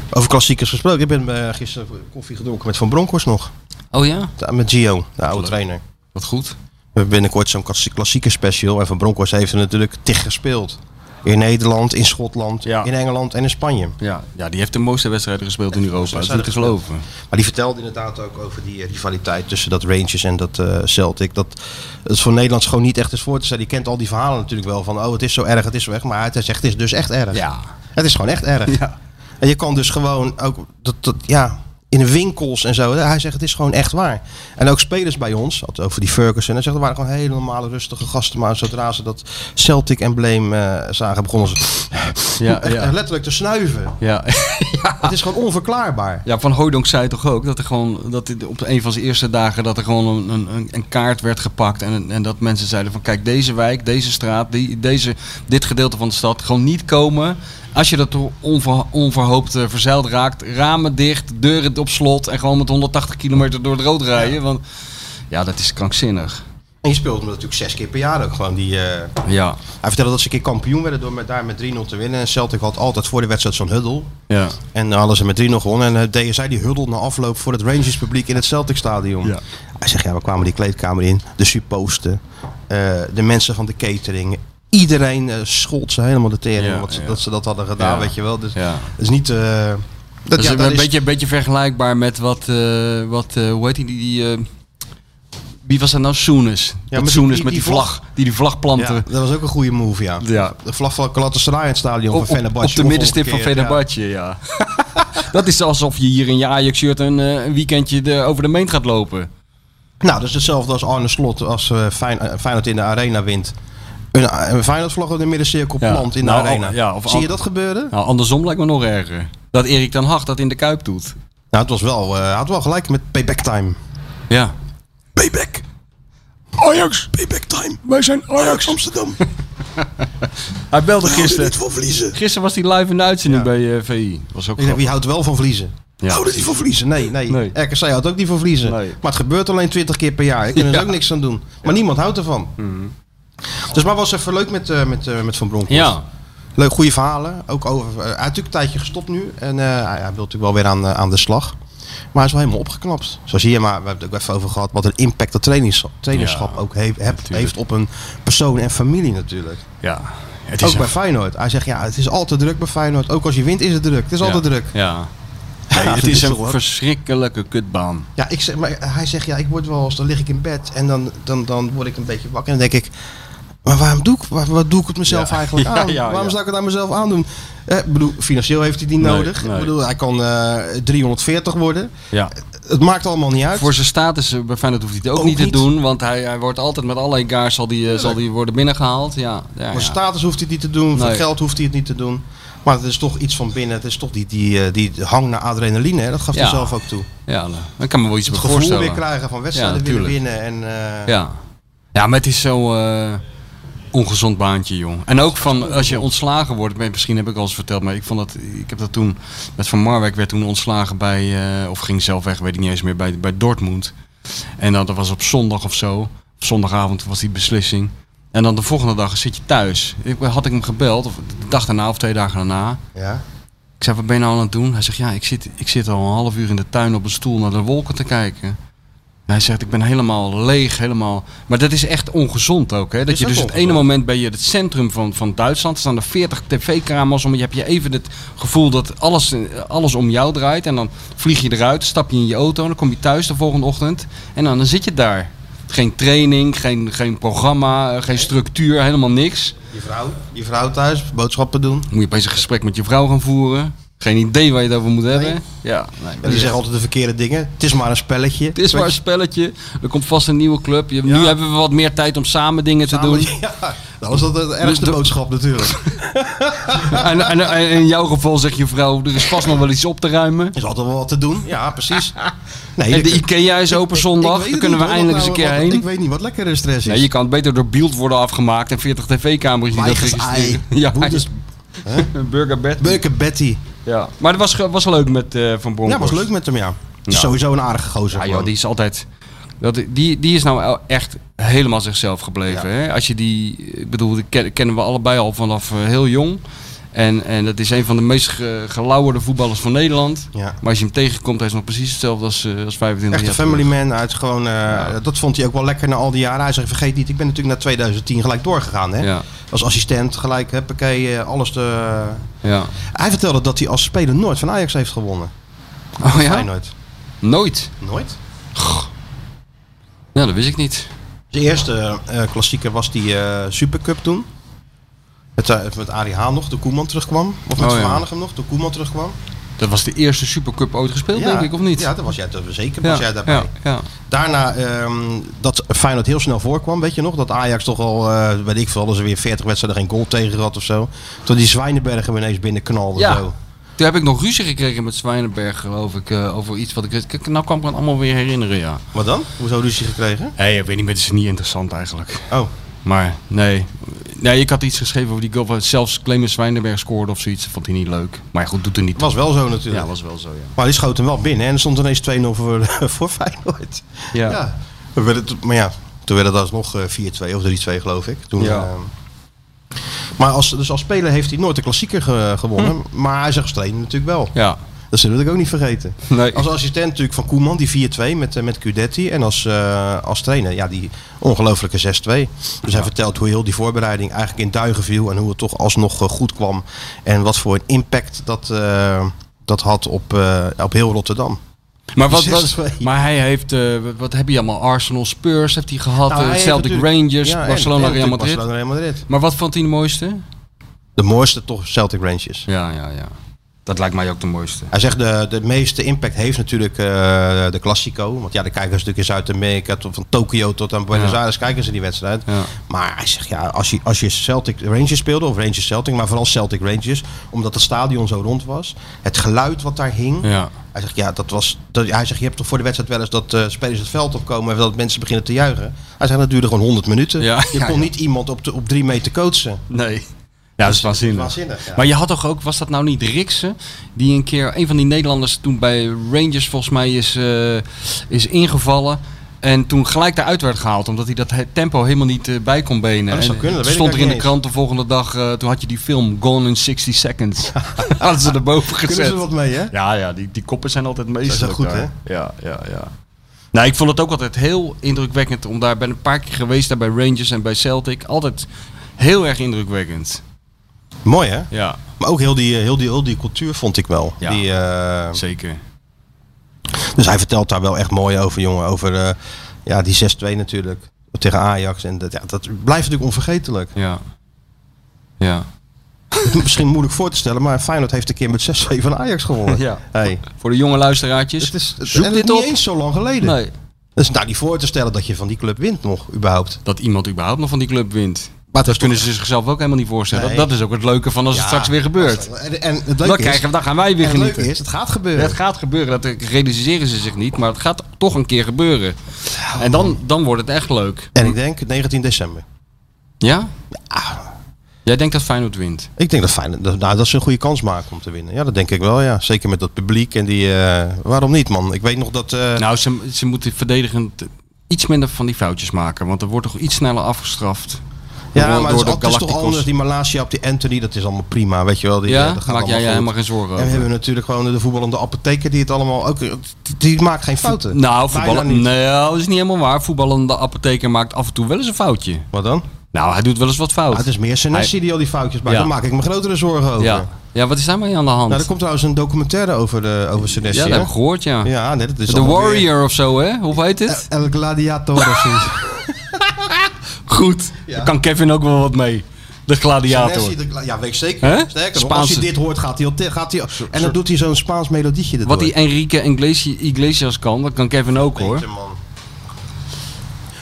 Speaker 3: Over klassiekers gesproken. Ik ben eh, gisteren koffie gedronken met Van Bronckhorst nog.
Speaker 4: Oh ja?
Speaker 3: Ja, Met Gio, de oude trainer.
Speaker 4: Wat goed.
Speaker 3: We hebben binnenkort zo'n klassie- klassieke special. En Van Bronckhorst heeft er natuurlijk tig gespeeld. In Nederland, in Schotland,
Speaker 4: Ja.
Speaker 3: in Engeland en in Spanje.
Speaker 4: Ja, ja, die heeft de mooiste wedstrijden gespeeld in Europa. Dat is niet te
Speaker 3: wedstrijden
Speaker 4: geloven.
Speaker 3: Maar die vertelde inderdaad ook over die eh, rivaliteit tussen dat Rangers en dat eh, Celtic. Dat het voor Nederlands gewoon niet echt is voor te stellen. Die kent al die verhalen natuurlijk wel van oh het is zo erg, het is zo erg. Maar hij zegt het is dus echt erg.
Speaker 4: Ja.
Speaker 3: Het is gewoon echt erg.
Speaker 4: Ja.
Speaker 3: En je kan dus gewoon ook dat, dat, ja, in de winkels en zo. Hij zegt het is gewoon echt waar. En ook spelers bij ons, had het over die Ferguson. Hij zegt er waren gewoon hele normale rustige gasten. Maar zodra ze dat Celtic embleem eh, zagen begonnen ze
Speaker 4: Ja,
Speaker 3: echt,
Speaker 4: ja.
Speaker 3: echt letterlijk te snuiven.
Speaker 4: Ja.
Speaker 3: Het is gewoon onverklaarbaar.
Speaker 4: ja, Van Hooydonk zei toch ook dat er gewoon dat dit op een van zijn eerste dagen dat er gewoon een- een, een, een kaart werd gepakt. En, en dat mensen zeiden van kijk, deze wijk, deze straat, die, deze, dit gedeelte van de stad gewoon niet komen. Als je dat door onver, onverhoopt eh, verzeild raakt, ramen dicht, deuren op slot en gewoon met 180 kilometer door het rood rijden. Want ja, dat is krankzinnig.
Speaker 3: En je speelt hem natuurlijk zes keer per jaar ook gewoon. Die, eh,
Speaker 4: Ja,
Speaker 3: Hij vertelde dat ze een keer kampioen werden door met, daar met 3-0 te winnen. En Celtic had altijd voor de wedstrijd zo'n huddle.
Speaker 4: ja.
Speaker 3: En dan hadden ze met 3-0 gewonnen. En eh, deden zij die huddle na afloop voor het Rangers publiek in het Celtic stadion.
Speaker 4: Ja.
Speaker 3: Hij zegt, ja, we kwamen die kleedkamer in. De supposten, eh, de mensen van de catering. Iedereen eh, schold ze helemaal de tering.
Speaker 4: Ja,
Speaker 3: omdat ze-
Speaker 4: ja.
Speaker 3: dat ze dat hadden gedaan,
Speaker 4: Ja.
Speaker 3: weet je wel. Dus
Speaker 4: Ja.
Speaker 3: het is niet... eh, dat,
Speaker 4: Dat is
Speaker 3: ja,
Speaker 4: Dus een,
Speaker 3: dat is-
Speaker 4: beetje, een beetje vergelijkbaar met wat, eh, wat eh, hoe heet die, die, die eh, wie was dat nou? Soenis.
Speaker 3: maar
Speaker 4: dat
Speaker 3: die-
Speaker 4: Soenis
Speaker 3: die-
Speaker 4: met die,
Speaker 3: die
Speaker 4: vlag, die die vlag plantte.
Speaker 3: ja, dat was ook een goede move, ja.
Speaker 4: eh. Ja.
Speaker 3: De vlag van Galatasaray in het stadion
Speaker 4: Op,
Speaker 3: van
Speaker 4: op,
Speaker 3: Fenerbahce.
Speaker 4: op de
Speaker 3: of
Speaker 4: middenstip van
Speaker 3: omgekeerd, ja.
Speaker 4: Fenerbahce, ja. dat is alsof je hier in je Ajax-shirt een, eh, een weekendje de, over de meent gaat lopen.
Speaker 3: Nou, dat is hetzelfde als Arne Slot als eh, Fijn- eh, Feyenoord in de arena wint. Een, een Feyenoordvlag op de middencirkel
Speaker 4: Ja.
Speaker 3: plant in de
Speaker 4: Nou, al-
Speaker 3: arena.
Speaker 4: ja, of
Speaker 3: Zie je
Speaker 4: al-
Speaker 3: dat gebeuren?
Speaker 4: Nou, andersom lijkt me nog erger. Dat Erik ten Hag dat in de Kuip doet.
Speaker 3: Nou, het was wel, eh, hij had wel gelijk met payback time.
Speaker 4: Ja.
Speaker 3: Payback!
Speaker 4: Ajax!
Speaker 3: Payback time!
Speaker 4: Wij zijn Ajax!
Speaker 3: Amsterdam!
Speaker 4: Hij belde gisteren.
Speaker 3: van verliezen!
Speaker 4: Gisteren was hij live in de uitzending bij eh, VI. Was ook
Speaker 3: Ik denk,
Speaker 4: grappig.
Speaker 3: wie houdt wel van verliezen?
Speaker 4: Ja.
Speaker 3: Houden die van verliezen? Nee, nee.
Speaker 4: Nee.
Speaker 3: RKC houdt ook niet van verliezen.
Speaker 4: Nee.
Speaker 3: Maar het gebeurt alleen 20 keer per jaar. Ik kan er
Speaker 4: Ja. Mhm.
Speaker 3: ook niks aan doen. Maar niemand houdt ervan. Dus maar was even leuk met, eh, met, eh, met Van Bronckhorst.
Speaker 4: Ja.
Speaker 3: Leuk, goede verhalen. Ook over, eh, hij is natuurlijk een tijdje gestopt nu. En eh, hij, hij wil natuurlijk wel weer aan, eh, aan de slag. Maar hij is wel helemaal opgeknapt. Zo zie je, maar we hebben het ook even over gehad. Wat een impact dat trainingschap, trainerschap
Speaker 4: Ja,
Speaker 3: ook heeft, hebt-
Speaker 4: natuurlijk.
Speaker 3: heeft op een persoon en familie natuurlijk.
Speaker 4: Ja. Het
Speaker 3: Ook
Speaker 4: een-
Speaker 3: bij Feyenoord. Hij zegt, ja, het is altijd druk bij Feyenoord. Ook als je wint is het druk. Het is altijd
Speaker 4: ja.
Speaker 3: druk.
Speaker 4: Ja.
Speaker 3: Ja,
Speaker 4: het
Speaker 3: dat
Speaker 4: is
Speaker 3: is
Speaker 4: een
Speaker 3: toch wat?
Speaker 4: verschrikkelijke kutbaan.
Speaker 3: Ja, ik zeg, maar hij zegt, ja, ik word wel eens, dan lig ik in bed en dan, dan, dan word ik een beetje wakker. En dan denk ik, maar waarom doe ik, waar, waar doe ik het mezelf
Speaker 4: Ja.
Speaker 3: eigenlijk
Speaker 4: Ja,
Speaker 3: aan?
Speaker 4: ja,
Speaker 3: waarom
Speaker 4: ja.
Speaker 3: zou ik het aan mezelf aandoen? Eh, ik bedoel, financieel heeft hij die
Speaker 4: Nee,
Speaker 3: nodig.
Speaker 4: nee.
Speaker 3: Ik bedoel, hij kan eh, 340 worden.
Speaker 4: Ja.
Speaker 3: Het maakt allemaal niet uit.
Speaker 4: Voor zijn status eh, bij Feyenoord hoeft hij het ook,
Speaker 3: Ook
Speaker 4: niet te
Speaker 3: niet.
Speaker 4: doen. Want hij, hij wordt altijd met alle egaars zal die, eh, zal die worden binnengehaald. Ja, ja,
Speaker 3: Voor
Speaker 4: ja.
Speaker 3: status hoeft hij het niet te doen, voor
Speaker 4: Nee.
Speaker 3: geld hoeft hij het niet te doen. Maar het is toch iets van binnen. Het is toch die, die, eh, die hang naar adrenaline. Hè? Dat gaf hij
Speaker 4: Ja.
Speaker 3: zelf ook toe.
Speaker 4: ja nou, ik kan me wel iets
Speaker 3: Het
Speaker 4: bij
Speaker 3: gevoel weer
Speaker 4: voorstellen.
Speaker 3: krijgen van wedstrijden
Speaker 4: Ja,
Speaker 3: willen
Speaker 4: tuurlijk.
Speaker 3: winnen. En, eh,
Speaker 4: Ja. ja, maar het is zo eh, ongezond baantje, jong. En ook van als je ontslagen wordt, maar misschien heb ik al eens verteld, maar ik vond dat, ik heb dat toen met Van Marwijk werd toen ontslagen bij, eh, of ging zelf weg, weet ik niet eens meer, bij, bij Dortmund. En dan, dat was op zondag of zo. Op zondagavond was die beslissing. En dan de volgende dag zit je thuis. Ik, had ik hem gebeld, of de dag daarna of twee dagen daarna.
Speaker 3: ja.
Speaker 4: Ik zei, wat ben je nou aan het doen? Hij zegt, ja, ik zit, ik zit al een half uur in de tuin op een stoel naar de wolken te kijken. En hij zegt, ik ben helemaal leeg, helemaal... Maar dat is echt ongezond ook, hè? Dat
Speaker 3: Is
Speaker 4: je
Speaker 3: ook
Speaker 4: dus het
Speaker 3: ongezond.
Speaker 4: ene moment ben je het centrum van, van Duitsland. Er staan er 40 tv-kamers om. Je hebt je even het gevoel dat alles, eh, alles om jou draait. En dan vlieg je eruit, stap je in je auto. Dan kom je thuis de volgende ochtend. En dan, dan zit je daar. Geen training, geen, geen programma, eh, geen structuur, helemaal niks.
Speaker 3: Je, vrouw, je vrouw thuis, boodschappen doen.
Speaker 4: Dan moet je opeens een gesprek met je vrouw gaan voeren. Geen idee waar je het over moet hebben. Ja, nee,
Speaker 3: En die zeggen altijd de verkeerde dingen. Het is maar een spelletje.
Speaker 4: Het is maar een spelletje. Er komt vast een nieuwe club. Je, Nu hebben we wat meer tijd om samen dingen te doen.
Speaker 3: Ja, dat was dat de ergste
Speaker 4: de-
Speaker 3: boodschap natuurlijk.
Speaker 4: En, en, en in jouw geval zegt je vrouw, er is vast nog wel iets op te ruimen.
Speaker 3: Er is altijd wel wat te doen. Ja, precies. Nee,
Speaker 4: En
Speaker 3: ik-
Speaker 4: de IKEA is open zondag.
Speaker 3: weet
Speaker 4: Daar
Speaker 3: het
Speaker 4: kunnen we
Speaker 3: niet, hoor,
Speaker 4: eindelijk eens
Speaker 3: wat
Speaker 4: een
Speaker 3: nou-
Speaker 4: keer
Speaker 3: wat- Ik
Speaker 4: heen.
Speaker 3: weet niet wat lekkere stress is.
Speaker 4: Nee, je kan het beter door Beeld worden afgemaakt en 40 tv-kamers die dat
Speaker 3: Weigers
Speaker 4: registreren.
Speaker 3: ei.
Speaker 4: Ja,
Speaker 3: Boetes-
Speaker 4: een burgerbed.
Speaker 3: Beuke Betty.
Speaker 4: Ja. Maar het was, ge- was leuk met eh, Van
Speaker 3: Ja,
Speaker 4: Bronckhorst.
Speaker 3: was leuk met hem, ja. Het is
Speaker 4: Ja.
Speaker 3: sowieso een aardige gozer.
Speaker 4: Ja, joh,
Speaker 3: gewoon.
Speaker 4: die is altijd. Dat, die, die is nou el- echt helemaal zichzelf gebleven. Hè? Als je die. Ik bedoel, die ken- kennen we allebei al vanaf eh, heel jong. En, en dat is een van de meest ge, gelauwerde voetballers van Nederland.
Speaker 3: Ja.
Speaker 4: Maar als je hem tegenkomt, hij is nog precies hetzelfde als, eh, als
Speaker 3: Echt
Speaker 4: 25
Speaker 3: een
Speaker 4: jaar.
Speaker 3: family
Speaker 4: terug.
Speaker 3: man. Uit gewoon, eh, Dat vond hij ook wel lekker na al die jaren. Hij zegt, vergeet niet, ik ben natuurlijk na 2010 gelijk doorgegaan. Hè?
Speaker 4: Ja.
Speaker 3: Als assistent gelijk, huppakee, eh, alles. De...
Speaker 4: Ja.
Speaker 3: Hij vertelde dat hij als speler nooit van Ajax heeft gewonnen.
Speaker 4: Oh ja?
Speaker 3: Feyenoord.
Speaker 4: Nooit.
Speaker 3: Nooit?
Speaker 4: Ja, dat wist ik niet.
Speaker 3: De eerste eh klassieker was die eh, Supercup toen. Met, eh, met Arie Haan nog, de Koeman terugkwam. Of met
Speaker 4: Oh, ja.
Speaker 3: Van Hanegem nog, de Koeman terugkwam.
Speaker 4: Dat was de eerste Supercup ooit gespeeld, denk ik, of niet?
Speaker 3: Ja, dat was jij, dat, zeker was jij daarbij.
Speaker 4: Ja, ja.
Speaker 3: Daarna ehm, dat Feyenoord heel snel voorkwam, weet je nog? Dat Ajax toch al, eh weet ik veel, hadden ze weer 40 wedstrijden geen goal tegen had of zo. Toen die Zwijnenberg hem ineens binnenknalde.
Speaker 4: Ja.
Speaker 3: Zo.
Speaker 4: Toen heb ik nog ruzie gekregen met Zwijnenberg, geloof ik, eh, over iets wat ik... Kijk, Nou kan ik me het allemaal weer herinneren, ja.
Speaker 3: Wat dan? Hoezo ruzie gekregen?
Speaker 4: Hé, ik weet niet, maar het is niet interessant eigenlijk.
Speaker 3: Oh,
Speaker 4: Maar nee. Nee, ik had iets geschreven over die goal. waar Zelfs Clemens Wijnenberg scoorde of zoiets. Dat vond hij niet leuk. Maar goed, doet er niet
Speaker 3: was wel zo
Speaker 4: toe.
Speaker 3: natuurlijk.
Speaker 4: Ja, was wel zo, ja.
Speaker 3: Maar die schoot hem wel binnen hè, en er stond ineens 2-0 voor, voor Feyenoord.
Speaker 4: Ja.
Speaker 3: Ja. We willen het- maar ja, Toen werd het alsnog eh, 4-2 of 3-2 geloof ik. Toen,
Speaker 5: Ja.
Speaker 3: eh, maar als, dus als speler heeft hij nooit de klassieker ge- gewonnen. Maar hij is als trainer natuurlijk wel.
Speaker 4: Hm.
Speaker 3: Dus
Speaker 4: Ja.
Speaker 3: Dat zullen we natuurlijk ook niet vergeten.
Speaker 4: Nee.
Speaker 3: Als assistent natuurlijk van Koeman, die 4-2 met, eh, met Cudetti. En als, eh, als trainer, ja, die ongelofelijke 6-2. Dus hij vertelt hoe heel die voorbereiding eigenlijk in duigen viel. En hoe het toch alsnog eh, goed kwam. En wat voor een impact dat, eh, dat had op, eh, op heel Rotterdam.
Speaker 4: Maar, wat, wat,
Speaker 3: 6-2.
Speaker 4: maar hij heeft, eh, wat- wat heb je allemaal? Arsenal, Spurs heeft hij gehad,
Speaker 3: Nou,
Speaker 4: eh,
Speaker 3: hij heeft
Speaker 4: Celtic
Speaker 3: natuurlijk-
Speaker 4: Rangers,
Speaker 3: Ja, en-
Speaker 4: Barcelona,
Speaker 3: en
Speaker 4: Real
Speaker 3: natuurlijk
Speaker 4: Madrid.
Speaker 3: Barcelona, Real Madrid.
Speaker 4: Maar wat vond hij de mooiste?
Speaker 3: De mooiste toch Celtic Rangers.
Speaker 4: Ja, ja, ja. Dat lijkt mij ook de mooiste.
Speaker 3: Hij zegt de, de meeste impact heeft natuurlijk eh, de Classico. Want ja, de kijkers natuurlijk in Zuid-Amerika, tot- van Tokio tot aan Buenos
Speaker 4: Ja.
Speaker 3: Aires kijken ze die wedstrijd.
Speaker 4: Ja.
Speaker 3: Maar hij zegt ja, als je, als je Celtic Rangers speelde, of Rangers Celtic, maar vooral Celtic Rangers, omdat het stadion zo rond was, het geluid wat daar hing.
Speaker 4: Ja.
Speaker 3: Hij zegt ja, dat was. Dat, hij zegt je hebt toch voor de wedstrijd wel eens dat eh, spelers het veld opkomen en dat mensen beginnen te juichen. Hij zegt dat duurde gewoon 100 minuten.
Speaker 4: Ja,
Speaker 3: je
Speaker 4: ja,
Speaker 3: kon
Speaker 4: ja.
Speaker 3: niet iemand op, de, op drie meter coachen.
Speaker 4: Nee. Ja, dat is waanzinnig.
Speaker 3: Waanzinnig. ja.
Speaker 4: Maar je had toch ook, was dat nou niet Riksen, die een keer, een van die Nederlanders toen bij Rangers volgens mij is, eh, is ingevallen. En toen gelijk daaruit werd gehaald, omdat hij dat he- tempo helemaal niet eh, bij kon benen.
Speaker 3: Oh, dat zou
Speaker 4: En
Speaker 3: kunnen, dat
Speaker 4: het
Speaker 3: weet ik
Speaker 4: stond er in de
Speaker 3: eigenlijk
Speaker 4: krant de volgende dag, eh, toen had je die film Gone in 60 Seconds. Hadden ze erboven gezet.
Speaker 3: Kunnen ze er wat mee, hè?
Speaker 4: Ja, ja, die, die koppen zijn altijd meestal.
Speaker 3: Zijn ze goed,
Speaker 4: Ja, ja, ja. Nou, ik vond het ook altijd heel indrukwekkend om daar ben een paar keer geweest daar bij Rangers en bij Celtic. Altijd heel erg indrukwekkend.
Speaker 3: Mooi hè?
Speaker 4: Ja,
Speaker 3: Maar ook heel die, eh, heel die, heel die cultuur vond ik wel.
Speaker 4: Ja.
Speaker 3: Die, eh,
Speaker 4: zeker.
Speaker 3: dus hij vertelt daar wel echt mooi over, jongen. Over eh, ja, die 6-2 natuurlijk. Tegen Ajax. En dat, ja, dat blijft natuurlijk onvergetelijk.
Speaker 4: Ja. Ja.
Speaker 3: Misschien moeilijk voor te stellen, maar Feyenoord heeft een keer met 6-2 van Ajax gewonnen.
Speaker 4: Ja.
Speaker 3: Hey,
Speaker 4: Voor de jonge luisteraartjes.
Speaker 3: het is het-
Speaker 4: zoek
Speaker 3: en
Speaker 4: dit
Speaker 3: niet
Speaker 4: op.
Speaker 3: eens zo lang geleden.
Speaker 4: Nee.
Speaker 3: Dat is nou niet voor te stellen dat je van die club wint nog, überhaupt.
Speaker 4: Dat iemand überhaupt nog van die club wint.
Speaker 3: Maar
Speaker 4: Dat kunnen ze zichzelf ook helemaal niet voorstellen.
Speaker 3: Nee.
Speaker 4: Dat is ook het leuke van als het straks weer gebeurt.
Speaker 3: En, en het
Speaker 4: Dan,
Speaker 3: leuke is,
Speaker 4: krijgen, we- dan gaan wij weer
Speaker 3: en het
Speaker 4: genieten.
Speaker 3: leuke is, het gaat gebeuren.
Speaker 4: Het gaat gebeuren, dat realiseren ze zich niet, maar het gaat toch een keer gebeuren. En dan, dan wordt het echt leuk.
Speaker 3: En Ah. ik denk 19 december.
Speaker 4: Ja? Jij denkt dat Feyenoord wint.
Speaker 3: Ik denk dat Feyenoord, dat- nou, dat ze een goede kans maken om te winnen. Ja, dat denk ik wel, ja. Zeker met dat publiek en die... eh, waarom niet, man? Ik weet nog dat... eh,
Speaker 4: Nou, ze, ze moeten verdedigend iets minder van die foutjes maken, want er wordt toch iets sneller afgestraft.
Speaker 3: ja,
Speaker 4: door-
Speaker 3: maar het,
Speaker 4: door
Speaker 3: is,
Speaker 4: de
Speaker 3: al- het is toch
Speaker 4: Galacticos.
Speaker 3: anders. Die Malasia op die Anthony, dat is allemaal prima, weet je wel. Die, eh,
Speaker 4: ja,
Speaker 3: dat gaat
Speaker 4: maak jij je
Speaker 3: goed.
Speaker 4: helemaal geen zorgen
Speaker 3: En we
Speaker 4: over.
Speaker 3: hebben natuurlijk gewoon de voetballende apotheker die het allemaal ook... Die, die maakt geen fouten.
Speaker 4: Nou,
Speaker 3: Bijna
Speaker 4: voetballen,
Speaker 3: niet.
Speaker 4: nee, dat is niet helemaal waar. Voetballende apotheker maakt af en toe wel eens een foutje.
Speaker 3: Wat dan?
Speaker 4: Nou, hij doet wel eens wat
Speaker 3: Ah,
Speaker 4: fout.
Speaker 3: het is meer Senesi die al die foutjes maakt.
Speaker 4: Ja.
Speaker 3: Daar maak ik me grotere zorgen over.
Speaker 4: ja. ja, wat is daar mee aan de hand?
Speaker 3: Nou, er komt trouwens een documentaire over, de, over Senesi.
Speaker 4: ja, dat
Speaker 3: hè?
Speaker 4: heb ik gehoord, ja.
Speaker 3: ja nee, dat is
Speaker 4: The
Speaker 3: allemaal weer-
Speaker 4: Warrior of zo, hè? Hoe heet het?
Speaker 3: El Gladiator of zoiets.
Speaker 4: Goed. Daar kan Kevin ook wel wat mee. De gladiator.
Speaker 3: Senesi, de- ja, weet ik zeker.
Speaker 4: Hè?
Speaker 3: Sterker nog, als
Speaker 4: Spaanse-
Speaker 3: je dit hoort, gaat hij al... te- Gaat hij, al- en dan doet hij zo'n Spaans melodietje erdoor.
Speaker 4: Wat die Enrique Iglesi- Iglesias kan, dat kan Kevin ook, hoor.
Speaker 3: man.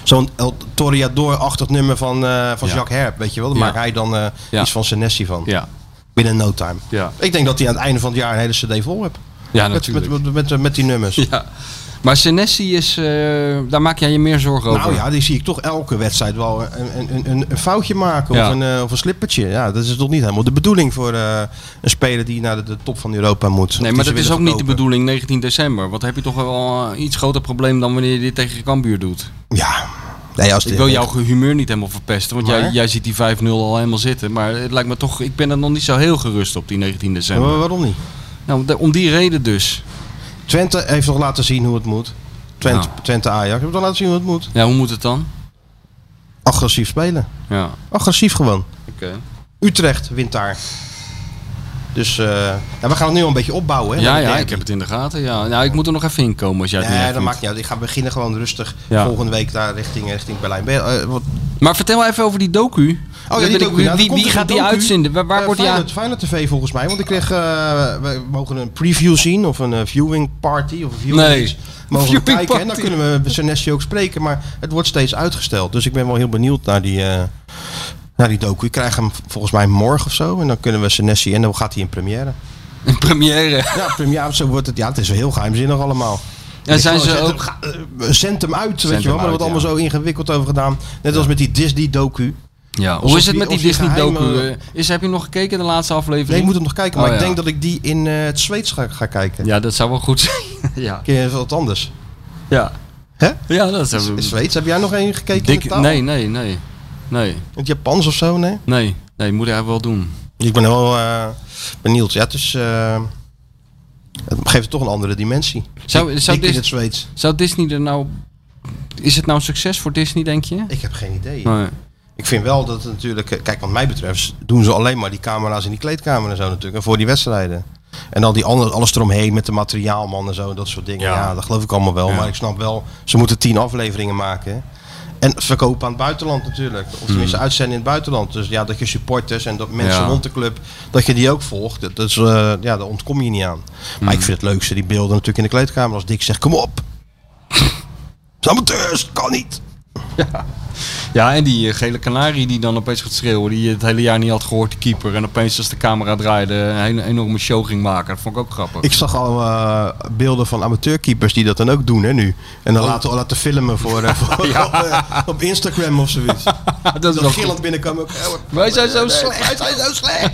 Speaker 3: Zo'n El Toreador-achtig nummer van, eh, van
Speaker 4: Ja.
Speaker 3: Jacques Herp, weet je wel. Daar
Speaker 4: Ja.
Speaker 3: maakt hij dan eh,
Speaker 4: Ja.
Speaker 3: iets van Senesi van.
Speaker 4: Ja.
Speaker 3: Binnen no time.
Speaker 4: Ja.
Speaker 3: Ik denk dat hij aan het einde van het jaar een hele cd vol hebt.
Speaker 4: Ja,
Speaker 3: Met,
Speaker 4: natuurlijk.
Speaker 3: met, met, met, met die nummers.
Speaker 4: Ja. Maar Senesi is... eh, daar maak jij je meer zorgen over.
Speaker 3: Nou ja, die zie ik toch elke wedstrijd wel een, een, een, een foutje maken
Speaker 4: Ja.
Speaker 3: of, een, eh, of een slippertje. Ja, dat is toch niet helemaal de bedoeling voor eh, een speler die naar de, de top van Europa moet. Of
Speaker 4: Nee,
Speaker 3: die
Speaker 4: maar
Speaker 3: ze
Speaker 4: dat is ook
Speaker 3: willen
Speaker 4: niet de
Speaker 3: verkopen.
Speaker 4: bedoeling 19 december. Want dan heb je toch wel een iets groter probleem dan wanneer je dit tegen je kambuur doet.
Speaker 3: Ja. Nee, als
Speaker 4: Ik
Speaker 3: de-
Speaker 4: wil jouw humeur niet helemaal verpesten, want jij,
Speaker 3: Maar?
Speaker 4: jij ziet die 5-0 al helemaal zitten. Maar het lijkt me toch, ik ben er nog niet zo heel gerust op die 19
Speaker 3: Ja,
Speaker 4: december.
Speaker 3: maar waarom niet?
Speaker 4: Nou, da- om die reden dus.
Speaker 3: Twente heeft nog laten zien hoe het moet. Twente,
Speaker 4: Nou.
Speaker 3: Twente Ajax heeft nog laten zien hoe het moet.
Speaker 4: Ja, hoe moet het dan?
Speaker 3: Agressief spelen.
Speaker 4: Ja,
Speaker 3: Agressief gewoon.
Speaker 4: oké.
Speaker 3: Utrecht wint daar. Dus eh, ja, we gaan het nu al een beetje opbouwen. Hè,
Speaker 4: Ja,
Speaker 3: met de
Speaker 4: ja,
Speaker 3: derby.
Speaker 4: ik heb het in de gaten. Ja. Nou, ik moet er nog even in komen als jij het niet
Speaker 3: Nee,
Speaker 4: erg
Speaker 3: dat
Speaker 4: vindt.
Speaker 3: maakt niet uit. Ik ga beginnen gewoon rustig
Speaker 4: Ja.
Speaker 3: volgende week daar richting, richting Berlijn. Ben je- eh, wat-
Speaker 4: Maar vertel even over die docu.
Speaker 3: Oh, ja,
Speaker 4: Dat
Speaker 3: die
Speaker 4: ben ik-
Speaker 3: docu, nou,
Speaker 4: wie
Speaker 3: er komt
Speaker 4: wie
Speaker 3: dus
Speaker 4: gaat
Speaker 3: een
Speaker 4: die
Speaker 3: docu.
Speaker 4: uitzenden? Waar, waar
Speaker 3: Eh,
Speaker 4: wordt die
Speaker 3: Feyenoord,
Speaker 4: aan?
Speaker 3: Feyenoord TV volgens mij. Want ik kreeg, eh, we mogen een preview zien of een eh, viewing party of een viewing
Speaker 4: Nee.
Speaker 3: iets. Mogen we
Speaker 4: Viewing
Speaker 3: kijken en dan
Speaker 4: party.
Speaker 3: kunnen we Senesi ook spreken. Maar het wordt steeds uitgesteld. Dus ik ben wel heel benieuwd naar die, eh, naar die docu. Ik krijg hem volgens mij morgen of zo. En dan kunnen we Senesi en dan gaat hij in première.
Speaker 4: Een première.
Speaker 3: Ja, première, zo wordt het. Ja, het is wel heel geheimzinnig allemaal.
Speaker 4: En zijn ze
Speaker 3: Zet hem,
Speaker 4: ook...
Speaker 3: ga- eh, Zend hem uit, weet
Speaker 4: hem
Speaker 3: je wel. Maar er
Speaker 4: uit,
Speaker 3: wordt allemaal
Speaker 4: ja.
Speaker 3: zo ingewikkeld over gedaan. Net als met die Disney-docu.
Speaker 4: Ja, hoe
Speaker 3: Alsof
Speaker 4: is het
Speaker 3: die-
Speaker 4: met die
Speaker 3: of die
Speaker 4: Disney-docu?
Speaker 3: geheime-
Speaker 4: eh? Is, heb je nog gekeken de laatste aflevering?
Speaker 3: Nee, ik moet hem nog kijken. Maar
Speaker 4: Oh,
Speaker 3: ik
Speaker 4: ja.
Speaker 3: denk dat ik die in eh, het Zweeds ga, ga kijken.
Speaker 4: Ja, dat zou wel goed zijn. ja.
Speaker 3: Een keer wat anders.
Speaker 4: ja.
Speaker 3: Hè?
Speaker 4: Ja, dat is
Speaker 3: Z- Zweeds, heb jij nog één gekeken in de
Speaker 4: Dik,
Speaker 3: taal?
Speaker 4: nee, nee, nee. Nee,
Speaker 3: Het Japans of zo, nee?
Speaker 4: nee. Nee, moet hij wel doen.
Speaker 3: Ik ben wel eh, benieuwd. Ja, het is... eh, het geeft het toch een andere dimensie.
Speaker 4: Zou, zou,
Speaker 3: ik in het
Speaker 4: Dis-
Speaker 3: Zweeds.
Speaker 4: zou Disney er nou... Is het nou een succes voor Disney, denk je?
Speaker 3: Ik heb geen idee.
Speaker 4: Nee.
Speaker 3: Ik vind wel dat het natuurlijk... eh, Kijk, wat mij betreft doen ze alleen maar die camera's in die kleedkamer en zo natuurlijk. En voor die wedstrijden. En dan die andere, alles eromheen met de materiaalman en zo. en Dat soort dingen. Ja,
Speaker 4: Ja.
Speaker 3: dat geloof ik allemaal wel.
Speaker 4: Ja.
Speaker 3: Maar ik snap wel, ze moeten tien afleveringen maken. En verkopen aan het buitenland natuurlijk. Of tenminste uitzenden in het buitenland. Dus ja, dat je supporters en dat mensen
Speaker 4: Mm. Ja.
Speaker 3: rond de club, dat je die ook volgt. Dat, dat is, eh, ja, daar ontkom je niet aan. Maar
Speaker 4: Mm.
Speaker 3: ik vind het leukste, die beelden natuurlijk in de kleedkamer. Als Dick zegt, kom op. Het is amateurs, kan niet.
Speaker 4: Ja, en die eh, gele kanarie die dan opeens gaat schreeuwen, die je het hele jaar niet had gehoord, die keeper. En opeens als de camera draaide, een hele enorme show ging maken. Dat vond ik ook grappig.
Speaker 3: Ik zag al eh, beelden van amateurkeepers die dat dan ook doen hè, nu. En
Speaker 4: Oh.
Speaker 3: dan laten, laten filmen voor, eh, voor- op, eh, op Instagram of zoiets.
Speaker 4: dat is
Speaker 3: Dan
Speaker 4: wel goed.
Speaker 3: gillend binnenkomen. Ook, eh,
Speaker 4: Wij zijn zo
Speaker 3: nee,
Speaker 4: nou slecht.
Speaker 3: Wij zijn zo slecht.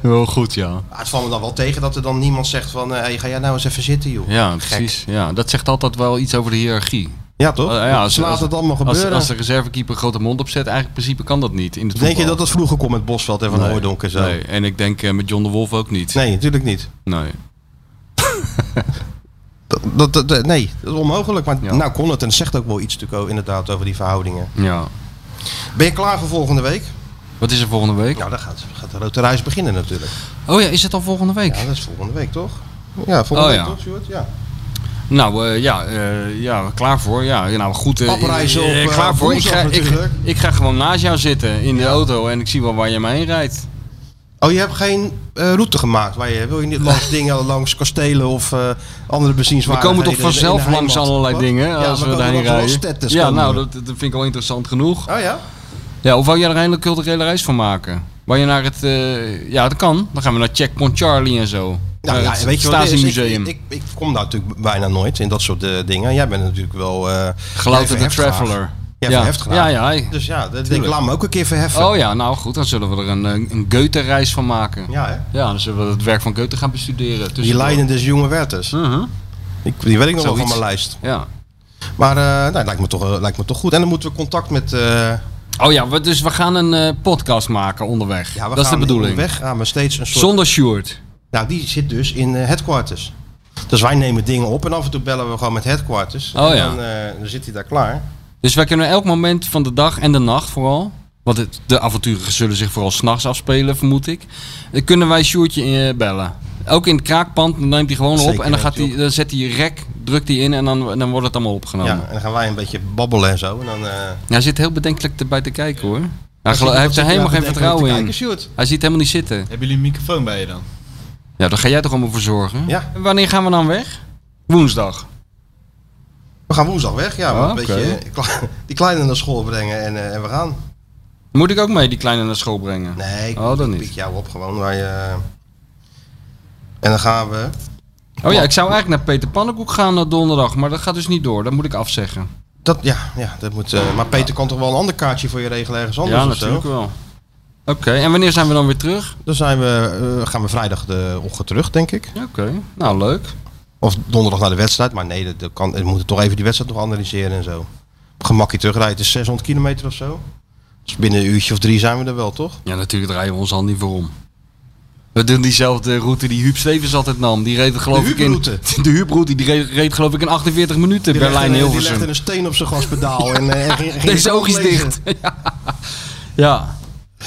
Speaker 4: Wel goed, ja.
Speaker 3: Maar het valt me dan wel tegen dat er dan niemand zegt van... eh, hey, ga jij nou eens even zitten, joh.
Speaker 4: Ja,
Speaker 3: Gek.
Speaker 4: precies. Ja, dat zegt altijd wel iets over de hiërarchie.
Speaker 3: Ja, toch?
Speaker 4: Eh, ja,
Speaker 3: Ze laten het allemaal
Speaker 4: als-
Speaker 3: gebeuren.
Speaker 4: Als, de reservekeeper grote mond opzet, eigenlijk in principe kan dat niet in het
Speaker 3: Denk je
Speaker 4: voetbal.
Speaker 3: dat dat vroeger kon met Bosveld en Van Hooijdonk en zo?
Speaker 4: Nee, en ik denk eh, met John de Wolf ook niet.
Speaker 3: Nee, natuurlijk niet.
Speaker 4: Nee.
Speaker 3: Dat, dat, dat- nee, dat is onmogelijk. Maar
Speaker 4: Ja.
Speaker 3: nou kon het en het zegt ook wel iets natuurlijk ook inderdaad over die verhoudingen.
Speaker 4: Ja.
Speaker 3: Ben je klaar voor volgende week?
Speaker 4: Wat is er volgende week?
Speaker 3: Nou, dan gaat, gaat de Rote Reis beginnen natuurlijk.
Speaker 4: Oh ja, is het al volgende week?
Speaker 3: Ja, dat is volgende week toch? Ja, volgende
Speaker 4: Oh,
Speaker 3: week
Speaker 4: ja.
Speaker 3: toch, Sjoerd? Ja.
Speaker 4: Nou eh, ja, eh, ja, klaar voor. Ja, ja, nou goed. eh,
Speaker 3: Papreizen op,
Speaker 4: eh,
Speaker 3: eh,
Speaker 4: klaar voor. Ik ga,
Speaker 3: woensdag
Speaker 4: ik,
Speaker 3: natuurlijk.
Speaker 4: ik ga gewoon naast jou zitten in de auto en ik zie wel waar je me heen rijdt.
Speaker 3: Oh, je hebt geen eh, route gemaakt waar je wil je niet langs dingen, langs kastelen of eh, andere
Speaker 4: We
Speaker 3: bezienswaardigheden.
Speaker 4: komen toch
Speaker 3: in de- in de
Speaker 4: vanzelf langs
Speaker 3: heimat?
Speaker 4: allerlei
Speaker 3: Wat?
Speaker 4: dingen eh,
Speaker 3: Ja,
Speaker 4: als
Speaker 3: we
Speaker 4: we
Speaker 3: komen
Speaker 4: daarheen
Speaker 3: langs wel
Speaker 4: rijden.
Speaker 3: stettes
Speaker 4: ja,
Speaker 3: komen we.
Speaker 4: nou, dat, dat vind ik al interessant genoeg.
Speaker 3: dus eh. Oh ja.
Speaker 4: Ja, of wil jij er een hele culturele reis van maken? Waar je naar het, eh, ja, dat kan. Dan gaan we naar Checkpoint Charlie en zo.
Speaker 3: Nou,
Speaker 4: Naar
Speaker 3: ja,
Speaker 4: het
Speaker 3: weet je wat het is?
Speaker 4: Stasi-museum.
Speaker 3: Ik, ik, ik kom daar natuurlijk bijna nooit in dat soort eh, dingen. Jij bent natuurlijk wel... eh
Speaker 4: Gelouterde
Speaker 3: verheft graag.
Speaker 4: traveler.
Speaker 3: Ja,
Speaker 4: ja.
Speaker 3: verheft graag.
Speaker 4: ja, ja. ja.
Speaker 3: Dus ja, dat, ik laat me ook een keer verheffen.
Speaker 4: Oh ja, nou goed, dan zullen we er een, eh, een Goethe-reis van maken.
Speaker 3: Ja, hè?
Speaker 4: Ja, dan zullen we het werk van Goethe gaan
Speaker 3: Die
Speaker 4: bestuderen. tussendoor.
Speaker 3: lijden des jonge Werthers.
Speaker 4: Mhm.
Speaker 3: Ik, die weet ik nog wel van
Speaker 4: Zoiets.
Speaker 3: mijn lijst.
Speaker 4: Ja.
Speaker 3: Maar eh nou, het lijkt, me toch, eh, lijkt me toch goed. En dan moeten we contact met... eh,
Speaker 4: Oh ja, we- dus we gaan een eh, podcast maken onderweg.
Speaker 3: Ja, we
Speaker 4: dat is de
Speaker 3: gaan
Speaker 4: bedoeling.
Speaker 3: Weg gaan we steeds een soort.
Speaker 4: Zonder Sjoerd.
Speaker 3: Nou, die zit dus in eh, headquarters. Dus wij nemen dingen op en af en toe bellen we gewoon met headquarters.
Speaker 4: Oh,
Speaker 3: en
Speaker 4: ja.
Speaker 3: dan, eh, dan zit hij daar klaar.
Speaker 4: Dus wij kunnen elk moment van de dag en de nacht vooral... Want het, de avonturen zullen zich vooral s'nachts afspelen, vermoed ik. Dan kunnen wij Sjoerdje eh, bellen. Ook in het kraakpand dan neemt hij gewoon op.
Speaker 3: Zeker
Speaker 4: En dan, gaat
Speaker 3: neemt hij
Speaker 4: hij, dan zet hij rek, drukt hij in en dan, dan wordt het allemaal opgenomen.
Speaker 3: Ja, en dan gaan wij een beetje babbelen en zo. En dan, eh,
Speaker 4: Hij zit heel bedenkelijk erbij te kijken hoor. Hij,
Speaker 3: dan
Speaker 4: gelo-
Speaker 3: zit-
Speaker 4: hij heeft er
Speaker 3: dan zit
Speaker 4: helemaal
Speaker 3: daar bedenken
Speaker 4: geen vertrouwen
Speaker 3: te
Speaker 4: in.
Speaker 3: kijken, Sjoerd.
Speaker 4: Hij ziet helemaal niet zitten.
Speaker 6: Hebben jullie een microfoon bij je dan?
Speaker 4: Ja, daar ga jij toch allemaal voor zorgen?
Speaker 3: Ja.
Speaker 4: En Wanneer gaan we dan weg? Woensdag.
Speaker 3: We gaan woensdag weg, ja.
Speaker 4: Ah,
Speaker 3: een
Speaker 4: oké.
Speaker 3: beetje eh, kla- die kleine naar school brengen en, eh, en we gaan.
Speaker 4: Moet ik ook mee die kleine naar school brengen?
Speaker 3: Nee, ik,
Speaker 4: Oh, dan
Speaker 3: ik
Speaker 4: niet.
Speaker 3: pik jou op gewoon. Wij, eh, en dan gaan we...
Speaker 4: Oh ja, ik zou eigenlijk naar Peter Pannenkoek gaan eh, donderdag, maar dat gaat dus niet door. Dat moet ik afzeggen.
Speaker 3: Dat, ja, ja, dat moet, eh, maar Peter kan toch wel een ander kaartje voor je regelen ergens anders
Speaker 4: ja,
Speaker 3: of zo?
Speaker 4: natuurlijk wel. Oké, en wanneer zijn we dan weer terug?
Speaker 3: Dan zijn we, eh, gaan we vrijdag de ochtend terug, denk ik.
Speaker 4: Ja, Oké, nou leuk.
Speaker 3: Of donderdag naar de wedstrijd. Maar nee, dat, dat kan, we moeten toch even die wedstrijd nog analyseren en zo. Op Gemakkie terugrijden, het is 600 kilometer of zo. Dus binnen een uurtje of drie zijn we er wel, toch?
Speaker 4: Ja, natuurlijk draaien we ons al niet voor om. We doen diezelfde route die Huub Stevens altijd nam. Die reed er geloof
Speaker 3: De
Speaker 4: ik in.
Speaker 3: Huubroute.
Speaker 4: De Huubroute, die reed, reed geloof ik in 48 minuten
Speaker 3: legde een- die
Speaker 4: Berlijn-Hilversum.
Speaker 3: legde een steen op zijn gaspedaal. en, eh, en ging- ging
Speaker 4: Deze
Speaker 3: het
Speaker 4: oog is
Speaker 3: lezen.
Speaker 4: dicht. Ja.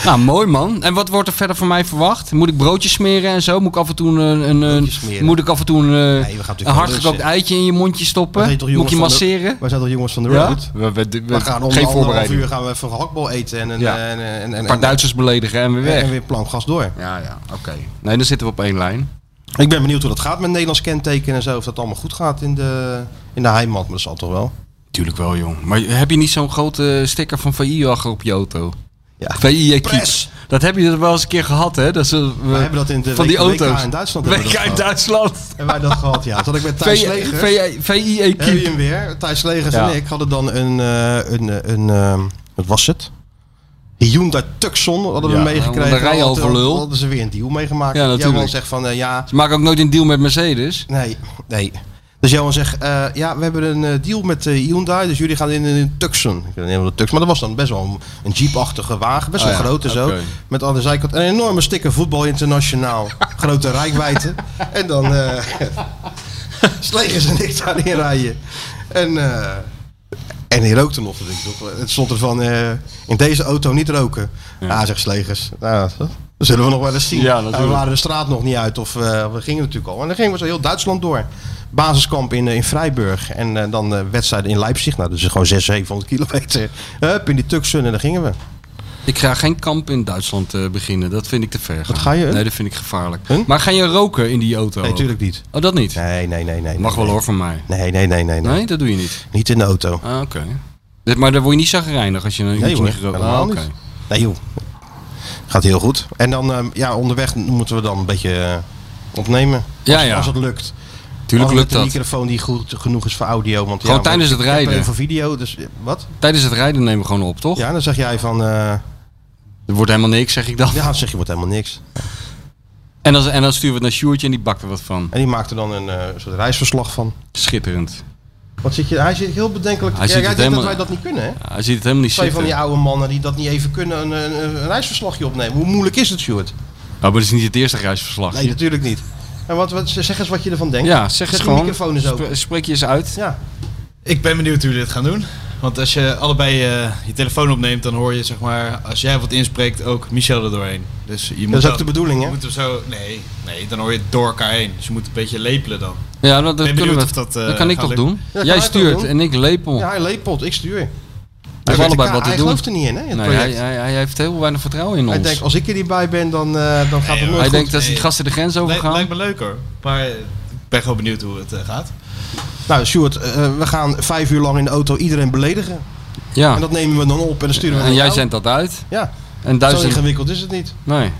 Speaker 4: Nou, mooi man. En wat wordt er verder van mij verwacht? Moet ik broodjes smeren en zo? Moet ik af en toe een, een, een-
Speaker 3: Broodjes smeren.
Speaker 4: moet ik af en toe een, eh,
Speaker 3: we gaan natuurlijk
Speaker 4: een
Speaker 3: wel
Speaker 4: hardgekookt
Speaker 3: lunchen.
Speaker 4: eitje in je mondje
Speaker 3: Wij
Speaker 4: stoppen?
Speaker 3: zijn toch
Speaker 4: Moet ik je
Speaker 3: jongens van de-
Speaker 4: masseren?
Speaker 3: Wij zijn toch jongens van de
Speaker 4: Ja?
Speaker 3: road?
Speaker 4: We, we, we-
Speaker 3: We gaan om
Speaker 4: geen
Speaker 3: de anderhalf
Speaker 4: voorbereiding.
Speaker 3: uur gaan we even gehaktbal eten en, een,
Speaker 4: Ja.
Speaker 3: en, eh, en, en,
Speaker 4: Een
Speaker 3: en,
Speaker 4: paar Duitsers beledigen en weer
Speaker 3: en, en
Speaker 4: weg.
Speaker 3: weer plankgas door.
Speaker 4: Ja, ja, oké. Nee, dan zitten we op één lijn.
Speaker 3: Ik ben benieuwd hoe dat gaat met Nederlands kenteken en zo. Of dat allemaal goed gaat in de, in de heimat. Maar dat zal toch wel.
Speaker 4: Tuurlijk wel, jong. Maar heb je niet zo'n grote sticker van VI achter op je auto?
Speaker 3: Ja.
Speaker 4: VI en
Speaker 3: Pres.
Speaker 4: Kiep. Dat heb je er wel eens een keer gehad, hè? Dat ze, we,
Speaker 3: We hebben dat in de
Speaker 4: van
Speaker 3: WK
Speaker 4: die auto's.
Speaker 3: in Duitsland. hebben we
Speaker 4: WK
Speaker 3: dat
Speaker 4: in
Speaker 3: gehad.
Speaker 4: Duitsland. E-,
Speaker 3: Hebben wij dat gehad, ja. Toen had ik met Thijs Legers...
Speaker 4: VI en
Speaker 3: Heb je
Speaker 4: Kiep.
Speaker 3: hem weer? Thijs Legers
Speaker 4: Ja.
Speaker 3: en ik hadden dan een, eh, een, eh, een, ehm, wat was het? Hyundai Tucson hadden we
Speaker 4: Ja,
Speaker 3: meegekregen.
Speaker 4: dan rij je al
Speaker 3: Hadden-
Speaker 4: voor lul.
Speaker 3: Hadden ze weer een deal meegemaakt.
Speaker 4: Ja, natuurlijk.
Speaker 3: Johan zegt van, eh, ja,
Speaker 4: Ze maken ook nooit een deal met Mercedes.
Speaker 3: nee, nee. Dus Johan zegt, eh, ja, we hebben een eh, deal met eh, Hyundai, dus jullie gaan in een Tucson. Ik weet niet wat een Tucson, maar dat was dan best wel een, een jeepachtige wagen, best wel
Speaker 5: Oh ja,
Speaker 3: groot en zo.
Speaker 5: oké.
Speaker 3: Met aan de zijkant een enorme sticker voetbal internationaal, grote rijkwijde. En dan eh slegen ze niks aan inrijden. En, eh, en die rookte nog. dat ik nog- Het stond ervan, eh, in deze auto niet roken. Ja, zegt Slegers. Nou, dat zullen we nog wel eens zien.
Speaker 4: Ja,
Speaker 3: En we
Speaker 4: natuurlijk.
Speaker 3: waren de straat nog niet uit. Of eh, we gingen natuurlijk al. En dan gingen we zo heel Duitsland door. Basiskamp in, eh, in Freiburg. En eh, dan eh, wedstrijden in Leipzig. Nou, dat is gewoon 600, 700 kilometer. Hup, in die Tucson. En daar gingen we.
Speaker 4: Ik ga geen kamp in Duitsland eh, beginnen. Dat vind ik te ver. gaan.
Speaker 3: ga je?
Speaker 4: Nee, dat vind ik gevaarlijk.
Speaker 3: Huh?
Speaker 4: Maar ga je roken in die auto?
Speaker 3: Nee,
Speaker 4: ook?
Speaker 3: natuurlijk niet.
Speaker 4: Oh, dat niet?
Speaker 3: Nee, nee, nee, nee.
Speaker 4: Mag
Speaker 3: nee,
Speaker 4: wel hoor van mij.
Speaker 3: Nee, nee, nee, nee. nee,
Speaker 4: Nee, dat doe je niet.
Speaker 3: Niet in de auto.
Speaker 4: Ah, oké. Dit- Maar dan word je niet zagrijnig als je een uurtje
Speaker 3: Nee hoor,
Speaker 4: niet gerookt
Speaker 3: helemaal
Speaker 4: Ah, oké.
Speaker 3: niet. Nee joh. Gaat heel goed. En dan, eh, ja, onderweg moeten we dan een beetje eh, opnemen.
Speaker 4: Ja,
Speaker 3: als,
Speaker 4: ja.
Speaker 3: als het lukt.
Speaker 4: Tuurlijk
Speaker 3: Als
Speaker 4: lukt
Speaker 3: met een
Speaker 4: dat.
Speaker 3: microfoon die goed genoeg is voor audio. Want
Speaker 4: Gewoon
Speaker 3: ja,
Speaker 4: tijdens
Speaker 3: want
Speaker 4: het
Speaker 3: ik heb
Speaker 4: rijden. Oh.
Speaker 3: er Voor video, dus eh, wat?
Speaker 4: Tijdens het rijden nemen we gewoon op, toch?
Speaker 3: Ja, dan zeg jij van... eh,
Speaker 4: Er wordt helemaal niks, zeg ik dan.
Speaker 3: ja, dan zeg je wordt helemaal niks.
Speaker 4: En, dan, en dan sturen we het naar Sjoertje en die bakt er wat van.
Speaker 3: En die maakt er dan een eh, soort reisverslag van.
Speaker 4: Schitterend.
Speaker 3: Wat zit je... Hij zit heel bedenkelijk... te
Speaker 4: Hij
Speaker 3: kijken.
Speaker 4: ziet
Speaker 3: Hij
Speaker 4: het
Speaker 3: denkt dat wij
Speaker 4: helemaal-
Speaker 3: dat niet kunnen, hè?
Speaker 4: Ja, Hij ziet het helemaal niet
Speaker 3: Twee van die
Speaker 4: zitten.
Speaker 3: oude mannen die dat niet even kunnen een, een, een reisverslagje opnemen. Hoe moeilijk is het, Stuart?
Speaker 4: Oh, maar dat is niet het eerste reisverslag.
Speaker 3: Nee, natuurlijk niet. En wat, wat, zeg eens wat je ervan denkt.
Speaker 4: Ja, zeg
Speaker 3: Zet
Speaker 4: eens
Speaker 3: die
Speaker 4: gewoon.
Speaker 3: microfoon eens open.
Speaker 4: Spre- Spreek je eens uit.
Speaker 3: Ja.
Speaker 6: Ik ben benieuwd hoe jullie dit gaan doen. Want als je allebei eh, je telefoon opneemt, dan hoor je zeg maar, als jij wat inspreekt, ook Michel er doorheen. Dus je moet
Speaker 3: Dat is
Speaker 6: wel-
Speaker 3: ook de bedoeling, hè?
Speaker 6: Je moet hem zo, nee, nee, dan hoor je het door elkaar heen. Dus je moet een beetje lepelen dan.
Speaker 4: Ja, nou, dat, dat
Speaker 6: ben
Speaker 4: kunnen
Speaker 6: benieuwd
Speaker 4: we.
Speaker 6: of dat, eh,
Speaker 4: kan ik
Speaker 6: gaat
Speaker 4: toch
Speaker 6: lukken.
Speaker 4: doen?
Speaker 3: Ja, kan hij
Speaker 4: Jij
Speaker 3: toch
Speaker 4: stuurt
Speaker 3: doen?
Speaker 4: en ik lepel.
Speaker 3: Ja, hij leepot, ik stuur. Hij,
Speaker 4: hebben
Speaker 3: weet-
Speaker 4: allebei wat te
Speaker 3: hij
Speaker 4: doen.
Speaker 3: gelooft er niet in, hè? in Het
Speaker 4: nee, hij,
Speaker 3: project.
Speaker 4: hij, hij heeft heel weinig vertrouwen in
Speaker 3: Hij
Speaker 4: ons.
Speaker 3: denkt, als ik er niet bij ben, dan, eh, dan gaat het
Speaker 6: Nee,
Speaker 3: nooit
Speaker 4: Hij
Speaker 3: goed.
Speaker 4: denkt dat die
Speaker 6: Nee.
Speaker 4: gasten de grens
Speaker 6: Lijkt,
Speaker 4: overgaan.
Speaker 6: lijkt me leuk hoor. Maar eh, ik ben gewoon benieuwd hoe het eh, gaat.
Speaker 3: Nou, Stuart, eh, we gaan vijf uur lang in de auto iedereen beledigen.
Speaker 4: ja.
Speaker 3: En
Speaker 4: En,
Speaker 3: dat nemen we dan op en dan sturen we naar
Speaker 4: Ah. jij
Speaker 3: jou.
Speaker 4: zendt dat uit.
Speaker 3: Ja,
Speaker 4: En
Speaker 3: zo
Speaker 4: duizend.
Speaker 3: ingewikkeld is het niet.
Speaker 4: Nee.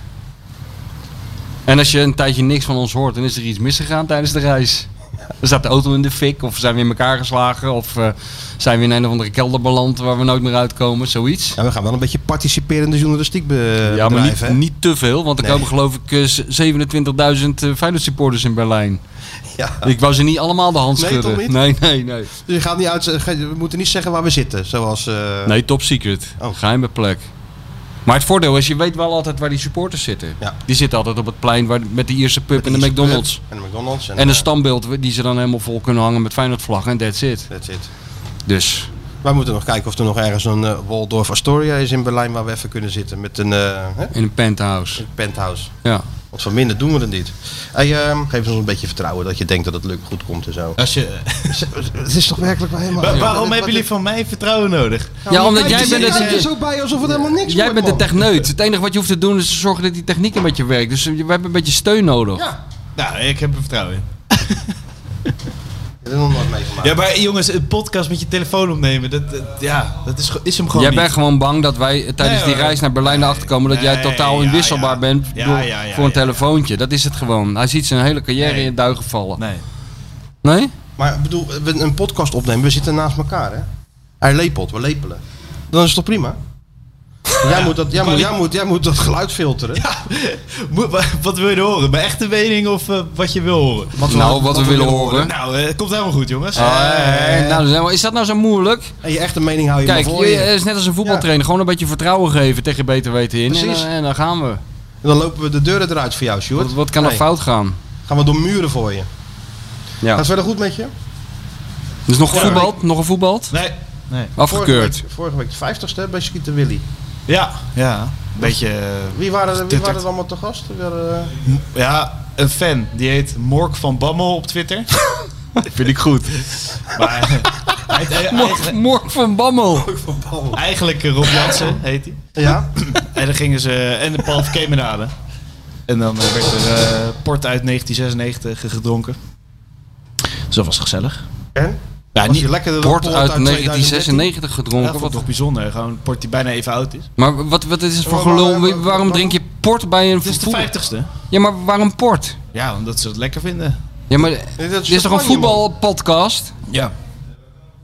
Speaker 4: En als je een tijdje niks van ons hoort, dan is er iets misgegaan tijdens de reis. Dan staat de auto in de fik, of zijn we in elkaar geslagen, of eh, zijn we in een of andere kelder beland waar we nooit meer uitkomen, zoiets.
Speaker 3: Ja, we gaan wel een beetje participerende journalistiek be
Speaker 4: Ja, maar
Speaker 3: Eh, bedrijven,
Speaker 4: niet,
Speaker 3: hè?
Speaker 4: niet te veel, want er
Speaker 3: Nee.
Speaker 4: komen geloof ik eh, 27.000 eh Feyenoord supporters in Berlijn.
Speaker 3: Ja.
Speaker 4: Ik wou ze niet allemaal de hand
Speaker 3: Nee,
Speaker 4: schudden.
Speaker 3: toch niet?
Speaker 4: nee, nee, nee.
Speaker 3: Dus je gaat niet uit, ge- we moeten niet zeggen waar we zitten. Zoals, eh,
Speaker 4: Nee, top secret.
Speaker 3: Oh.
Speaker 4: Geheime plek. Maar het voordeel is, je weet wel altijd waar die supporters zitten.
Speaker 3: Ja.
Speaker 4: Die zitten altijd op het plein waar, met de Ierse pub en de
Speaker 3: Ierse
Speaker 4: McDonald's.
Speaker 3: pub En de McDonald's. En,
Speaker 4: En een
Speaker 3: eh,
Speaker 4: standbeeld die ze dan helemaal vol kunnen hangen met Feyenoord-vlaggen en that's it.
Speaker 3: That's it.
Speaker 4: Dus,
Speaker 3: Wij moeten nog kijken of er nog ergens een eh, Waldorf Astoria is in Berlijn waar we even kunnen zitten met een eh, hè,
Speaker 4: in een penthouse.
Speaker 3: penthouse.
Speaker 4: Ja.
Speaker 3: Want van minder doen we het niet. Hey, ehm, geef ons een beetje vertrouwen dat je denkt dat het lukt, goed komt en zo.
Speaker 6: Als je,
Speaker 3: Het is toch werkelijk wel helemaal...
Speaker 6: Wa- waarom hebben jullie van mij vertrouwen nodig?
Speaker 4: Ja, omdat jij
Speaker 3: Je
Speaker 4: bent
Speaker 3: kijkt er
Speaker 4: de,
Speaker 3: zo bij alsof het helemaal niks
Speaker 4: jij
Speaker 3: wordt,
Speaker 4: bent de
Speaker 3: man.
Speaker 4: techneut. Het enige wat je hoeft te doen is zorgen dat die techniek een beetje werkt. Dus we hebben een beetje steun nodig. Ja,
Speaker 6: Nou, ik heb er vertrouwen in.
Speaker 3: Ik heb er nog nooit meegemaakt.
Speaker 6: Ja, maar eh, jongens, een podcast met je telefoon opnemen, dat, dat- ja, dat is, ge- is hem gewoon
Speaker 4: jij
Speaker 6: niet.
Speaker 4: bent gewoon bang dat wij eh, tijdens
Speaker 6: Nee,
Speaker 4: die
Speaker 6: hoor.
Speaker 4: reis naar Berlijn erachter komen dat jij
Speaker 6: Nee,
Speaker 4: totaal
Speaker 6: ja,
Speaker 4: inwisselbaar
Speaker 6: ja.
Speaker 4: bent
Speaker 6: Ja,
Speaker 4: door-
Speaker 6: ja, ja,
Speaker 4: voor een
Speaker 6: ja.
Speaker 4: telefoontje. Dat is het gewoon. Hij ziet zijn hele carrière
Speaker 6: Nee.
Speaker 4: in het duigen vallen.
Speaker 6: Nee.
Speaker 4: Nee?
Speaker 3: Maar ik bedoel, we een podcast opnemen, we zitten naast elkaar, hè? Hij lepelt, we lepelen. Dan is het toch prima? Jij, moet dat, jij, moet, jij, moet, jij moet dat geluid filteren.
Speaker 6: Moet- wa- wat wil je horen? Mijn echte mening of eh, wat je wil horen?
Speaker 4: nou, wat, we willen horen.
Speaker 6: Nou, eh, komt helemaal goed, jongens.
Speaker 4: Eh, nou, dan zijn we- is dat nou zo moeilijk?
Speaker 3: En je echte mening hou je
Speaker 4: Kijk,
Speaker 3: maar voor
Speaker 4: je, eh,
Speaker 3: je.
Speaker 4: het is net als een voetbaltrainer. Gewoon een beetje vertrouwen geven tegen je beter weten in. En,
Speaker 3: Precies.
Speaker 4: dan- en dan gaan we.
Speaker 3: En dan lopen we de deuren eruit voor jou, Sjoerd.
Speaker 4: Wat, wat kan er
Speaker 3: Nee,
Speaker 4: fout gaan?
Speaker 3: Gaan we door muren voor je.
Speaker 4: Ja.
Speaker 3: Gaat het verder goed met je?
Speaker 4: Dus nog een voetbal? Nog een voetbal?
Speaker 6: Nee. nee.
Speaker 4: Afgekeurd.
Speaker 3: Vorige week, vorige week de 50ste bij Schieten Willy.
Speaker 6: Ja, ja. Een beetje... eh,
Speaker 3: Wie waren er, wie
Speaker 6: Dit-
Speaker 3: waren er allemaal te gast? Weer, eh,
Speaker 6: Ja, een fan. Die heet Mork van Bammel op Twitter. Vind ik goed. Maar, hij heet- hij-
Speaker 4: Morg, Morg van Bammel.
Speaker 6: eigenlijk eh, Rob Jansen heet hij.
Speaker 3: Ja?
Speaker 6: En dan gingen ze... En de Paul van Kemenade. En dan eh, werd er eh, port uit 1996 gedronken. Dus dat was gezellig.
Speaker 3: En?
Speaker 6: Ja,
Speaker 3: Was je
Speaker 6: niet...
Speaker 3: lekkerder dan
Speaker 4: Wordt
Speaker 3: Port
Speaker 4: uit
Speaker 3: 2013?
Speaker 4: 1996
Speaker 6: Ja,
Speaker 4: gedronken.
Speaker 6: vond ik
Speaker 4: Wat,
Speaker 6: toch bijzonder. Gewoon port die bijna even oud is.
Speaker 4: maar wat, wat is het voor
Speaker 3: Maar waarom-
Speaker 4: gelul? Wie- Waarom
Speaker 3: waarom-
Speaker 4: drink je port bij een
Speaker 6: Het is de
Speaker 4: voetbal-
Speaker 6: vijftigste.
Speaker 4: Ja, maar waarom port?
Speaker 6: Ja, omdat ze het lekker vinden.
Speaker 4: Ja, maar
Speaker 3: is
Speaker 4: dit is toch een
Speaker 3: champagne,
Speaker 4: voetbalpodcast?
Speaker 6: Ja.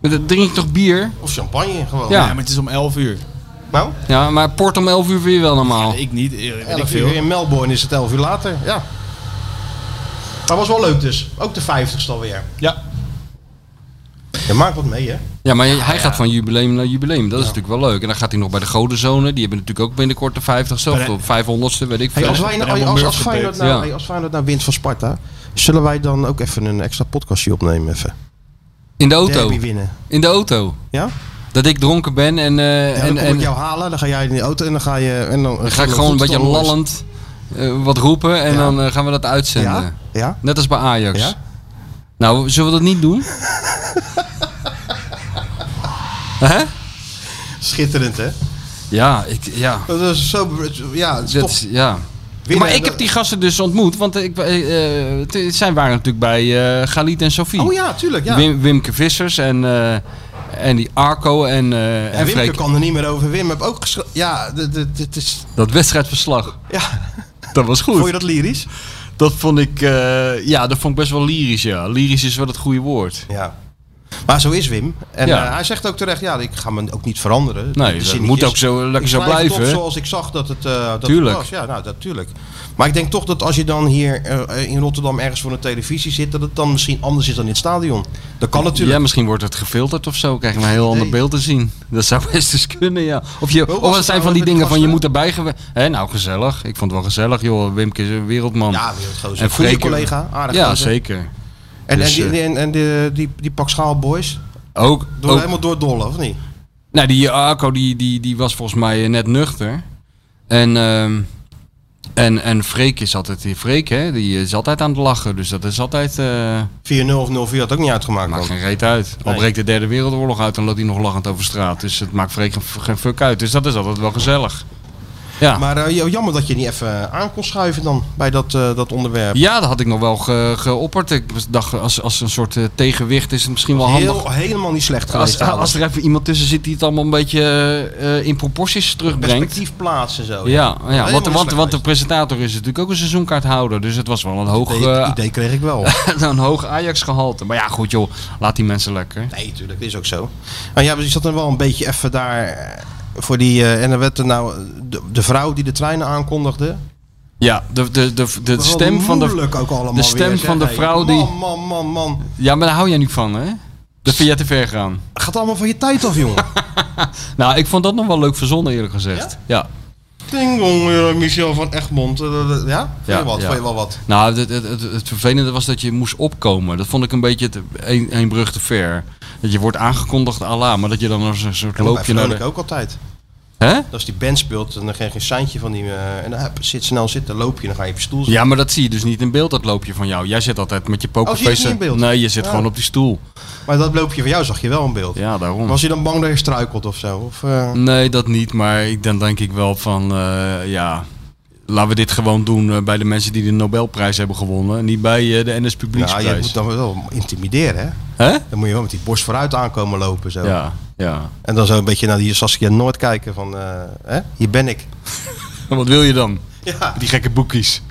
Speaker 6: Oh,
Speaker 4: Dan drink je toch bier?
Speaker 3: Of champagne gewoon.
Speaker 4: Ja.
Speaker 6: Ja, maar het is om 11 uur.
Speaker 3: Nou,
Speaker 4: Ja, maar port om 11 uur vind je wel normaal.
Speaker 6: Ik niet, eh, weet ik
Speaker 3: 11
Speaker 6: veel.
Speaker 3: uur in Melbourne is het 11 uur later. Ja. Dat was wel leuk dus. Ook de 50ste alweer.
Speaker 6: Ja.
Speaker 3: Je maakt wat mee, hè?
Speaker 4: Ja, maar
Speaker 3: Nou
Speaker 4: hij gaat van jubileum naar jubileum. Dat is natuurlijk wel leuk. En dan gaat hij nog bij de Godenzonen. Die hebben natuurlijk ook binnenkort de 50ste of de 500ste, weet ik
Speaker 3: Hey,
Speaker 4: veel.
Speaker 3: als, wij, nou-
Speaker 6: Raymond
Speaker 3: als, als,
Speaker 6: Murphy
Speaker 3: Feyenoord
Speaker 4: deed.
Speaker 3: nou,
Speaker 4: Ja.
Speaker 3: hey, als Feyenoord nou wint van Sparta, zullen wij dan ook even een extra podcastje opnemen? Even.
Speaker 4: In de auto.
Speaker 3: Derby winnen.
Speaker 4: In de auto.
Speaker 3: Ja?
Speaker 4: Dat ik dronken ben en... eh,
Speaker 3: Ja, dan
Speaker 4: en,
Speaker 3: kom
Speaker 4: en
Speaker 3: ik jou halen, dan ga jij in de auto en dan ga je... En dan,
Speaker 4: dan ga ik gewoon een beetje lallend eh, wat roepen. En
Speaker 3: Ja.
Speaker 4: dan eh, gaan we dat uitzenden.
Speaker 3: Ja? Ja?
Speaker 4: Net als bij Ajax.
Speaker 3: Ja?
Speaker 4: Nou, zullen we dat niet doen? Hè?
Speaker 3: Schitterend, hè?
Speaker 4: Ja, ik, ja.
Speaker 3: Dat is zo... Ja, het is
Speaker 4: Dat
Speaker 3: toch
Speaker 4: is- ja.
Speaker 3: winnen.
Speaker 4: maar ik heb die gasten dus ontmoet, want ik, eh, eh, t- zij waren natuurlijk bij eh, Galit en Sofie.
Speaker 3: Oh ja, tuurlijk, ja.
Speaker 4: Wim, Wimke Vissers en, eh, en die Arco en, eh
Speaker 3: Ja,
Speaker 4: en
Speaker 3: Wimke
Speaker 4: Freek.
Speaker 3: kan er niet meer over. Wim heb ook geschreven... Ja, dit- dit dit is...
Speaker 4: Dat wedstrijdverslag,
Speaker 3: Ja,
Speaker 4: dat was goed.
Speaker 3: vond je dat lyrisch?
Speaker 4: Dat vond ik, eh, ja, dat vond ik best wel lyrisch, ja. Lyrisch is wel het goede woord.
Speaker 3: Ja. Maar zo is Wim. En
Speaker 4: Ja.
Speaker 3: eh, hij zegt ook terecht, ja, ik ga me ook niet veranderen.
Speaker 4: Nee,
Speaker 3: De
Speaker 4: dat
Speaker 3: zin
Speaker 4: moet
Speaker 3: is,
Speaker 4: ook zo lekker
Speaker 3: ik
Speaker 4: zo
Speaker 3: schrijf het op
Speaker 4: blijven. hè?
Speaker 3: zoals ik zag dat het, eh, dat het
Speaker 4: Tuurlijk.
Speaker 3: was. Ja, nou, natuurlijk. Maar ik denk toch dat als je dan hier eh, in Rotterdam ergens voor een televisie zit, dat het dan misschien anders is dan in het stadion. Dat kan natuurlijk.
Speaker 4: Ja, misschien wordt het gefilterd of zo. Krijgen we een heel ander
Speaker 3: idee.
Speaker 4: beeld te zien. Dat zou best eens kunnen, ja. Of, je,
Speaker 3: was
Speaker 4: of
Speaker 3: het
Speaker 4: het zijn
Speaker 3: nou
Speaker 4: van
Speaker 3: met
Speaker 4: die
Speaker 3: die
Speaker 4: dingen van je
Speaker 3: gasten?
Speaker 4: moet erbij geweest. Hé, nou gezellig. Ik vond het wel gezellig, joh. Wimke is een wereldman.
Speaker 3: Ja, wereldgozer. Goede
Speaker 4: Freek-
Speaker 3: collega, aardig
Speaker 4: Ja,
Speaker 3: gozer.
Speaker 4: zeker.
Speaker 3: En,
Speaker 4: Dus,
Speaker 3: en, die, en, en die, die, die Pak Schaal Boys,
Speaker 4: Ook,
Speaker 3: door,
Speaker 4: ook-
Speaker 3: helemaal door dollen, of niet?
Speaker 4: nou, die Arco die, die, die was volgens mij eh, net nuchter. En, ehm, en, en Freek is altijd, die Freek hè, die is altijd aan het lachen. Dus dat is altijd, eh
Speaker 3: 4-0 of 0-4 had ook niet uitgemaakt.
Speaker 4: maakt
Speaker 3: man.
Speaker 4: geen reet uit. Al
Speaker 3: Nee.
Speaker 4: breekt de derde wereldoorlog uit, dan loopt hij nog lachend over straat. Dus het maakt Freek geen, geen fuck uit. Dus dat is altijd wel gezellig. Ja.
Speaker 3: Maar eh, joh, jammer dat je niet even eh, aan kon schuiven dan bij dat, eh, dat onderwerp.
Speaker 4: Ja, dat had ik nog wel ge- geopperd. Ik dacht, als, als een soort eh, tegenwicht is het misschien wel handig.
Speaker 3: Heel, helemaal niet slecht
Speaker 4: Als,
Speaker 3: geweest.
Speaker 4: als er even iemand tussen zit die het allemaal een beetje eh, in proporties terugbrengt.
Speaker 3: perspectief plaatsen zo.
Speaker 4: Ja, ja
Speaker 3: Helemaal niet
Speaker 4: want, want,
Speaker 3: slecht
Speaker 4: want de
Speaker 3: geweest.
Speaker 4: presentator is natuurlijk ook een seizoenkaarthouder. Dus het was wel een hoog,
Speaker 3: Nee, het
Speaker 4: eh,
Speaker 3: idee kreeg ik wel.
Speaker 4: een hoog Ajax gehalte. Maar ja, goed joh, laat die mensen lekker.
Speaker 3: Nee, tuurlijk, dat is ook zo. Maar ja, maar je zat er wel een beetje even daar eh, voor die. eh, en dan werd er nou eh, de, de vrouw die de treinen aankondigde.
Speaker 4: Ja, de, de, de, de,
Speaker 3: Wel
Speaker 4: stem van de...
Speaker 3: moeilijk ook allemaal
Speaker 4: de stem
Speaker 3: weer, zeg.
Speaker 4: van de
Speaker 3: Hey,
Speaker 4: vrouw die-
Speaker 3: Man, man, man, man.
Speaker 4: Ja, maar daar hou jij niet van hè? Dat vind jij te ver gaan.
Speaker 3: Gaat allemaal van je tijd af, jongen.
Speaker 4: Nou, ik vond dat nog wel leuk verzonnen eerlijk gezegd. ja.
Speaker 3: Ding dong, eh, Michel van Egmond. eh, eh, eh, Ja? Vond
Speaker 4: Ja,
Speaker 3: je wat?
Speaker 4: ja.
Speaker 3: Vond je wel wat?
Speaker 4: Nou, het, het, het, het vervelende was dat je moest opkomen. Dat vond ik een beetje te- een, een brug te ver. Dat je wordt aangekondigd Allah, maar dat je dan als een soort
Speaker 3: Ja, maar
Speaker 4: loopje naar
Speaker 3: Vrolijk
Speaker 4: de...
Speaker 3: ook altijd.
Speaker 4: Hè?
Speaker 3: Als die band speelt en dan krijg je een seintje van die... eh, en dan hup, zit snel zitten, loop je en dan ga je op je stoel zitten.
Speaker 4: Ja, maar dat zie je dus niet in beeld, dat loopje van jou. Jij zit altijd met je pokerface.
Speaker 3: Oh, zie je het niet in beeld?
Speaker 4: Nee, je zit
Speaker 3: Ja.
Speaker 4: gewoon op die stoel.
Speaker 3: Maar dat loopje van jou zag je wel in beeld.
Speaker 4: Ja, Nou, daarom.
Speaker 3: Was je dan bang dat je struikelt of zo? Of, eh,
Speaker 4: Nee, dat niet. Maar ik- dan denk ik wel van, eh, ja... Laten we dit gewoon doen eh, bij de mensen die de Nobelprijs hebben gewonnen. Niet bij eh, de NS
Speaker 3: nou, je
Speaker 4: Publieksprijs.
Speaker 3: moet dan wel intimideren, hè?
Speaker 4: Hè?
Speaker 3: Dan moet je wel met die borst vooruit aankomen lopen. Zo.
Speaker 4: Ja, ja.
Speaker 3: En dan zo een beetje naar die Saskia Noord kijken van, eh, hè? hier ben ik.
Speaker 4: En wat wil je dan?
Speaker 3: Ja.
Speaker 4: Die gekke boekjes.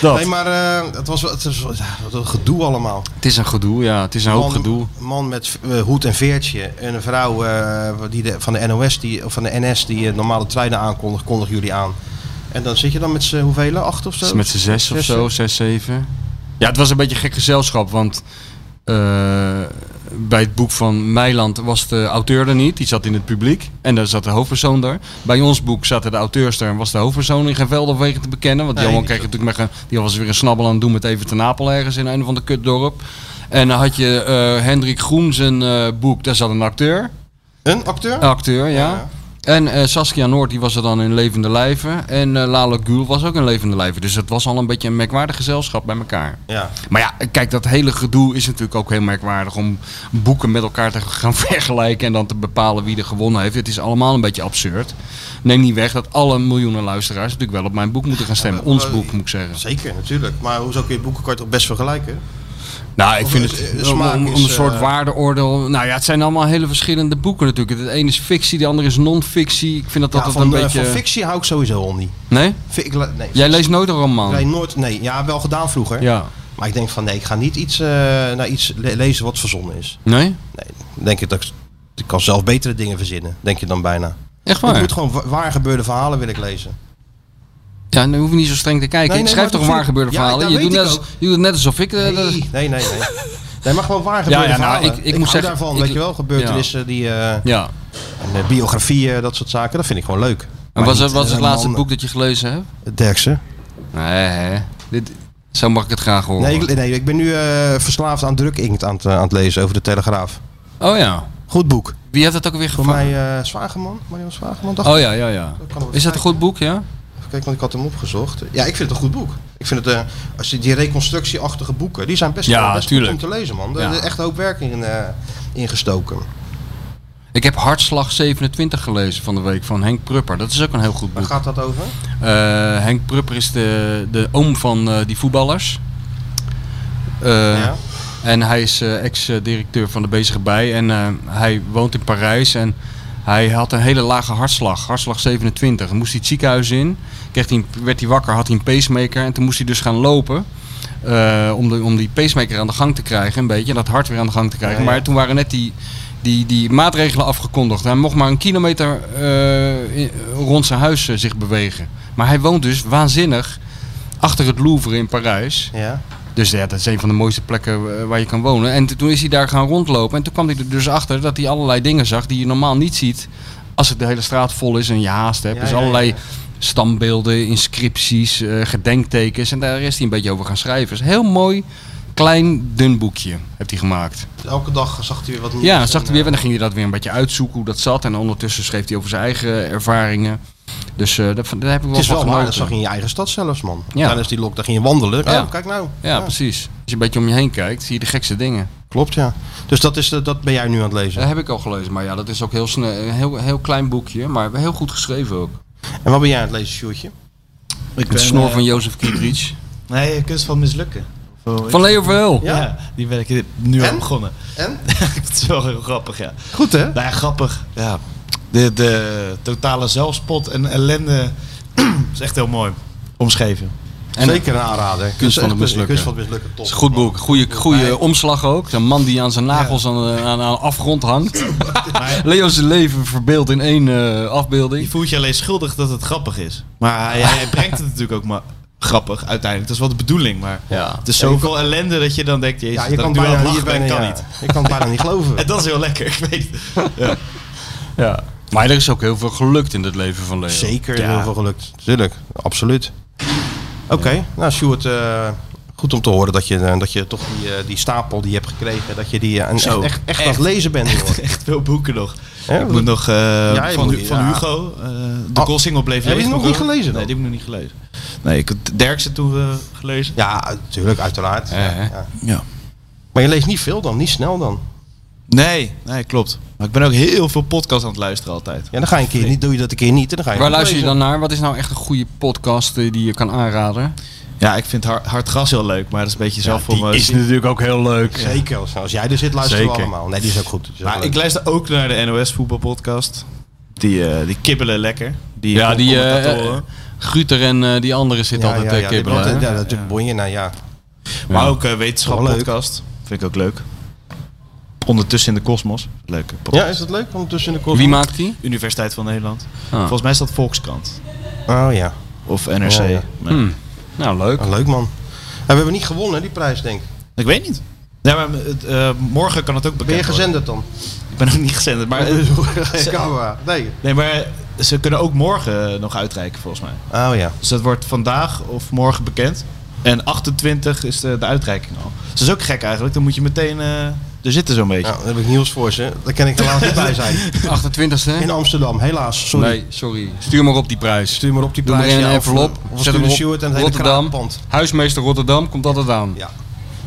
Speaker 4: Dat.
Speaker 3: Nee, maar eh, het was wel- het was, ja, wat een gedoe allemaal.
Speaker 4: Het is een gedoe, ja. Het is een hoop
Speaker 3: man,
Speaker 4: gedoe.
Speaker 3: man met eh, hoed en veertje en een vrouw eh, die de, van de NOS, die, of van de NS, die eh, normale treinen aankondigt, kondigen jullie aan. En dan zit je dan met z'n hoeveel? Acht of zo?
Speaker 4: Dus met z'n zes of zo, zes, zeven. Ja, het was een beetje een gek gezelschap, want eh, bij het boek van Meiland was de auteur er niet. Die zat in het publiek en daar zat de hoofdpersoon er. Bij ons boek zaten de auteurs er en was de hoofdpersoon in geen veld of wegen te bekennen. Want
Speaker 3: Nee,
Speaker 4: Johan
Speaker 3: die-
Speaker 4: kreeg natuurlijk met een, die was weer een snabbel aan het doen met even te Napel ergens in een of ander kutdorp. En dan had je eh, Hendrik Groen zijn eh, boek, daar zat een acteur.
Speaker 3: Een acteur?
Speaker 4: Acteur, ja.
Speaker 3: Ja.
Speaker 4: En eh, Saskia Noord, die was er dan in levende lijven. En eh, Lalo Gül was ook in levende lijven. Dus het was al een beetje een merkwaardig gezelschap bij elkaar.
Speaker 3: Ja.
Speaker 4: Maar ja, kijk, dat hele gedoe is natuurlijk ook heel merkwaardig om boeken met elkaar te gaan vergelijken en dan te bepalen wie er gewonnen heeft. Het is allemaal een beetje absurd. Neem niet weg dat alle miljoenen luisteraars natuurlijk wel op mijn boek moeten gaan stemmen.
Speaker 3: maar-
Speaker 4: Ons
Speaker 3: maar-
Speaker 4: boek, moet ik zeggen.
Speaker 3: Zeker, natuurlijk. Maar hoezo kun je boekenkaart toch best vergelijken?
Speaker 4: Nou, ik
Speaker 3: Of
Speaker 4: vind
Speaker 3: het, eh, de
Speaker 4: het om,
Speaker 3: smaak
Speaker 4: om- om
Speaker 3: is,
Speaker 4: een soort
Speaker 3: eh,
Speaker 4: waardeoordeel. Nou ja, het zijn allemaal hele verschillende boeken natuurlijk. Het ene is fictie, de andere is non-fictie. Ik vind dat
Speaker 3: Ja,
Speaker 4: altijd
Speaker 3: van,
Speaker 4: een
Speaker 3: eh,
Speaker 4: beetje.
Speaker 3: van fictie hou ik sowieso al niet.
Speaker 4: Nee?
Speaker 3: Fi- ik le- nee,
Speaker 4: Jij leest nooit een roman.
Speaker 3: Nee, nooit. Nee, ja, wel gedaan vroeger.
Speaker 4: Ja.
Speaker 3: Maar ik denk van nee, ik ga niet iets, eh, naar iets le- lezen wat verzonnen is.
Speaker 4: Nee?
Speaker 3: Nee, dan denk ik dat ik, ik kan zelf betere dingen verzinnen, denk je dan bijna.
Speaker 4: Echt
Speaker 3: Ik
Speaker 4: waar?
Speaker 3: moet gewoon wa- waar gebeurde verhalen wil ik lezen.
Speaker 4: Ja, dan hoef je niet zo streng te kijken.
Speaker 3: Nee,
Speaker 4: ik
Speaker 3: nee,
Speaker 4: schrijf
Speaker 3: maar
Speaker 4: toch
Speaker 3: dat
Speaker 4: waar
Speaker 3: vind ik-
Speaker 4: gebeurde
Speaker 3: Ja,
Speaker 4: verhalen.
Speaker 3: dat
Speaker 4: je, doet
Speaker 3: weet
Speaker 4: net
Speaker 3: ik
Speaker 4: als,
Speaker 3: ook.
Speaker 4: je doet net alsof ik... eh,
Speaker 3: Nee,
Speaker 4: dat-
Speaker 3: nee, nee. nee. Nee, maar gewoon waar gebeurde
Speaker 4: ja, nou,
Speaker 3: verhalen.
Speaker 4: ik- ik moet
Speaker 3: hou
Speaker 4: zeggen,
Speaker 3: daarvan,
Speaker 4: ik-
Speaker 3: weet je wel, gebeurtenissen die... eh,
Speaker 4: Ja.
Speaker 3: en, eh, biografieën, dat soort zaken, dat vind ik gewoon leuk.
Speaker 4: En
Speaker 3: Maar
Speaker 4: wat
Speaker 3: niet,
Speaker 4: is, wat is
Speaker 3: eh,
Speaker 4: het laatste
Speaker 3: man-
Speaker 4: boek dat je gelezen hebt?
Speaker 3: Derksen.
Speaker 4: Nee, hè. Dit, zo mag ik het graag horen.
Speaker 3: Nee, ik, nee, ik ben nu eh, verslaafd aan drukinkt aan het, eh, aan het lezen over de Telegraaf.
Speaker 4: Oh ja.
Speaker 3: Goed boek.
Speaker 4: Wie heeft dat ook weer
Speaker 3: Voor
Speaker 4: gevangen?
Speaker 3: mij eh, Zwageman, Marion Zwageman. Dacht
Speaker 4: Oh ja, ja, ja.
Speaker 3: ik. Kan er wel
Speaker 4: Is dat een
Speaker 3: kijken.
Speaker 4: goed boek, ja?
Speaker 3: Even kijken, want ik had hem opgezocht. Ja, ik vind het een goed boek. Ik vind het, eh, als je die reconstructieachtige boeken, die zijn best,
Speaker 4: Ja,
Speaker 3: wel best goed
Speaker 4: tuurlijk.
Speaker 3: om te lezen, man. Er
Speaker 4: Ja.
Speaker 3: er is echt een hoop werk in, eh, ingestoken.
Speaker 4: Ik heb Hartslag 27 gelezen van de week van Henk Prupper. Dat is ook een heel goed
Speaker 3: Waar
Speaker 4: boek.
Speaker 3: gaat dat over?
Speaker 4: Eh, Henk Prupper is de, de oom van eh, die voetballers. Eh,
Speaker 3: ja.
Speaker 4: En hij is eh, ex-directeur van de Bezige Bij. En eh, hij woont in Parijs. En hij had een hele lage hartslag. Hartslag 27. Dan moest hij het ziekenhuis in. Kreeg hij, een- werd hij wakker, had hij een pacemaker. En toen moest hij dus gaan lopen. eh, om, de, om die pacemaker aan de gang te krijgen. Een beetje. En dat hart weer aan de gang te krijgen.
Speaker 3: Ja, ja.
Speaker 4: Maar toen waren net die, die, die maatregelen afgekondigd. Hij mocht maar een kilometer eh, in- rond zijn huis eh, zich bewegen. Maar hij woont dus waanzinnig achter het Louvre in Parijs.
Speaker 3: Ja.
Speaker 4: Dus ja, dat is een van de mooiste plekken eh, waar je kan wonen. En t- toen is hij daar gaan rondlopen. En toen kwam hij er dus achter dat hij allerlei dingen zag die je normaal niet ziet. Als het de hele straat vol is en je haast hebt.
Speaker 3: Ja,
Speaker 4: dus
Speaker 3: ja,
Speaker 4: allerlei
Speaker 3: ja.
Speaker 4: stambeelden, inscripties, eh, gedenktekens. En daar is hij een beetje over gaan schrijven. Dus heel mooi, klein, dun boekje heeft hij gemaakt.
Speaker 3: Elke dag zag hij weer wat nieuws.
Speaker 4: Ja, dan zag
Speaker 3: en,
Speaker 4: hij weer.
Speaker 3: eh,
Speaker 4: En dan ging hij dat weer een beetje uitzoeken hoe dat zat. En ondertussen schreef hij over zijn eigen ervaringen. Dus eh, dat, daar heb ik wel
Speaker 3: Het is
Speaker 4: van
Speaker 3: wel waar, dat
Speaker 4: genoten.
Speaker 3: zag je in je eigen stad zelfs, man.
Speaker 4: Ja.
Speaker 3: Tijdens die lockdown ging je wandelen.
Speaker 4: Ja.
Speaker 3: Oh, kijk nou.
Speaker 4: Ja, precies. Als je een beetje om je heen kijkt, zie je de gekste dingen.
Speaker 3: Klopt, ja. Dus dat, is, eh, dat ben jij nu aan het lezen.
Speaker 4: Dat heb ik al gelezen, maar ja, dat is ook heel snel, een heel, heel klein boekje, maar heel goed geschreven ook.
Speaker 3: En wat ben jij aan het lezen, Sjoerdje?
Speaker 6: Ik
Speaker 4: Het
Speaker 3: eh,
Speaker 4: snor van Jozef Kietrich.
Speaker 6: Nee, kunst van mislukken. Of,
Speaker 4: Van Leo Verheul.
Speaker 6: Ja, die ben ik nu
Speaker 3: En?
Speaker 6: al begonnen.
Speaker 3: En?
Speaker 6: dat is wel heel grappig, ja.
Speaker 3: Goed, hè?
Speaker 6: Nou ja, grappig. Ja. De, de totale zelfspot en ellende is echt heel mooi omschreven.
Speaker 4: En-
Speaker 3: Zeker een aanrader. Kunst
Speaker 4: van het mislukken.
Speaker 3: Kunst van het mislukken, top.
Speaker 4: Het is een goed boek, goede, goede omslag ook. Een man die aan zijn nagels aan, eh, aan, aan afgrond hangt. Leo zijn leven verbeeld in één eh,
Speaker 6: Je
Speaker 4: afbeelding.
Speaker 6: voelt je alleen schuldig dat het grappig is. Maar hij, hij brengt het natuurlijk ook maar grappig uiteindelijk. Dat is wel de bedoeling, maar
Speaker 4: Ja.
Speaker 6: het is zoveel ellende dat je dan denkt, jezus,
Speaker 3: Ja, je
Speaker 6: dat
Speaker 3: kan,
Speaker 6: ik nu aan
Speaker 3: bijna,
Speaker 6: het
Speaker 3: niet-
Speaker 6: lachen ben,
Speaker 3: bijna-
Speaker 6: kan
Speaker 3: ja.
Speaker 6: niet.
Speaker 3: je kan het bijna niet geloven.
Speaker 6: En dat is heel lekker, ik weet het. Ja.
Speaker 4: Ja. Maar er is ook heel veel gelukt in het leven van Leo.
Speaker 3: Zeker
Speaker 6: Ja.
Speaker 3: heel veel gelukt. Tuurlijk, absoluut. Oké, nou Sjoerd, eh, goed om te horen dat je, eh, dat je toch die, eh, die stapel die je hebt gekregen, dat je die eh, en echt,
Speaker 6: Zo,
Speaker 3: echt, echt aan het lezen bent. jongen.
Speaker 6: Echt veel boeken nog.
Speaker 3: Hè,
Speaker 6: ik
Speaker 3: wat-
Speaker 6: moet nog eh,
Speaker 3: je
Speaker 6: van,
Speaker 3: moet-
Speaker 6: Hu- van
Speaker 3: ja.
Speaker 6: Hugo, eh, de
Speaker 3: Oh,
Speaker 6: Golsingel bleef
Speaker 3: heb je
Speaker 6: lezen.
Speaker 3: die nog
Speaker 6: van
Speaker 3: niet
Speaker 6: Hugo.
Speaker 3: gelezen dan?
Speaker 6: Nee, die heb ik nog niet gelezen. Nee, ik heb Derksen toen eh, gelezen.
Speaker 3: Ja, natuurlijk, uiteraard.
Speaker 4: Ja,
Speaker 3: Ja,
Speaker 4: hè?
Speaker 3: ja.
Speaker 6: Ja.
Speaker 3: Maar je leest niet veel dan, niet snel dan.
Speaker 6: Nee, nee, klopt. Maar ik ben ook heel veel podcasts aan het luisteren altijd.
Speaker 3: Ja, dan ga je een keer niet, doe je dat een keer niet en dan ga je
Speaker 4: Waar
Speaker 3: goed
Speaker 4: luister je dan
Speaker 3: lezen.
Speaker 4: naar? Wat is nou echt een goede podcast eh, die je kan aanraden?
Speaker 6: Ja, ik vind Hard, hard Gras heel leuk, maar dat is een beetje zelf voor me.
Speaker 4: natuurlijk ook heel leuk.
Speaker 3: Zeker, als, als jij er zit, luisteren we
Speaker 4: Zeker.
Speaker 3: allemaal. Nee, die is ook goed. Die is ook
Speaker 6: Maar
Speaker 3: leuk.
Speaker 6: ik luister ook naar de NOS voetbalpodcast. Die, eh, die kibbelen lekker. Die
Speaker 4: Ja, die
Speaker 6: commentatoren.
Speaker 4: eh Guter en eh, die andere zitten altijd eh,
Speaker 3: ja, die-
Speaker 4: kibbelen.
Speaker 3: want,
Speaker 4: hè?
Speaker 3: eh, Ja, natuurlijk bonje, nou ja.
Speaker 6: maar
Speaker 4: ja.
Speaker 6: ook eh wetenschap
Speaker 3: Wel leuk.
Speaker 6: podcast. Vind ik ook leuk. Ondertussen in de kosmos. Leuke podcast.
Speaker 3: Ja, is dat leuk om tussen de kop?
Speaker 4: Wie maakt die?
Speaker 6: Universiteit van Nederland.
Speaker 4: Ah.
Speaker 6: Volgens mij is dat Volkskrant.
Speaker 3: Oh ja, Oh,
Speaker 6: Of NRC.
Speaker 3: Ja, ja.
Speaker 6: Maar-
Speaker 4: Hmm. Nou, leuk.
Speaker 3: Ah, leuk man. En we hebben niet gewonnen, die prijs denk ik.
Speaker 6: Ik weet niet. Ja, maar het, eh, morgen kan het ook bekend
Speaker 3: Ben je
Speaker 6: worden.
Speaker 3: gezenderd dan?
Speaker 6: Ik ben ook niet gezend. Maar, eh,
Speaker 3: Geen camera. Nee.
Speaker 6: nee, maar ze kunnen ook morgen nog uitreiken volgens mij.
Speaker 3: Oh ja.
Speaker 6: Dus dat wordt vandaag of morgen bekend. En 28 is de, de uitreiking al. Dus dat is ook gek eigenlijk. Dan moet je meteen eh er zitten zo'n beetje.
Speaker 3: Nou, daar heb ik nieuws voor ze. Daar kan ik helaas niet bij zijn.
Speaker 4: 28e?
Speaker 3: In Amsterdam, helaas. Oh. Sorry.
Speaker 4: Nee, sorry. Stuur maar op die prijs.
Speaker 3: Stuur maar op die
Speaker 4: Doe maar
Speaker 3: prijs.
Speaker 4: in
Speaker 3: ja,
Speaker 4: een
Speaker 3: of-
Speaker 4: envelop.
Speaker 3: Of,
Speaker 4: eh, Zet
Speaker 3: stuur de
Speaker 4: hem op
Speaker 3: Stuart en het hele
Speaker 4: Rotterdam.
Speaker 3: kraakpand.
Speaker 4: Huismeester Rotterdam komt altijd aan.
Speaker 3: Ja.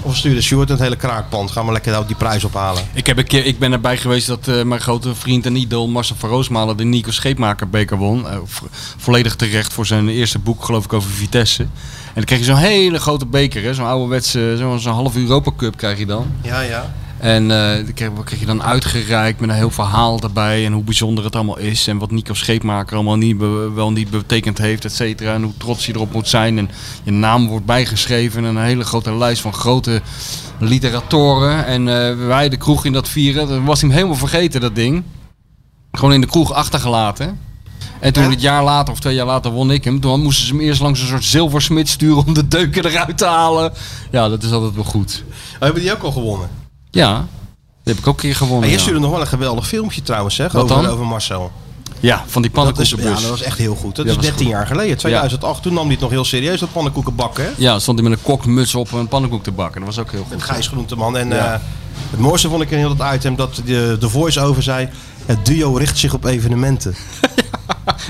Speaker 3: Of stuur de Stuart en het hele kraakpand. Gaan we lekker daar die prijs ophalen.
Speaker 4: Ik, heb een keer, ik ben erbij geweest dat eh, mijn grote vriend en idool Marcel van Roosmalen de Nico Scheepmaker beker won. Eh, vo- volledig terecht voor zijn eerste boek, geloof ik, over Vitesse. En dan kreeg je zo'n hele grote beker, hè, zo'n ouderwetse, zo'n zo'n half Europa Cup krijg je dan.
Speaker 3: Ja, ja.
Speaker 4: En eh die kreeg, wat kreeg je dan uitgereikt met een heel verhaal daarbij. En hoe bijzonder het allemaal is. En wat Nico Scheepmaker allemaal niet be- wel niet betekend heeft, et cetera. En hoe trots je erop moet zijn. En je naam wordt bijgeschreven. En een hele grote lijst van grote literatoren. En eh, wij de kroeg in dat vieren. Dat was hem helemaal vergeten, dat ding. Gewoon in de kroeg achtergelaten. En toen het jaar later of twee jaar later won ik hem. Toen moesten ze hem eerst langs een soort zilversmid sturen om de deuken eruit te halen. Ja, dat is altijd wel goed.
Speaker 3: Oh, hebben die ook al gewonnen?
Speaker 4: Ja, die heb ik ook een keer gewonnen.
Speaker 3: En je
Speaker 4: ja.
Speaker 3: stuurde nog wel een geweldig filmpje trouwens, zeg,
Speaker 4: Wat
Speaker 3: over,
Speaker 4: dan?
Speaker 3: over Marcel.
Speaker 4: Ja, van die
Speaker 3: Dat, is, ja,
Speaker 4: pannenkoekenbus.
Speaker 3: dat was echt heel goed. Dat
Speaker 4: Ja,
Speaker 3: is
Speaker 4: was
Speaker 3: 13 jaar geleden, 2008. Toen nam hij het nog heel serieus, dat pannenkoekenbak, hè?
Speaker 4: Ja, stond hij met een kokmuts op een pannenkoek te bakken. Dat was ook heel goed.
Speaker 3: Met Gijs Groenteman. En eh, het mooiste vond ik in heel dat item dat de, de voice-over zei... Het duo richt zich op evenementen.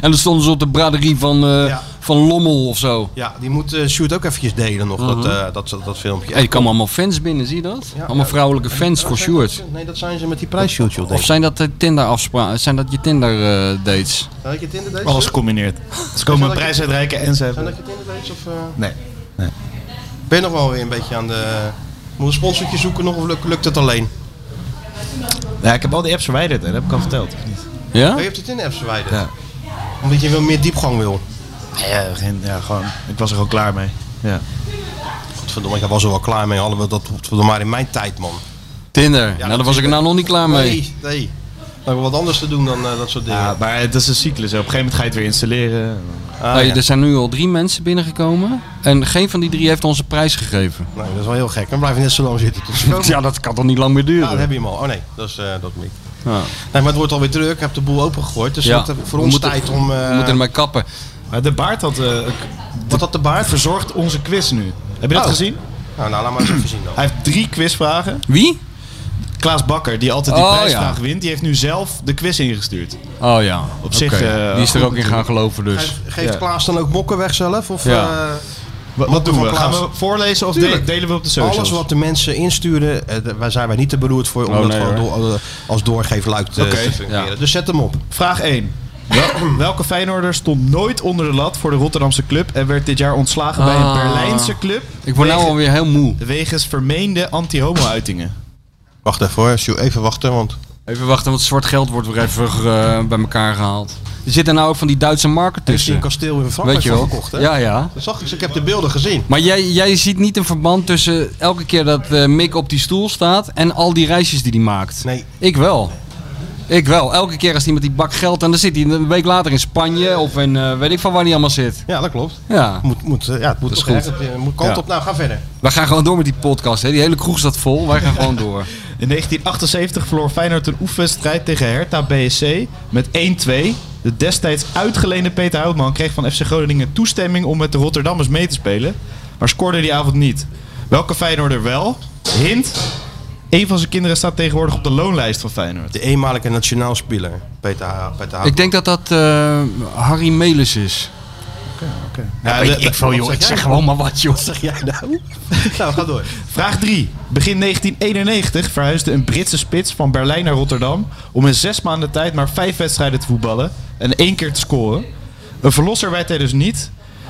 Speaker 4: En dan stonden ze op de braderie van, eh,
Speaker 3: Ja.
Speaker 4: van Lommel of zo.
Speaker 3: Ja, die moet eh Sjoerd ook eventjes delen nog,
Speaker 4: Mhm.
Speaker 3: dat, eh, dat, dat, dat filmpje.
Speaker 4: Ja, die kwamen allemaal fans binnen, zie je dat?
Speaker 3: Ja,
Speaker 4: allemaal
Speaker 3: ja.
Speaker 4: vrouwelijke fans voor Sjoerd.
Speaker 3: Nee, dat zijn ze met die prijs, Sjoerd, joh, denk
Speaker 4: Of
Speaker 3: ik.
Speaker 4: zijn dat de Tinder afspraken? Zijn dat je Tinder eh, dates?
Speaker 3: Zijn dat je
Speaker 4: Oh,
Speaker 3: Tinder dates?
Speaker 6: Alles
Speaker 3: Sjoerd?
Speaker 6: gecombineerd. Ze komen een prijs uitreiken en ze
Speaker 3: Zijn
Speaker 6: hebben...
Speaker 3: dat je Tinder dates? Of, eh,
Speaker 6: Nee.
Speaker 3: Ben je nog wel weer een beetje aan de... Moet een sponsortje zoeken nog of lukt, lukt het alleen?
Speaker 6: Ja, ik heb al die apps verwijderd, hè. dat heb ik al verteld, of niet?
Speaker 4: Ja?
Speaker 3: Oh, je hebt het in de apps verwijderd?
Speaker 6: Ja.
Speaker 3: Omdat je wel meer diepgang wil.
Speaker 6: Ja, geen, ja, gewoon. Ik was er gewoon klaar mee. Ja.
Speaker 3: Godverdomme, ik was er wel klaar mee. Hadden we dat godverdomme, maar in mijn tijd, man.
Speaker 4: Tinder. nou, daar was ik er nou nog niet klaar mee.
Speaker 3: Nee, nee. Dan heb ik wat anders te doen dan eh, dat soort dingen.
Speaker 6: Ja, maar het is een cyclus. Hè. Op een gegeven moment ga je het weer installeren.
Speaker 3: Ah,
Speaker 4: Hey,
Speaker 3: ja.
Speaker 4: Er zijn nu al drie mensen binnengekomen. En geen van die drie heeft ons een prijs gegeven.
Speaker 3: Nee, dat is wel heel gek. Dan blijf je net zo lang zitten dus- tot ze komen.
Speaker 4: Ja, dat kan toch niet lang meer
Speaker 3: Ja, dan
Speaker 4: duren?
Speaker 3: heb je hem al. Oh nee, dat is, eh, dat is niet.
Speaker 4: Ja.
Speaker 3: Nee, maar het wordt alweer druk. Ik heb de boel opengegooid. Dus
Speaker 4: Ja,
Speaker 3: dat, eh,
Speaker 4: we
Speaker 3: voor ons
Speaker 4: moeten-
Speaker 3: tijd om... eh,
Speaker 4: We moeten ermee kappen.
Speaker 6: Maar de baard had, eh,
Speaker 3: wat had de baard?
Speaker 6: verzorgt onze quiz nu. Heb je dat
Speaker 3: Oh.
Speaker 6: gezien?
Speaker 3: Nou, nou, laat maar eens even zien dan.
Speaker 6: Hij heeft drie quizvragen.
Speaker 4: Wie?
Speaker 6: Klaas Bakker, die altijd die
Speaker 4: Oh,
Speaker 6: prijsvraag
Speaker 4: ja.
Speaker 6: wint, die heeft nu zelf de quiz ingestuurd.
Speaker 4: Oh ja. Oké.
Speaker 6: zich, eh,
Speaker 4: die is er
Speaker 6: goed
Speaker 4: ook in gaan geloven dus.
Speaker 3: Geeft, geeft
Speaker 6: Ja.
Speaker 3: Klaas dan ook mokken weg zelf? Of,
Speaker 4: Ja.
Speaker 3: eh,
Speaker 6: Wat,
Speaker 3: Mokken
Speaker 6: doen
Speaker 3: van
Speaker 6: we? Gaan
Speaker 3: Klaas.
Speaker 6: we voorlezen of
Speaker 3: Tuurlijk.
Speaker 6: de- delen we op de socials?
Speaker 3: alles wat de mensen insturen, eh, d- daar zijn wij niet te beroerd voor om
Speaker 4: Oh,
Speaker 3: dat
Speaker 4: nee,
Speaker 3: gewoon door- eh, als doorgeefluik te,
Speaker 6: Oké,
Speaker 3: te fungeren.
Speaker 4: ja.
Speaker 3: Dus zet hem op.
Speaker 6: Vraag 1. Welke Feyenoorder stond nooit onder de lat voor de Rotterdamse club en werd dit jaar ontslagen bij
Speaker 4: Ah.
Speaker 6: een Berlijnse club
Speaker 4: Ik word nou
Speaker 6: Wegen-
Speaker 4: alweer heel moe.
Speaker 6: wegens vermeende anti-homo-uitingen?
Speaker 3: Wacht even hoor, Sjoe, even wachten, want...
Speaker 4: Even wachten, want zwart geld wordt weer even eh, bij elkaar gehaald. Er zitten nou ook van die Duitse marken
Speaker 3: Er is hier
Speaker 4: tussen.
Speaker 3: een kasteel in
Speaker 4: Weet
Speaker 3: Frankrijk
Speaker 4: je
Speaker 3: van
Speaker 4: wel?
Speaker 3: gekocht, hè?
Speaker 4: Ja, ja.
Speaker 3: Dat zag ik, ik heb de beelden gezien.
Speaker 4: Maar jij, jij ziet niet een verband tussen elke keer dat eh, Mick op die stoel staat en al die reisjes die hij maakt.
Speaker 3: Nee.
Speaker 4: Ik wel. Ik wel. Elke keer als hij met die bak geld en dan zit hij een week later in Spanje of in eh, weet ik van waar hij allemaal zit.
Speaker 3: Ja, dat klopt.
Speaker 4: Ja.
Speaker 3: Moet, moet, eh, ja, het moet
Speaker 4: Dat is
Speaker 3: toch
Speaker 4: goed.
Speaker 3: ergens, eh, moet kant
Speaker 4: Ja.
Speaker 3: op. Nou, ga verder.
Speaker 4: Wij gaan gewoon door met die podcast. Hè. Die hele kroeg staat vol. Wij gaan gewoon door.
Speaker 6: In 1978 verloor Feyenoord een oefenwedstrijd tegen Hertha BSC met 1-2. De destijds uitgeleende Peter Houtman kreeg van FC Groningen toestemming om met de Rotterdammers mee te spelen, maar scoorde die avond niet. Welke Feyenoorder wel? Hint, een van zijn kinderen staat tegenwoordig op de loonlijst van Feyenoord.
Speaker 3: De eenmalige nationaal speler, Peter, Ha- Peter Houtman.
Speaker 4: Ik denk dat dat eh, Harry Melis is.
Speaker 3: Ja, de- de- wat zeg jij?
Speaker 4: gewoon maar wat joh.
Speaker 3: Zeg jij nou? nou, ga door.
Speaker 6: Vraag 3. Begin 1991 verhuisde een Britse spits van Berlijn naar Rotterdam om in zes maanden tijd maar vijf wedstrijden te voetballen en één keer te scoren. Een verlosser werd hij dus niet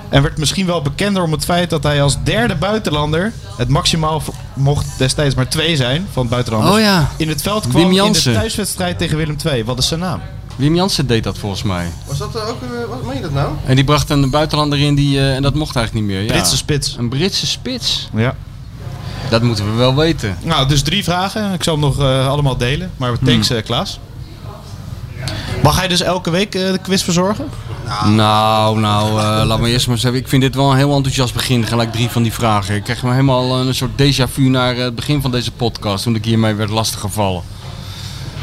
Speaker 6: en werd misschien wel bekender om het feit dat hij als derde buitenlander, het maximaal v- mocht destijds maar twee zijn van buitenlanders,
Speaker 4: Oh ja.
Speaker 6: in het veld
Speaker 4: Wim
Speaker 6: kwam in de
Speaker 4: Jansen.
Speaker 6: thuiswedstrijd tegen Willem II. Wat is zijn naam?
Speaker 4: Wim Jansen deed dat volgens mij.
Speaker 3: Was dat eh, ook... eh, wat meen je dat nou?
Speaker 4: En die bracht een buitenlander in die, eh, en dat mocht eigenlijk niet meer. Ja.
Speaker 6: Britse spits.
Speaker 4: Een Britse spits.
Speaker 6: Ja.
Speaker 4: Dat moeten we wel weten.
Speaker 6: Nou, dus drie vragen. Ik zal hem nog eh, allemaal delen, maar
Speaker 4: Hmm.
Speaker 6: thanks eh, Klaas. Mag hij dus elke week eh, de quiz verzorgen?
Speaker 4: Nou, nou, eh laat me eerst maar zeggen. Ik vind dit wel een heel enthousiast begin. Gelijk drie van die vragen. Ik krijg me helemaal eh, een soort déjà vu naar eh, het begin van deze podcast. Toen ik hiermee werd lastiggevallen.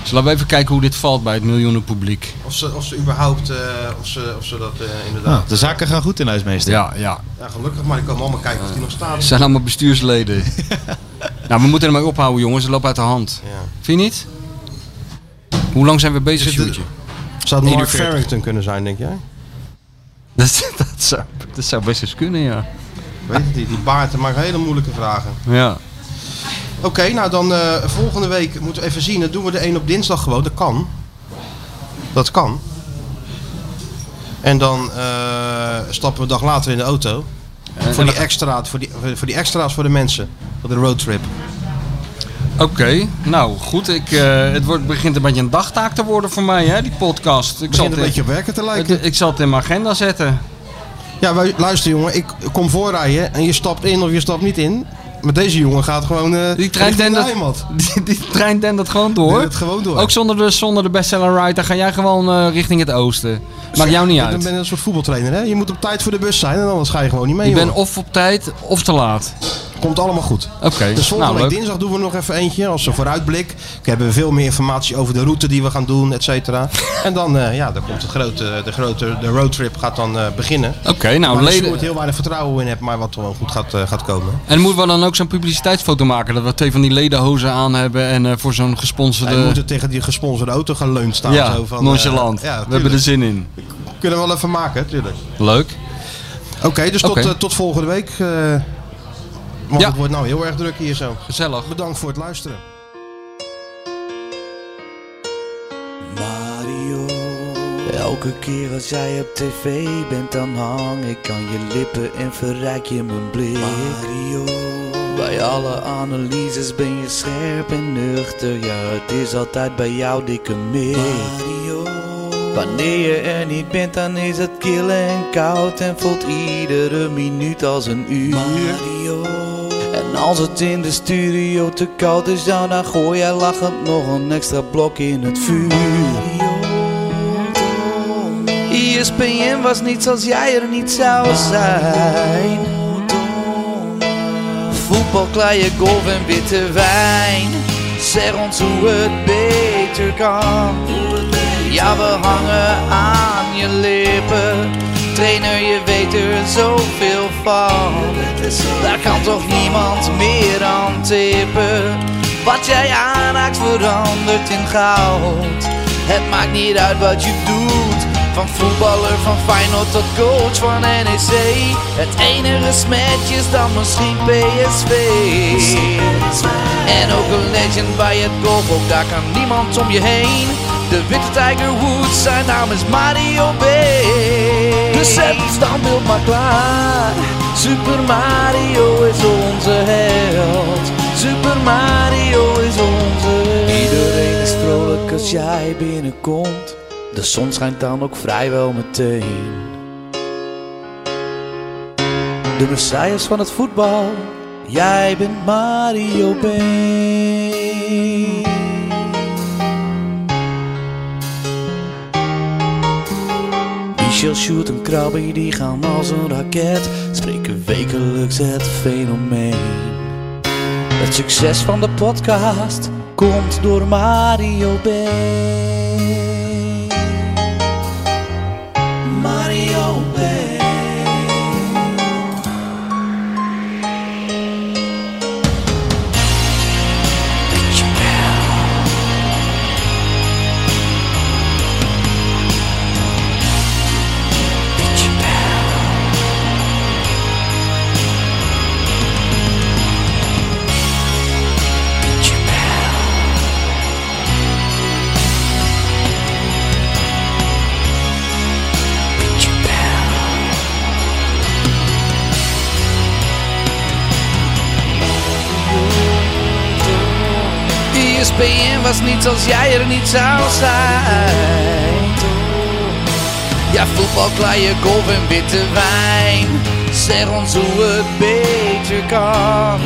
Speaker 4: Dus laten we even kijken hoe dit valt bij het miljoenen publiek.
Speaker 3: Of ze, of ze überhaupt... eh, of, ze, of ze dat eh, inderdaad...
Speaker 6: De zaken gaan goed in huis, meester.
Speaker 4: Ja, ja.
Speaker 3: Ja, gelukkig, maar die komen allemaal kijken of die nog staat.
Speaker 4: Het zijn allemaal bestuursleden. nou, we moeten ermee ophouden, jongens. Het loopt uit de hand.
Speaker 3: Ja.
Speaker 4: Vind je niet? Hoe lang zijn we bezig,
Speaker 3: Zit er-
Speaker 4: Sjoerdje?
Speaker 3: Zou het Mark
Speaker 6: 41.
Speaker 3: Farrington kunnen zijn, denk jij?
Speaker 4: Dat, dat, zou, dat zou best eens kunnen, ja.
Speaker 3: Weet het niet, die baarten maken hele moeilijke vragen.
Speaker 4: Ja.
Speaker 3: Oké, nou dan eh, volgende week moeten we even zien. Dan doen we de een op dinsdag gewoon, dat kan. Dat kan. En dan eh, stappen we een dag later in de auto. voor, die extra, voor, die, voor die extra's voor de mensen. Voor de roadtrip.
Speaker 4: Oké, nou goed. Ik, eh, het wordt, begint een beetje een dagtaak te worden voor mij, hè, die podcast. Ik
Speaker 3: Ik begint een
Speaker 4: het-
Speaker 3: beetje op werken te lijken.
Speaker 4: Ik, ik zal het in mijn agenda zetten.
Speaker 3: Ja, wij- luister jongen, ik kom voorrijden en je stapt in of je stapt niet in. Maar deze jongen gaat gewoon eh
Speaker 4: Die trein
Speaker 3: richting
Speaker 4: dendert,
Speaker 3: Nijmegen.
Speaker 4: die, die trein dendert gewoon door.
Speaker 3: Doe het gewoon door.
Speaker 4: Ook zonder de, zonder de bestseller rider ga jij gewoon eh, richting het oosten. Maakt jou niet
Speaker 3: Dan
Speaker 4: uit.
Speaker 3: ben je een soort voetbaltrainer hè. Je moet op tijd voor de bus zijn en anders ga je gewoon niet mee.
Speaker 4: Je bent
Speaker 3: jongen.
Speaker 4: of op tijd of te laat.
Speaker 3: Komt allemaal goed.
Speaker 4: Oké,
Speaker 3: Dus volgende
Speaker 4: nou,
Speaker 3: week
Speaker 4: leuk.
Speaker 3: dinsdag doen we nog even eentje als een vooruitblik. Ik heb veel meer informatie over de route die we gaan doen, et cetera. En dan, eh, ja, dan komt de grote, de grote de roadtrip gaat dan eh, beginnen.
Speaker 4: Oké, nou,
Speaker 3: Waar ik
Speaker 4: leden.
Speaker 3: soort heel weinig vertrouwen in heb, maar wat gewoon goed gaat, eh, gaat komen.
Speaker 4: En moeten we dan ook zo'n publiciteitsfoto maken? Dat we twee van die ledenhozen aan hebben en eh, voor zo'n gesponsorde...
Speaker 3: Hij moet er tegen die gesponsorde auto gaan leunt staan.
Speaker 4: ja,
Speaker 3: zo van, eh,
Speaker 4: nonchalant.
Speaker 3: ja,
Speaker 4: we hebben dus- er zin in.
Speaker 3: Kunnen we wel even maken, tuurlijk.
Speaker 4: Leuk.
Speaker 3: Oké, dus
Speaker 4: Oké.
Speaker 3: Tot, eh, tot volgende week. eh, want
Speaker 4: Ja.
Speaker 3: het wordt nou heel erg druk hier zo.
Speaker 4: Gezellig.
Speaker 3: Bedankt voor het luisteren.
Speaker 2: Mario, elke keer als jij op tv bent, dan hang ik aan je lippen en verrijk je mijn blik. Mario, bij alle analyses ben je scherp en nuchter, ja, het is altijd bij jou dikke mik. Mario, wanneer je er niet bent, dan is het kil en koud en voelt iedere minuut als een uur. Mario. En als het in de studio te koud is, ja, dan gooi jij lachend nog een extra blok in het vuur. E ESPN was niets als jij er niet zou zijn. Voetbal, kleien, golf en witte wijn. Zeg ons hoe het beter kan. Ja, we hangen aan je lippen. Trainer, je weet er zoveel van. Daar kan toch niemand meer aan tippen. Wat jij aanraakt verandert in goud. Het maakt niet uit wat je doet. Van voetballer, van Feyenoord tot coach van NEC. Het enige smetje is dan misschien PSV. En ook een legend bij het golf, ook daar kan niemand om je heen. De witte Tiger Woods, zijn naam is Mario B. Dus zet het standbeeld maar klaar. Super Mario is onze held. Super Mario is onze held. Iedereen is vrolijk als jij binnenkomt. De zon schijnt dan ook vrijwel meteen. De messias van het voetbal, jij bent Mario Been. Michel Sjoerd en Krabbe die gaan als een raket, spreken wekelijks het fenomeen. Het succes van de podcast komt door Mario B. Mario B. ESPN was niets als jij er niet zou zijn. Ja, voetbal, klaaien, golf en witte wijn. Zeg ons hoe het beter kan.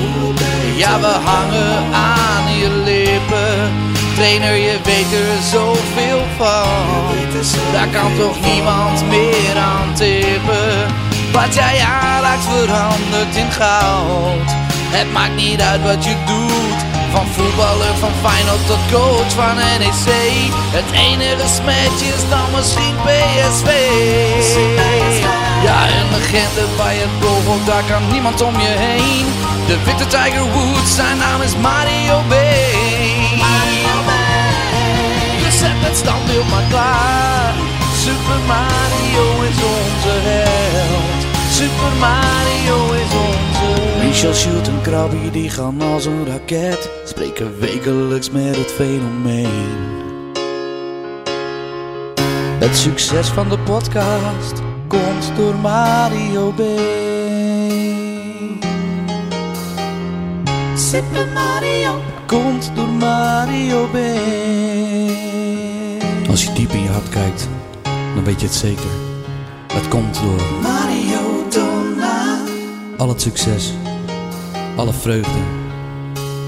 Speaker 2: Ja, we hangen aan je lippen. Trainer, je weet er zoveel van. Daar kan toch niemand meer aan tippen. Wat jij aanraakt verandert in goud. Het maakt niet uit wat je doet. Van voetballer, van Feyenoord tot coach van NEC. Het enige smetje is dan misschien PSV. Ja, een legende bij het golf, ook daar kan niemand om je heen. De witte Tiger Woods, zijn naam is Mario B. Dus zet het standbeeld maar klaar. Super Mario is onze held. Super Mario is onze held. Michel Schulte en Krabby die gaan als een raket. Spreken wekelijks met het fenomeen. Het succes van de podcast komt door Mario B. Super Mario komt door Mario B. Als je diep in je hart kijkt, dan weet je het zeker. Het komt door Mario Donna. Al het succes, alle vreugde,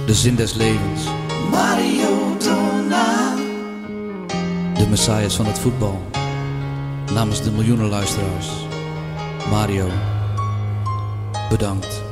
Speaker 2: de zin des levens. Mario Donna. De messias van het voetbal. Namens de miljoenen luisteraars. Mario, bedankt.